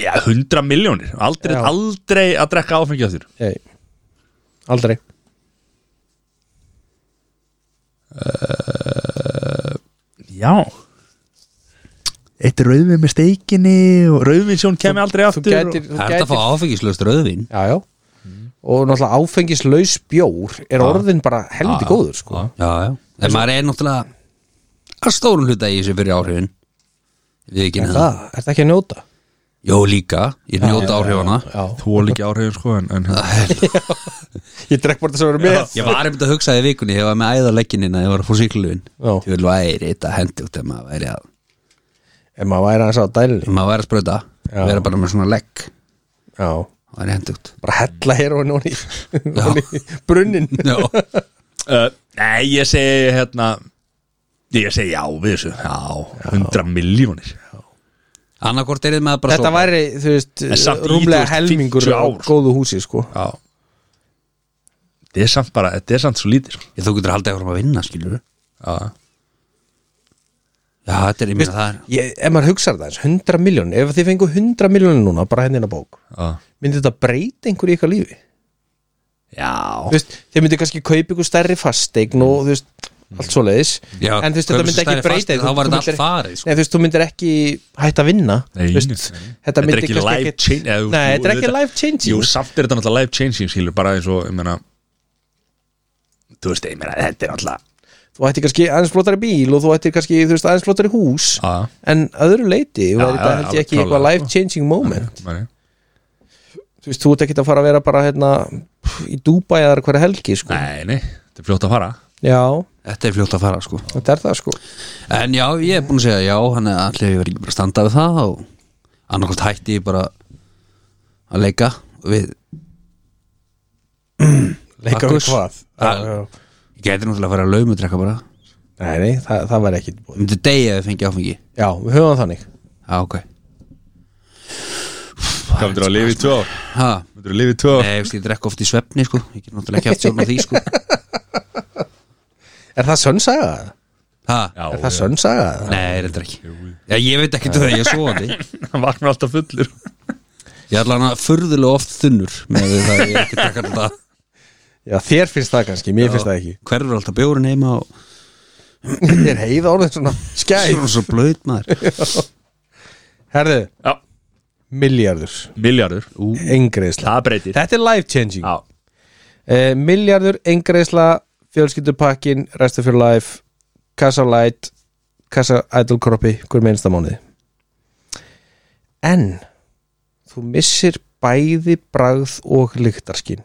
Speaker 1: já, 100 miljónir aldrei,
Speaker 2: Já.
Speaker 1: aldrei að drekka áfengi á þér
Speaker 2: Nei. Aldrei
Speaker 1: Já Eitt rauðvin með steikinni og rauðvinsjón kemur aldrei
Speaker 2: Þú
Speaker 1: aftur
Speaker 2: gætir, þú
Speaker 3: Það er þetta að
Speaker 2: gætir
Speaker 3: fá áfengislöst rauðvín
Speaker 2: Já, já Og náttúrulega áfengislaus bjór er orðin bara helviti góður sko.
Speaker 3: Já, já, en maður er náttúrulega að stórum hluta í þessu fyrir áhrifin Við ekki
Speaker 2: En
Speaker 3: neða
Speaker 2: það, er það ekki að njóta?
Speaker 3: Jó, líka, ég njóta áhrifana
Speaker 2: Já
Speaker 1: og þú er líka áhrifin sko en, en
Speaker 2: Ég drekk bara þess að vera með
Speaker 3: Ég var einmitt að hugsa í hérna, vikunni, ég var með æðarlegginina, ég var að fór síklufin
Speaker 2: Já.
Speaker 3: Ég vil væri þetta hendi út ef maður væri að
Speaker 2: ef maður væri aðeins á dælunni
Speaker 3: maður væri að sprauta,
Speaker 2: Já.
Speaker 3: vera bara með svona legg
Speaker 2: já,
Speaker 3: það er hendugt
Speaker 2: bara hella hér og nóni brunnin
Speaker 3: já,
Speaker 1: uh, Nei, ég segi hérna Ég segi já við þessu Já, 100 miljónir
Speaker 3: annarkort er þið með að bara
Speaker 2: þetta
Speaker 3: sofa.
Speaker 2: væri, þú veist,
Speaker 1: En samt í,
Speaker 2: rúmlega
Speaker 1: þú veist,
Speaker 2: helmingur
Speaker 1: 50
Speaker 2: á
Speaker 1: ár.
Speaker 2: góðu húsi, sko
Speaker 1: Já Þetta er samt bara, þetta er samt svo lítið sko.
Speaker 3: Ég, þú getur haldið áfram að vinna, skilur
Speaker 1: Já,
Speaker 3: já, þetta er, ég meina það er
Speaker 2: ég, ef maður hugsar það, eins, 100 miljón ef þið fengu 100 miljónir núna, bara hendina bók
Speaker 1: já
Speaker 2: myndi þetta breyta einhverju í ykkar lífi
Speaker 1: Já,
Speaker 2: Þú veist, þeir myndi kannski kaupa ykkur stærri fasteign og þú veist, allt svoleiðis
Speaker 3: Já,
Speaker 2: en þú veist, þetta
Speaker 3: kaupa sér
Speaker 2: myndi
Speaker 3: stærri
Speaker 2: ekki breyta
Speaker 3: fasteign,
Speaker 2: því,
Speaker 3: þá var
Speaker 2: þú
Speaker 3: þetta sko.
Speaker 2: myndir-
Speaker 3: allt farið, sko.
Speaker 2: Nei, þú veist, þú myndir ekki hætta að vinna
Speaker 1: Nei,
Speaker 2: þú veist,
Speaker 1: nei, nei.
Speaker 2: þetta
Speaker 1: er
Speaker 2: myndi
Speaker 1: ekki
Speaker 2: kannski
Speaker 1: life change eða, jú,
Speaker 2: Nei, þetta er ekki
Speaker 1: auðvitað-
Speaker 2: life changing.
Speaker 1: Jú, samt er þetta náttúrulega life changing skilur bara eins og, ég meina Þú veist, ég meina, þetta er náttúrulega
Speaker 2: þú ættir kannski aðeins flottari bíl og þú ættir kannski, þú veist, aðeins flottari hús
Speaker 1: Já.
Speaker 2: en öðru leiti
Speaker 1: Ah.
Speaker 2: var
Speaker 1: já,
Speaker 2: þetta held
Speaker 1: alveg
Speaker 2: ég ekki eitthvað
Speaker 1: klárlega.
Speaker 2: life changing moment
Speaker 1: Nei.
Speaker 2: þú veist, þú ert ekki að fara að vera bara hérna í Dubai eða hverja helgi, sko
Speaker 1: Nei, nei, þetta er fljótt að fara
Speaker 2: já,
Speaker 3: þetta er fljótt að fara, sko
Speaker 2: þetta er það, sko
Speaker 3: En já, ég er búin að segja já hann er allir ég verið ekki bara að standa við það og annarkvæmt hætti ég bara að leika við
Speaker 2: leika við
Speaker 3: Akkus.
Speaker 2: hvað
Speaker 3: Já. ég gæti náttúrulega að fara að laumutrekka bara
Speaker 2: nei, nei, það, það væri ekki
Speaker 3: ég myndi degja ef ég fengi áfengi
Speaker 2: já, við höfum það þannig
Speaker 3: Já, ok
Speaker 1: Hvað myndir að lifa í tvö ár?
Speaker 3: ha,
Speaker 1: Myndir að lifa í tvö ár?
Speaker 3: Nei, ég veist, ég drekka oft í svefni, sko Ég get náttúrulega ekki haft stjórn á því, sko
Speaker 2: er það sönnsaga?
Speaker 3: ha,
Speaker 1: Já,
Speaker 2: er það sönnsaga?
Speaker 3: Nei, reyndar ekki Já, ég veit ekki það, ég er svoandi
Speaker 1: Hann vaknar alltaf fullur
Speaker 3: Ég er allan að furðulega oft þunnur með því það ég er ekki að drekka alltaf
Speaker 2: já, þér finnst það kannski, mér finnst það ekki
Speaker 3: Hverfur alltaf bjórin heima og
Speaker 2: þetta er heiða orðin svona skæð
Speaker 3: Svo- svo blöð maður
Speaker 2: herðu,
Speaker 1: Já,
Speaker 2: miljardur
Speaker 1: miljardur
Speaker 2: engreisla,
Speaker 1: Það breytir
Speaker 2: þetta er life changing
Speaker 1: Já,
Speaker 2: Eh, Miljardur, engreisla fjölskyldupakkin, restu fyrir life kassa light kassa idol kroppi, hver meinsta mánuði en þú missir bæði bragð og lyktarskinn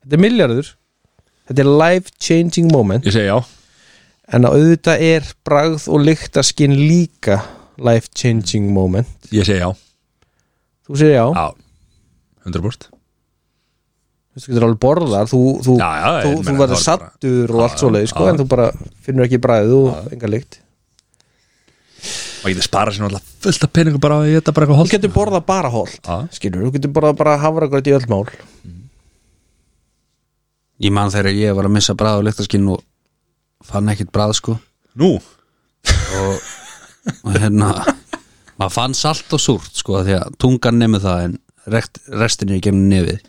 Speaker 2: þetta er miljardur þetta er life changing moment
Speaker 1: ég segi já
Speaker 2: en að auðvitað er bragð og lyktarskinn líka life changing moment
Speaker 1: Ég segi já
Speaker 2: þú sér já,
Speaker 1: Já, 100%
Speaker 2: þú getur alveg borðar þú, þú,
Speaker 1: Já, já,
Speaker 2: þú,
Speaker 1: ég
Speaker 2: þú
Speaker 1: meina,
Speaker 2: verður
Speaker 1: það er bara-
Speaker 2: sattur og allt
Speaker 1: já,
Speaker 2: svoleið sko,
Speaker 1: já.
Speaker 2: en þú bara finnur ekki bræðið og enga lykt
Speaker 1: Maður getur sparað sér náttúrulega fullt af peningum bara að ég þetta bara eitthvað
Speaker 2: þú
Speaker 1: holt
Speaker 2: getur borðað bara holt
Speaker 1: Já.
Speaker 2: skilur, þú getur borðað bara hafragröð í öll mál
Speaker 3: Ég man þegar ég var að missa bræð og lyktaskinn og fann ekkert bræð sko
Speaker 1: Nú,
Speaker 3: og, og hérna maður fann salt og súrt sko af því að tungan nefnir það en rekt, restin er í gegnum nefið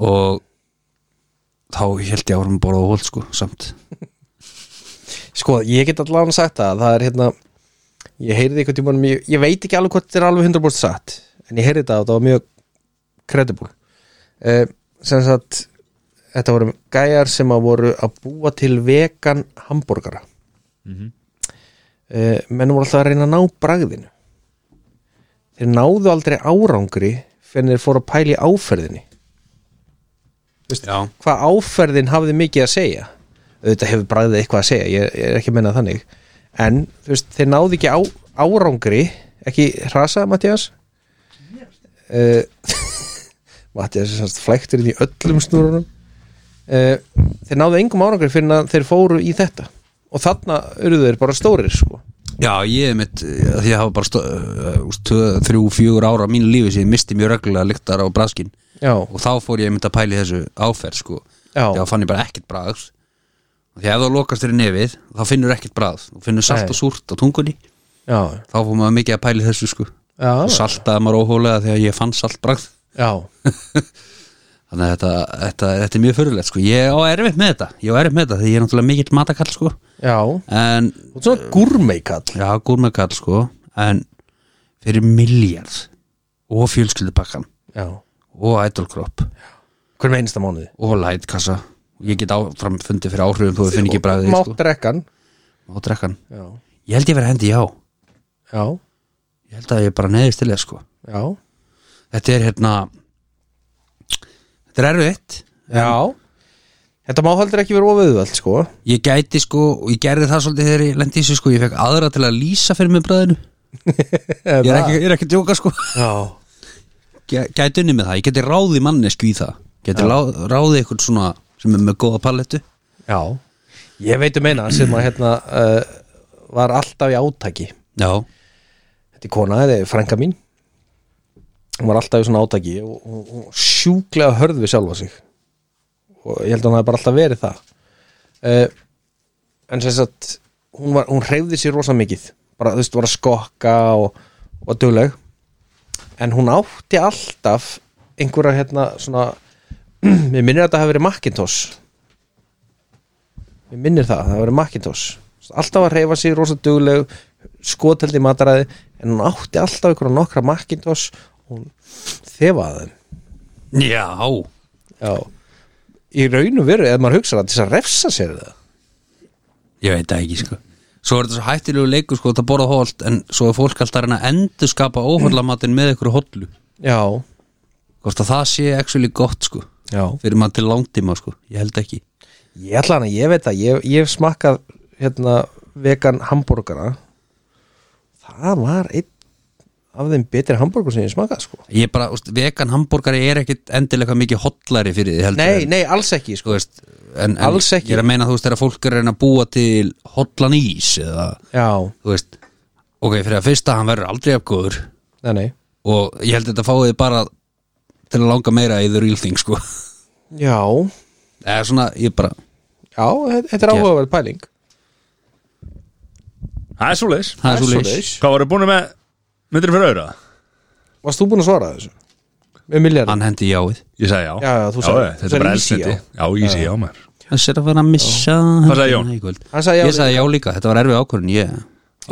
Speaker 3: og þá held ég árum að borða hólt sko samt
Speaker 2: sko, ég get allan sagt það það er hérna, ég heyrði eitthvað tímanum ég, ég veit ekki alveg hvort þetta er alveg 100% satt en ég heyrði þetta og það var mjög credible uh, sem sagt, þetta voru gæjar sem að voru að búa til vegan hambúrgara uh, menn voru alltaf að reyna að ná bragðinu þeir náðu aldrei árangri fyrir þeir fóru að pæla í áferðinni
Speaker 3: Já,
Speaker 2: hvað áferðin hafði mikið að segja auðvitað hefur bragðið eitthvað að segja ég, ég er ekki að menna þannig en þú veist, þeir náðu ekki á, árangri ekki hrasa, Mattias uh, Mattias er sannst flækturinn í öllum snúrunum uh, þeir náðu engum árangri fyrir að þeir fóru í þetta og þarna eru þeir bara stórir sko.
Speaker 3: já ég er mitt af því að hafa bara stó, uh, úst, tvö, þrjú, fjögur ára á mínu lífi sem ég misti mjög reglulega lyktar á bræðskinn
Speaker 2: já,
Speaker 3: og þá fór ég mynd að pæli þessu áferð sko
Speaker 2: Já.
Speaker 3: þá fann ég bara ekkert bragð og því að ef þú lokast þér í nefið þá finnur ekkert bragð þú finnur salt
Speaker 2: Nei.
Speaker 3: og súrt á tungunni
Speaker 2: já,
Speaker 3: þá fór maður mikið að pæli þessu sko
Speaker 2: já,
Speaker 3: og saltaði maður óhólega þegar ég fann salt bragð
Speaker 2: já.
Speaker 3: þannig að þetta, þetta, þetta er mjög fyrirlegt sko ég á erfitt með þetta ég á erfitt með þetta því ég er náttúrulega mikill matakall sko
Speaker 2: já.
Speaker 3: en
Speaker 2: Þú ert svona gúrmeikall
Speaker 3: já gúrmakall sko en fyrir miljard og fjölskyldupakkan
Speaker 2: já.
Speaker 3: og idolkropp
Speaker 2: hver með einasta mánuði
Speaker 3: og lightkassa ég get áfram fundið fyrir áhrifum þú finn ekki bragðið sko.
Speaker 2: máttrekkan
Speaker 3: og drekkan
Speaker 2: já,
Speaker 3: ég held ég verið að hendi já ég
Speaker 2: já,
Speaker 3: held að ég bara neðist til þess sko
Speaker 2: já,
Speaker 3: þetta er hérna þetta er erfitt
Speaker 2: já. Þetta má heldur ekki vera ofiðvöld sko
Speaker 3: Ég gæti sko, og ég gerði það svolítið þegar ég lendi í þessu sko, ég fekk aðra til að lýsa fyrir mig bræðinu Ég er ekki, ég er ekki að djóka sko
Speaker 2: Já,
Speaker 3: Gæ- Gæti unni með það, ég geti ráði mannesku í það Gæti lá- ráði eitthvað svona sem er með góða palettu
Speaker 2: já Ég veit um eina sem að hérna uh, var alltaf í átaki
Speaker 3: Já,
Speaker 2: Þetta er kona, þetta er frænka mín Hún var alltaf í svona átaki og, og, og sjúklega hörð við sjálfa sig og ég held að hún hafi bara alltaf verið það uh, en sem sagt hún, var, hún hreyfði sér rosa mikið bara þú veist, var að skokka og, og dugleg en hún átti alltaf einhverja hérna svona mér minnir að þetta hafi verið Macintosh mér minnir það, það hafi verið Macintosh alltaf að hreyfa sér rosa dugleg skoteldi mataræði en hún átti alltaf einhverja nokkra Macintosh og hún þefaði þeim
Speaker 3: já
Speaker 2: Já Í raun og veru, ef maður hugsa það til þess að refsa sér það
Speaker 3: Ég veit það ekki sko Svo er þetta svo hættilegu leikur sko, það borða hólt en svo er fólk alltaf að reyna að endurskapa óhóllamatin með einhverju hóllu
Speaker 2: Já,
Speaker 3: Hvort að það sé actually gott sko
Speaker 2: já
Speaker 3: fyrir maður til langtíma sko, ég held ekki
Speaker 2: Ég ætla hana, ég veit það, ég, ég hef smakkað hérna vegan hambúrgara Það var einn af þeim betri hambúrgur sem ég smakkað sko
Speaker 3: Ég bara, úst, vegan hambúrgari er ekkit endilega mikið hollari fyrir því heldur
Speaker 2: Nei,
Speaker 3: en,
Speaker 2: nei, alls ekki sko
Speaker 3: Þú veist, en, en
Speaker 2: Alls ekki.
Speaker 3: Ég er að meina þú veist þegar fólk er að reyna að búa til hollan ís eða
Speaker 2: Já,
Speaker 3: þú veist Ok, fyrir að fyrsta hann verður aldrei afgóður
Speaker 2: nei, nei
Speaker 3: og ég held þetta fáið bara til að langa meira í the real thing sko
Speaker 2: Já,
Speaker 3: Eða svona, ég bara
Speaker 2: já, þe- þetta er áhugaverð pæling
Speaker 1: Það er svo leis
Speaker 3: Það er svo
Speaker 2: svoleiðis.
Speaker 1: Hvað varum búin með myndir fyrir auðra?
Speaker 2: Varst þú búin að svara þessu? Með miljardum?
Speaker 3: Hann hendi jáið
Speaker 1: Ég sagði já
Speaker 2: Já, já, þú sagði- þú
Speaker 1: Þetta
Speaker 2: sagði
Speaker 1: er bara
Speaker 2: easy
Speaker 1: elsniti Já, easy já maður
Speaker 3: Þessi er að fara að missa
Speaker 1: Hvað sagði Jón?
Speaker 3: í kvöld.
Speaker 2: Hann sagði já
Speaker 3: Ég sagði já líka, þetta var erfið ákvörðin Ég ég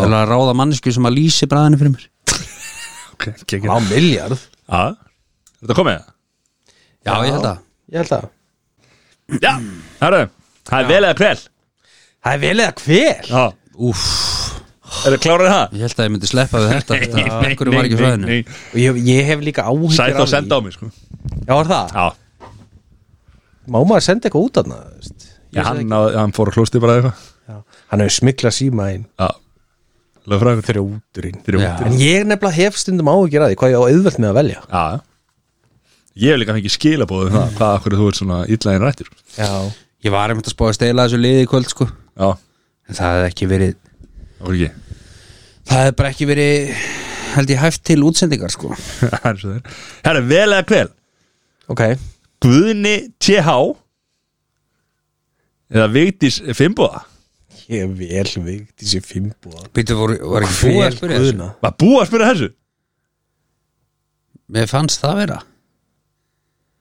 Speaker 3: ætla að ráða mannesku sem að lýsi bræðinu fyrir mér
Speaker 1: Ok, kekir
Speaker 2: Á miljard?
Speaker 1: Já Er þetta komið?
Speaker 3: Já, ég held að
Speaker 2: Ég held að
Speaker 1: Já Herru Það er vel eða kvel
Speaker 2: Það er vel eða hver?
Speaker 1: Já
Speaker 3: Úff,
Speaker 1: Er það klárið það?
Speaker 3: ég held að ég myndi sleppa við þetta Þetta
Speaker 1: Nei,
Speaker 3: einhverju var ekki
Speaker 1: nei,
Speaker 3: frá hennu
Speaker 1: nei.
Speaker 2: Og ég, ég hef líka áhyggjur
Speaker 1: Sæð þá
Speaker 2: af því.
Speaker 1: senda á mig sko
Speaker 2: Já, er það?
Speaker 1: Já
Speaker 2: Má maður senda eitthvað út aðna?
Speaker 1: Já, hann, náði- hann fór að klósti bara eitthvað
Speaker 2: Hann hefur smiklað símaðinn
Speaker 1: Já Lögfræður
Speaker 2: Þrjóturinn
Speaker 1: Þrjóttir
Speaker 2: En ég nefnilega hef stundum áhyggjur að því hvað ég á auðvelt með að velja
Speaker 1: Já já. Ég hef líka fengið skilabóðu það Hvað akkur þú ert svona illa en rættur
Speaker 2: Já
Speaker 3: Ég var einmitt að spá að stela þessu liði í kvöld sko
Speaker 1: Já
Speaker 3: En það hefði ekki verið
Speaker 1: Og ekki
Speaker 3: Það hefði bara ekki verið held ég hæft til útsendingar sko
Speaker 1: Það er svo þeir Herra, vel eða kvel
Speaker 2: Ok
Speaker 1: Guðni TH Eða Vigdís Fimboða
Speaker 2: Ég er vel veikt í sér fimmbúa
Speaker 3: Býttu, voru, var ekki búið að spyrja þessu?
Speaker 1: Var búið að spyrja þessu?
Speaker 3: Mér fannst það vera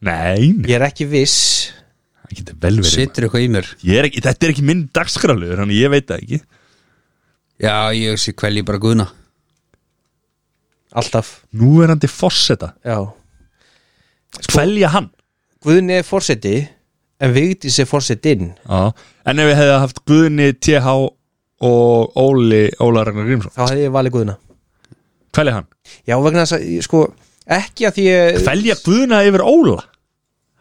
Speaker 1: Nei, nei
Speaker 2: Ég er ekki viss
Speaker 1: Það getur vel verið maður.
Speaker 3: Sittur eitthvað í mér
Speaker 1: Ég er ekki, Þetta er ekki minn dagskráluður Þannig ég veit það ekki
Speaker 3: Já, ég sé kvelji bara guðna
Speaker 2: Alltaf
Speaker 1: Nú er hann til fosseta
Speaker 2: Já
Speaker 1: Kvelja hann
Speaker 2: Guðni er fórseti En veikt í sér forsetinn
Speaker 1: Já. En ef við hefði haft Guðni TH og Óli Óla Ragnar Grímsson
Speaker 2: Þá hefði ég valið Guðna
Speaker 1: Kvelja hann
Speaker 2: Já, vegna þess að, sko Ekki að því ég
Speaker 1: Kvelja Guðna yfir Óla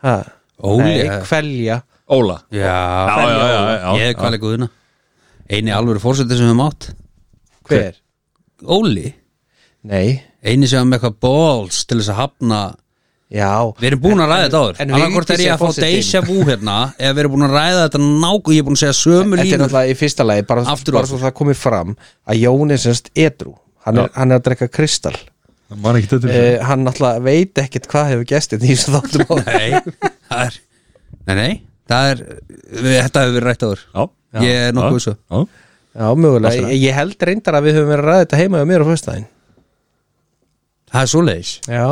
Speaker 2: Ha
Speaker 3: Óli
Speaker 2: Nei, kvelja
Speaker 1: Óla Já,
Speaker 3: Já,
Speaker 1: já, já, já,
Speaker 3: ég hef
Speaker 1: já.
Speaker 3: kvalið guðuna Eini alvöru fórseti sem við mátt
Speaker 2: Hver?
Speaker 3: Óli,
Speaker 2: Nei
Speaker 3: eini sem var með eitthvað balls til þess að hafna
Speaker 2: Já
Speaker 3: Við erum búin að ræða þetta áður
Speaker 2: en
Speaker 3: Annarkort er
Speaker 2: Vigdís
Speaker 3: ég
Speaker 2: er
Speaker 3: að fá
Speaker 2: forsetinn.
Speaker 3: deja vu hérna Eða við erum búin að ræða þetta nákvæm Ég er búin að segja sömu
Speaker 2: Þetta er
Speaker 3: línur
Speaker 2: náttúrulega í fyrsta lagi bara,
Speaker 3: Aftur og
Speaker 2: bara svo það komið fram að Jón er semst edru hann, er, hann er að drekka kristall
Speaker 1: Það var ekki
Speaker 3: Mhm.
Speaker 1: þetta
Speaker 3: Eh,
Speaker 2: uh, hann náttúrulega veit ekkert hvað hefur gestið því sem þáttum á
Speaker 3: Nei, það er Nei, nei, það er við- Þetta hefur verið rætt áður
Speaker 1: Já, já,
Speaker 3: Ég er nokkuð
Speaker 1: já,
Speaker 3: um. svo
Speaker 1: já.
Speaker 2: Já, mögulega, ég, ég held reyndar að við höfum verið að ræða þetta heima hjá mér á föstudaginn
Speaker 3: Það er svoleiðis
Speaker 2: Já,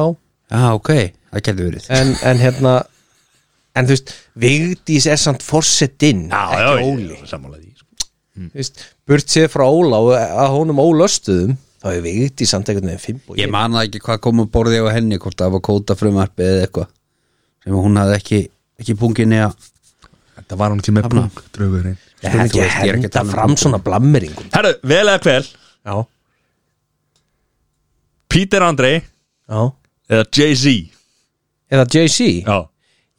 Speaker 3: Já, ok, það getur verið
Speaker 2: en, en hérna en þú veist, Vigdís er samt forsetinn,
Speaker 1: Já,
Speaker 2: ekki
Speaker 1: já,
Speaker 2: Óli
Speaker 1: ég er sammála því sko.
Speaker 2: Þú veist, Burt séð frá Óla og að honum ólöstuðum þá er Vigdís samt einhvern veginn fimm
Speaker 3: Ég man það ekki hvað kom að borðið á henni Hvort það var kóta frumarpið eða eitthvað Sem hún hafði ekki, ekki punginni að
Speaker 1: Þetta var hann ekki með
Speaker 3: Hafna.
Speaker 1: búk Draugurinn
Speaker 2: Ég
Speaker 3: þú
Speaker 2: hef ekki
Speaker 3: veist, ég er ekki að
Speaker 2: henda
Speaker 3: tala um
Speaker 2: fram svona blammeringum
Speaker 1: Herru, vel eða kvel
Speaker 2: Já,
Speaker 1: Peter Andrei
Speaker 2: já
Speaker 1: eða Jay-Z
Speaker 2: Eða Jay-Z
Speaker 1: Já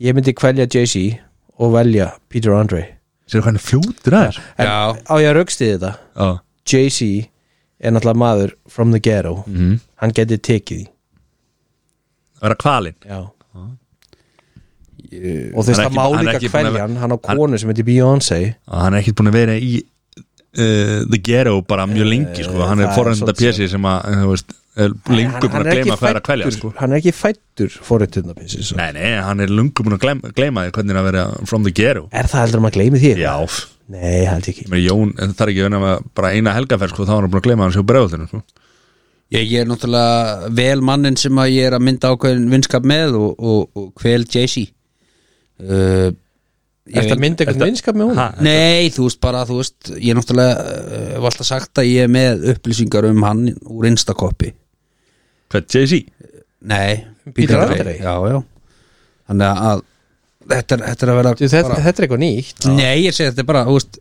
Speaker 2: Ég myndi kvelja Jay-Z og velja Peter Andre
Speaker 1: Sér hvað hann er fljótur að þér
Speaker 2: en
Speaker 3: Já.
Speaker 2: á ég að raukstið þetta
Speaker 1: Já
Speaker 2: Jay-Z er náttúrulega maður from the ghetto
Speaker 1: Mhm.
Speaker 2: hann geti tekið því
Speaker 1: Það er að kvalin
Speaker 2: já og þú veist
Speaker 1: Hann er
Speaker 2: það
Speaker 1: ekki-
Speaker 2: má
Speaker 1: hann er
Speaker 2: líka
Speaker 1: ekki búinn að
Speaker 2: hverja
Speaker 1: vera-
Speaker 2: hann, hann á konu sem heitir Beyoncé
Speaker 1: og hann er ekkert búin að vera í uh, The Ghetto bara mjög lengi sko. hann
Speaker 2: það
Speaker 1: er
Speaker 2: er
Speaker 1: forrænda
Speaker 2: svolítið
Speaker 1: pési sem að eh, þú veist, er lengur búin að gleyma hvað er að kvelja sko.
Speaker 2: hann er ekki fættur forréttunarpissi
Speaker 1: nei, nei, hann er lengur búin að gleyma, gleyma því hvernig er að vera from the Ghetto
Speaker 2: er það heldur að maður gleymi því?
Speaker 1: já,
Speaker 2: nei, held ég ekki
Speaker 1: með Jón, en það er ekki nema bara eina helgaferð sko, þá er hann búin að gleyma hann sér bregðutinu sko.
Speaker 3: Ég, ég er náttúrulega vel mannin sem að ég er að mynda ákveðin vinskap með og, og, og hvel Jay-Z uh, ég
Speaker 2: er það
Speaker 3: veit-
Speaker 2: myndi eitthvað vinskap með hún?
Speaker 1: Ha,
Speaker 3: Nei, þú veist bara, þú veist ég er náttúrulega, uh, var alltaf sagt að ég er með upplýsingar um hann úr Instacopy
Speaker 1: hvað, Jay-Z?
Speaker 3: Nei,
Speaker 2: Peter
Speaker 3: Andre.
Speaker 2: Andre?
Speaker 3: Já, já Þannig að þetta er, þetta er að vera
Speaker 2: Þú, þetta,
Speaker 3: bara,
Speaker 2: þetta er eitthvað nýtt
Speaker 3: Nei, ég segi þetta er bara, þú veist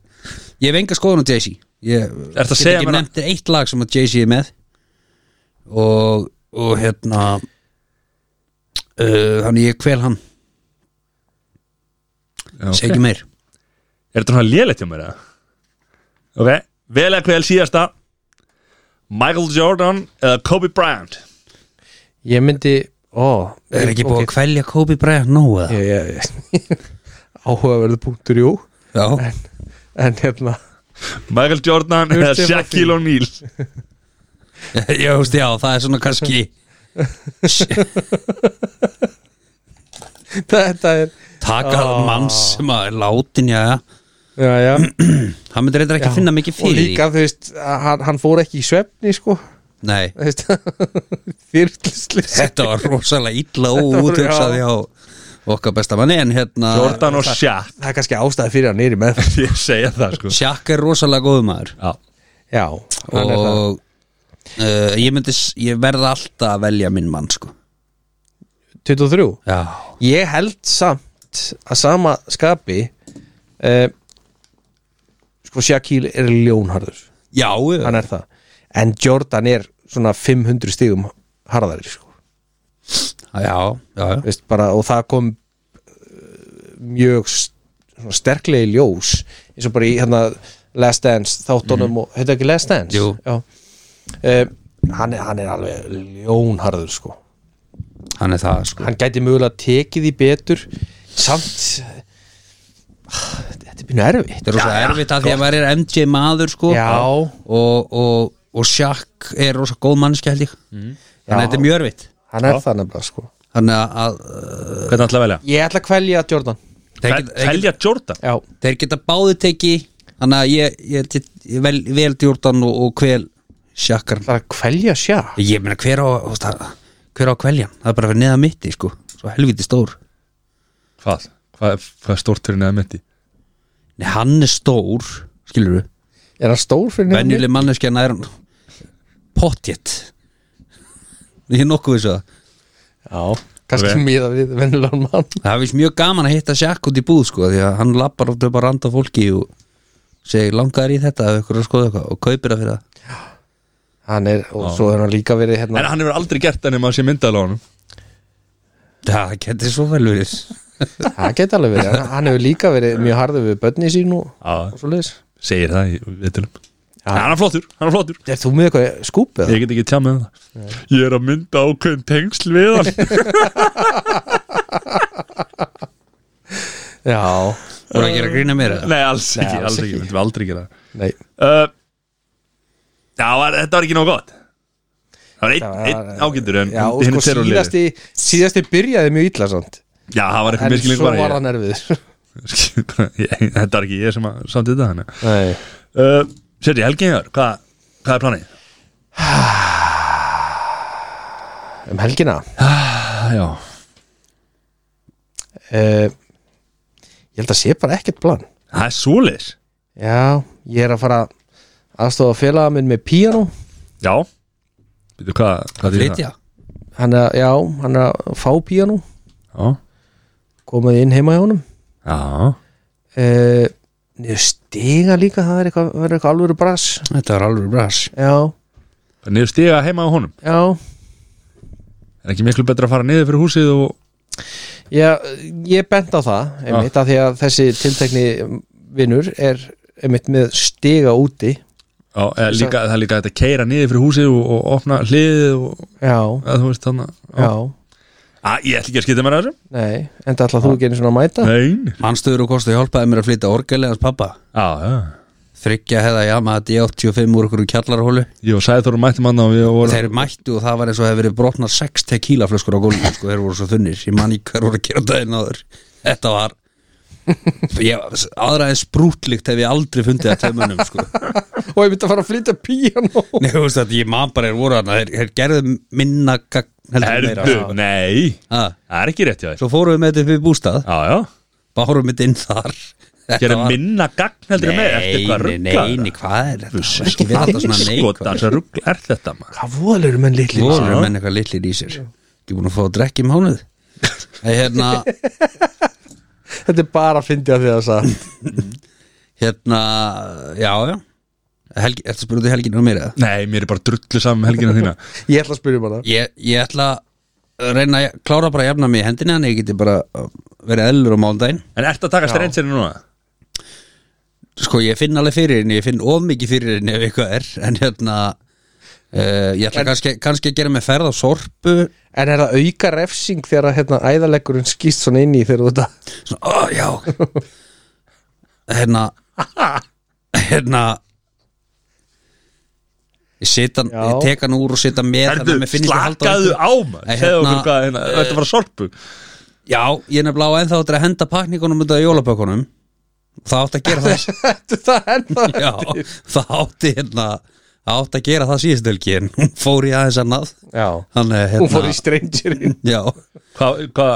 Speaker 3: Ég hef enga skoðun á Jay-Z Ég
Speaker 1: að
Speaker 3: get
Speaker 1: segja
Speaker 3: ekki
Speaker 1: mér að-
Speaker 3: nefnt eitt lag sem að Jay-Z er með Og, og hérna uh, Þannig ég kvel hann
Speaker 1: Já,
Speaker 3: Segi ekki meir
Speaker 1: Er þetta svona lélegt hjá mér eða? Ok, vel eða hver síðasta Michael Jordan eða Kobe Bryant
Speaker 2: ég myndi, ó
Speaker 3: Er ekki búið að kvelja Kobe Bryant nóg eða?
Speaker 2: áhugaverðu punktur, jú
Speaker 3: Já,
Speaker 2: en hérna
Speaker 1: Michael Jordan eða
Speaker 2: Hurtig var
Speaker 1: Shaquille O'Neal
Speaker 3: já, þú veist, já, það er svona kannski
Speaker 2: þetta er,
Speaker 3: Takað
Speaker 2: Ah.
Speaker 3: mann sem að er látin, já, já
Speaker 2: já, já
Speaker 3: Hann myndi reyndar ekki að finna mikið
Speaker 2: og
Speaker 3: fyrir
Speaker 2: líka, þú veist, að hann, hann fór ekki í svefni sko,
Speaker 3: því Nei
Speaker 2: þú veist þyrtlislis
Speaker 3: Þetta var rosalega illa og
Speaker 2: Þetta var-
Speaker 3: útjöksað hjá okkar besta manni en hérna
Speaker 1: Jordan og Shaq
Speaker 2: það er kannski ástæði fyrir hann er í með
Speaker 1: Ah, Ég segja það sko
Speaker 3: Shaq er rosalega góð maður
Speaker 1: Já,
Speaker 2: já, hann er það
Speaker 3: og uh, ég myndi s- ég verð alltaf að velja minn mann sko
Speaker 2: 23,
Speaker 3: Já
Speaker 2: ég held samt að sama skapi uh, sko Shaquille er ljónharður
Speaker 3: Já,
Speaker 2: hann er það, en Jordan er svona 500 stigum harðari sko,
Speaker 3: já, já,
Speaker 2: Þú veist, bara, og það kom eh, mjög s- svona sterklega í ljós eins og bara í hérna Last Dance þáttunum og, heitir það ekki Last Dance?
Speaker 3: Jú.
Speaker 2: Já uh, hann, er- hann er alveg ljónharður sko
Speaker 3: hann er það sko
Speaker 2: hann gæti mögulega tekið því betur samt eh, þetta er býinu erfitt
Speaker 3: Þetta er rosa
Speaker 1: Já, já,
Speaker 3: erfitt að því að maður er MJ maður sko
Speaker 2: Já.
Speaker 3: og, og, og Shaq er rosa góð mannski held ég þannig að
Speaker 2: Mm. Já.
Speaker 3: þetta er mjög erfitt
Speaker 2: hann er það nefnilega sko
Speaker 3: þannig að- að uh,
Speaker 1: hvernig ætla að velja?
Speaker 2: ég ætla að kvelja Jordan
Speaker 3: þeir,
Speaker 1: Fel-
Speaker 3: geta, þeir, geta,
Speaker 1: Velja Jordan?
Speaker 2: já,
Speaker 3: þeir geta báði teki þannig að ég, ég, ég, ég vel, vel Jordan og, og hvel Shaq er
Speaker 2: það er að kvelja sjá
Speaker 3: Ég meina hver á, þú veist, það- hver á kveljan Það er bara fyrir neða mitti sko Svo helviti stór
Speaker 1: Hvað? Hvað, er- hvað er stórturinn eða mitt í?
Speaker 3: Nei, hann er stór, skilur við
Speaker 2: er hann stór fyrir neðan mig?
Speaker 3: Venjuleg manneskja nær hann Pottjett Ég er nokkuð þessu það
Speaker 2: já, kannski
Speaker 1: Ok.
Speaker 2: okay. miða við venjulegan mann
Speaker 3: Það er vist mjög gaman að hitta Sjakk út í búð sko Því að hann lappar út upp að randa fólki og segir langaður í þetta ef ykkur er að skoða eitthvað og kaupir það fyrir það
Speaker 2: hann er, og svo er hann líka verið hérna
Speaker 1: En hann hefur aldrei gert það nema að sé myndað á honum
Speaker 3: Það getur svo vel verið
Speaker 2: það geta alveg verið, hann- hann hefur líka verið mjög harður við börni sín og,
Speaker 1: Já,
Speaker 2: og svo leis
Speaker 1: segir það í viðtölum En Hann er flottur, hann er flottur
Speaker 2: er þú með eitthvað skúpið?
Speaker 1: Ég get ekki tjá með það Ég er að mynda ákveðin tengsl við hann
Speaker 2: já,
Speaker 3: Þú er að gera grína mér eða?
Speaker 1: Nei, alls ekki,
Speaker 2: alls
Speaker 1: alls
Speaker 2: ekki.
Speaker 1: ekki, myndum við aldrei gera það
Speaker 2: nei
Speaker 1: uh, Já, var, þetta var ekki nóg gott Það var einn
Speaker 2: Það var-
Speaker 1: ein ágættur en
Speaker 2: já, og
Speaker 1: hinn
Speaker 2: sko
Speaker 1: er terrorliðið.
Speaker 2: síðasti, síðasti byrjaði mjög illa samt
Speaker 1: Já, það var eitthvað
Speaker 2: en
Speaker 1: miskileg
Speaker 2: svo
Speaker 1: bara
Speaker 2: var
Speaker 1: ég,
Speaker 2: hann erfiður
Speaker 1: ég, Þetta var ekki ég sem að samt þetta hana
Speaker 2: nei
Speaker 1: uh, Sérri, Helgiðar, hvað hva er planið?
Speaker 2: um helgina
Speaker 1: Ah, já,
Speaker 2: uh, ég held að sé bara ekkert plan
Speaker 1: það er svoleiðis
Speaker 2: já, ég er að fara aðstofa félaga minn með píano
Speaker 1: Já Býtu, hvað hva
Speaker 3: Flytja
Speaker 2: hann er, já, hann er að fá píano
Speaker 1: Já,
Speaker 2: komið inn heima hjá honum
Speaker 1: já
Speaker 2: uh, niður stiga líka það er eitthvað, verður eitthvað alvöru bras
Speaker 3: Þetta var alveg bras
Speaker 2: já,
Speaker 1: Það er niður stiga heima á honum
Speaker 2: já
Speaker 1: Er ekki miklu betra að fara niður fyrir húsið og
Speaker 2: Já, ég bent á það einmitt, að því að þessi tiltekni vinnur er einmitt með stiga úti
Speaker 1: Já, eða líka, það er líka þetta keira niður fyrir húsið og, og opna hliðið og
Speaker 2: Já,
Speaker 1: eða þú veist þannig
Speaker 2: já,
Speaker 1: að ég ætla ekki að skita mér að þessu
Speaker 2: nei en það ætla þú ekki einu svona að mæta
Speaker 1: Nein
Speaker 3: Mannstöður og kostu hjálpaði mér að flytta orgelið hans pappa
Speaker 1: Já, já
Speaker 3: Þryggja hefða jama að D85 úr okkur kjallarhólu
Speaker 1: Ég og Sæður mætti manna og við vorum
Speaker 3: Þeir mættu og það var eins og hefur verið brotnar 6 tequila flöskur á gólfum sko, þeir voru svo þunnir, ég man í hver voru að gera daginn áður Þetta var ég, aðra en sprútlikt hef ég aldrei fundið að tömunum sko.
Speaker 2: og ég myndi að fara að flytja píanó
Speaker 3: Nei, þú veist að ég man bara er voru hana þeir, þeir gerðu minna gagn heldur en
Speaker 1: Herðu,
Speaker 3: meira
Speaker 1: nei
Speaker 3: ha,
Speaker 1: Það er ekki rétt hjá þér
Speaker 3: Svo fórum við með þetta upp í bústað
Speaker 1: Já, já
Speaker 3: Bárum við þetta inn þar Þetta
Speaker 1: Gera
Speaker 3: var-
Speaker 1: minna gagn heldur en með Ertu
Speaker 3: Nei,
Speaker 1: eitthvað
Speaker 3: nei, nei, nei,
Speaker 1: rugglaður?
Speaker 3: hvað er þetta?
Speaker 1: Vissu,
Speaker 3: Ekki vera þetta svona
Speaker 1: Sko,
Speaker 3: neikvæð
Speaker 1: það er ruggl Er þetta maður?
Speaker 2: Hvað voðalegur menn litli
Speaker 3: Þú erum enn eitthvað litlir í sér Ekki búin að fá að drekka í mánuð Nei, hérna,
Speaker 2: Þetta er bara að fyndi að því að það
Speaker 3: hérna, já, já Helgi, Ertu að spurðu þig helginu um mér eða?
Speaker 1: Nei, mér er bara drullu saman helgina þína
Speaker 2: Ég ætla að spyrja um hana
Speaker 3: Ég, ég ætla að reyna að klára bara að jafna mig í hendinni Þannig að ég geti bara uh, verið eðlur á mándaginn
Speaker 1: En ertu að taka strengsinni núna?
Speaker 3: Sko, ég finn alveg fyrir henni, ég finn of mikið fyrir henni ef eitthvað er En hérna, uh, ég ætla kannski, kannski að gera mig ferð á sorpu
Speaker 2: En er það auka refsing þegar að hérna, æðaleggurinn skýst svona inn í þegar þú þetta
Speaker 3: svona, ó, já hérna hérna ég sita,
Speaker 2: Já.
Speaker 3: ég tek hann úr og sita með
Speaker 1: Ertu,
Speaker 3: þannig að mér finnst ég halda á
Speaker 1: slakaðu
Speaker 3: einhverju.
Speaker 1: á maður
Speaker 3: Nei,
Speaker 1: Segðu
Speaker 3: hérna,
Speaker 1: okkur hvað, hérna, þetta var sorpu
Speaker 3: já, ég er nefnilega á ennþá eftir að henda pakningunum undan jólabökunum það átti að gera það
Speaker 2: Þetta er það ennþá
Speaker 3: já, það átti hérna það átti að gera það síðust helgi en hún fór í aðeins annað
Speaker 2: Já,
Speaker 3: þannig að,
Speaker 2: hún fór í
Speaker 3: hérna,
Speaker 2: strangerinn
Speaker 3: já,
Speaker 1: Hvað, hvað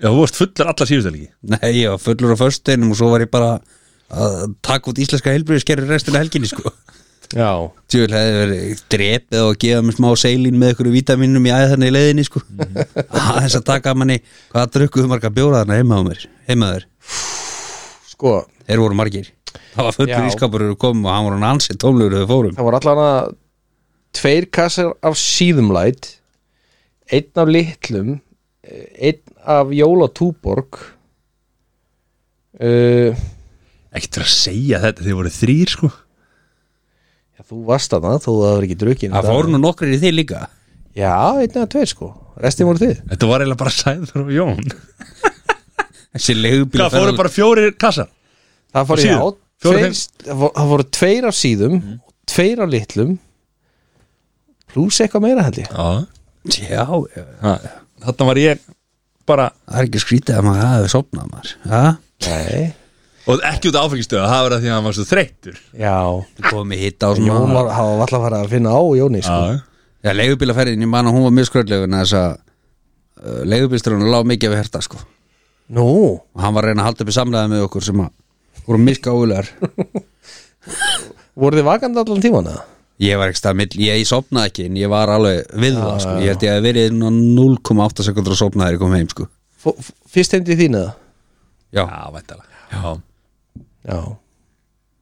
Speaker 1: Já, þú varst fullar allar síðust helgi
Speaker 3: nei, ég var fullur á föstudinum og svo var ég bara að taka út íslenska helbriðiskerri restina af helginni sko
Speaker 2: Já,
Speaker 3: Tjúl hefði verið drepið og gefa mér smá seilín með ykkur vítaminum í æðarni í leiðinni sko
Speaker 1: Mhm.
Speaker 3: aðeins að taka manni hvað drukkuðu marga bjóra þarna heima á mér heimaður,
Speaker 2: sko,
Speaker 3: þeir voru margir það var
Speaker 2: Já.
Speaker 3: fullur ískapur og komum og hann voru hann ansið tómlegur þegar við fórum
Speaker 2: það voru allan að tveir kassar af síðumlæt einn af litlum eh, einn af jólatúborg uh,
Speaker 1: Ekkert til að segja þetta, þið voru þrýr sko
Speaker 2: já, þú varst að það þó það var ekki drukkin
Speaker 3: það fóru nú nokkrir í þig líka
Speaker 2: Já, einn eða tveir sko, restin voru þið
Speaker 1: Þetta var eiginlega bara sæður og jón
Speaker 3: þessi legubíl
Speaker 1: Hvað fóru bara fjórir kassar?
Speaker 2: Það fór
Speaker 1: Á
Speaker 2: ég á
Speaker 1: síðum? Fjórir,
Speaker 2: tveir, það fó- það voru tveir af síðum tveir af litlum pluss eitthvað meira held ég
Speaker 1: Já
Speaker 3: já, já.
Speaker 1: Þarna var ég bara
Speaker 3: það er ekki skrítið að maður hafi sopnað maður ha?
Speaker 2: Nei,
Speaker 1: Og ekki út af áfengistöða, það var að því að hann var svo þreyttur
Speaker 2: já
Speaker 3: komið hitt á svona
Speaker 2: Jón var, hafa alltaf farið að finna á Jóni sko.
Speaker 3: Já, leigubílaferðin, ég man að hún var mjög skröldlegun þess að uh, leigubílstörunum lág mikið við herta sko
Speaker 2: Nú,
Speaker 3: og hann var að reyna að halda upp í samlega með okkur sem að voru miska óulegar
Speaker 2: voru þið vakandi allan tíman eða?
Speaker 3: ég var ekki stað mill, ég sopnaði ekki en ég var alveg við það sko. ég held ég að verið inn á 0,8 sekundur að sopna þegar ég kom heim sko.
Speaker 2: Fó- f- Fyrst heimdi þín eða?
Speaker 3: já,
Speaker 1: Já, væntalega Já,
Speaker 2: Já,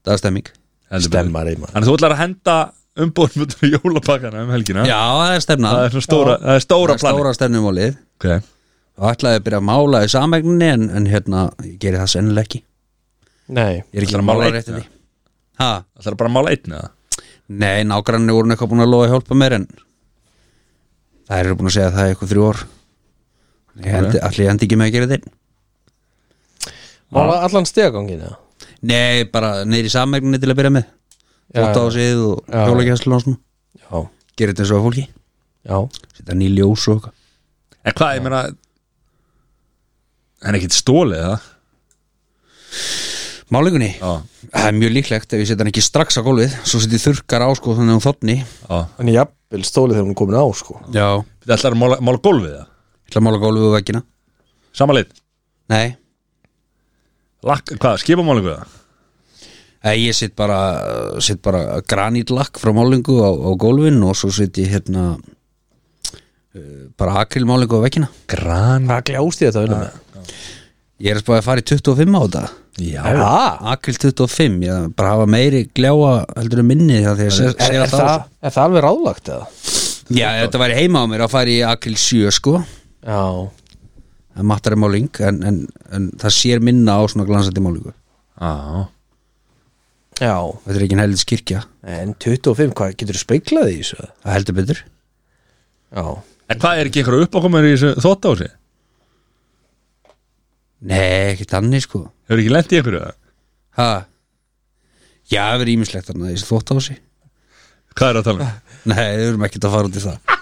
Speaker 3: það er stemming
Speaker 1: heldur betur.
Speaker 2: stemmar í mann
Speaker 1: Þannig þú ætlar að henda umbúðum jólapakkana um helgina
Speaker 3: já, það er stemna,
Speaker 1: Það er svona stóra, það er
Speaker 3: það
Speaker 1: stóra
Speaker 3: er
Speaker 1: plani
Speaker 3: stóra stemnumálið
Speaker 1: okay.
Speaker 3: og ætlaði að byrja að mála í samegninni en, en hérna, ég geri það sennilega ekki
Speaker 2: Nei,
Speaker 3: ég er ekki
Speaker 1: Ætlarðu
Speaker 3: að
Speaker 1: að mála
Speaker 3: mála
Speaker 1: einn,
Speaker 3: rétt í
Speaker 1: eða?
Speaker 3: því ha,
Speaker 1: Það er bara að mála einn eða
Speaker 3: nei, nágrannir voru eitthvað búin að lofa að hjálpa mér en það eru búin að segja það í eitthvað þrjú ár ég hendi, allir ég hendi ekki með að gera þeim
Speaker 2: mála allan stegagangin eða?
Speaker 3: Nei, bara neyri samegninni til að byrja með
Speaker 2: Já,
Speaker 3: Þótt á
Speaker 2: já.
Speaker 3: sig og
Speaker 2: Já.
Speaker 3: hjólagjæslu og svona
Speaker 2: Já,
Speaker 3: Gerir þetta eins og að fólki
Speaker 2: já
Speaker 3: Setta ný ljós og eitthvað
Speaker 1: En hvað, ég meina Hann er ekkert stólið eða
Speaker 3: Málingunni,
Speaker 1: Já,
Speaker 3: það er mjög líklegt ef ég setja hann ekki strax á gólfið Svo setja ég þurrkar á sko þannig að hún þotni
Speaker 1: já
Speaker 2: Þannig jafnvel stólið þegar hún er komin á sko
Speaker 3: Já
Speaker 1: Þetta ætlar að mála, mála gólfið eða
Speaker 3: ætla að mála gólfið og veggina
Speaker 1: Samanleitt,
Speaker 3: Nei,
Speaker 1: lakk, hvað, skipamálingu eða
Speaker 3: Nei, ég set bara, set bara granítlakk frá málingu á, á gólfin Og svo set ég hérna eh, Bara akrilmálingu á veggina
Speaker 1: Gran
Speaker 2: Hvað gljást þið þetta að vinna með?
Speaker 3: Ég er spáði að fara í 25 á þetta
Speaker 1: Já,
Speaker 2: Ha?
Speaker 3: Akril 25, ég þarf bara að hafa meiri gljáa heldur en minni þegar því að segja
Speaker 2: Er,
Speaker 3: segja
Speaker 2: er, það, er það alveg ráðlagt eða?
Speaker 3: Já, ef þetta væri heima á mér að fara í Akril 7 sko
Speaker 2: Já,
Speaker 3: mattari máling en, en, en það sér minna á svona glansandi málingu
Speaker 1: Já,
Speaker 2: Já,
Speaker 3: þetta er ekki en helvits kirkja
Speaker 2: en 25, hvað getur þú speiklað í þessu?
Speaker 3: það heldur betur
Speaker 2: Já,
Speaker 1: en hvað er ekki einhverja uppákomur í þessu þótt á sig?
Speaker 3: nei, ekki þannig sko
Speaker 1: Hefur ekki lent í einhverju það?
Speaker 3: ha. já, það verður ímislegt þarna þessi þótt á sig
Speaker 1: Hvað er að tala um?
Speaker 3: nei, við erum ekkert að fara út í það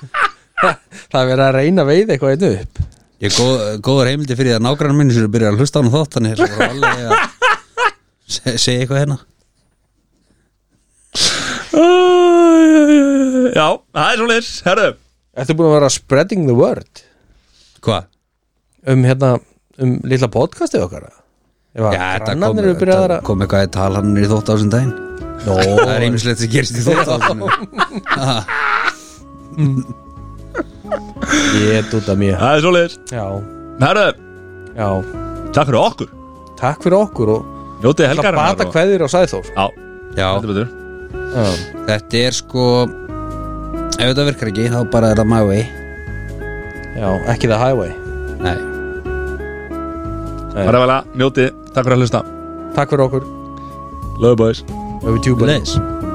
Speaker 2: það er verið að reyna að veiða eitthvað einu upp
Speaker 3: ég er góð, góður heimildi fyrir því að nágrann minn sem byrja að hlusta á hann þótt hann er alveg að se- segja eitthvað hérna
Speaker 1: Já, það er svo leys, herru
Speaker 2: Ertu búin að vera spreading the word
Speaker 3: hvað?
Speaker 2: um hérna, um litla podcastið okkar? Ef að
Speaker 3: Já, þetta kom,
Speaker 2: grannarnir eru byrjaðar
Speaker 3: þetta
Speaker 2: að
Speaker 3: kom eitthvað í tal hann er í þótt á þessum daginn Það er einmislegt sem gerist í þótt á þessum
Speaker 2: Ég er dúta mér
Speaker 1: Það er svo leys,
Speaker 2: Já,
Speaker 1: herru,
Speaker 2: já,
Speaker 1: takk fyrir okkur
Speaker 2: takk fyrir okkur og
Speaker 1: Njótið
Speaker 2: Það
Speaker 1: helgar
Speaker 2: bata kveðir á Sæðþór
Speaker 1: Já,
Speaker 3: Já,
Speaker 1: heldur betur
Speaker 2: Já,
Speaker 3: þetta er sko Ef þetta virkar ekki, þá bara er það my way
Speaker 2: já ekki það highway
Speaker 3: Nei
Speaker 1: Bara vel að njótið, takk fyrir að hlusta
Speaker 2: Takk fyrir okkur,
Speaker 1: Love you boys
Speaker 2: öfum tjúbæri
Speaker 3: Leðis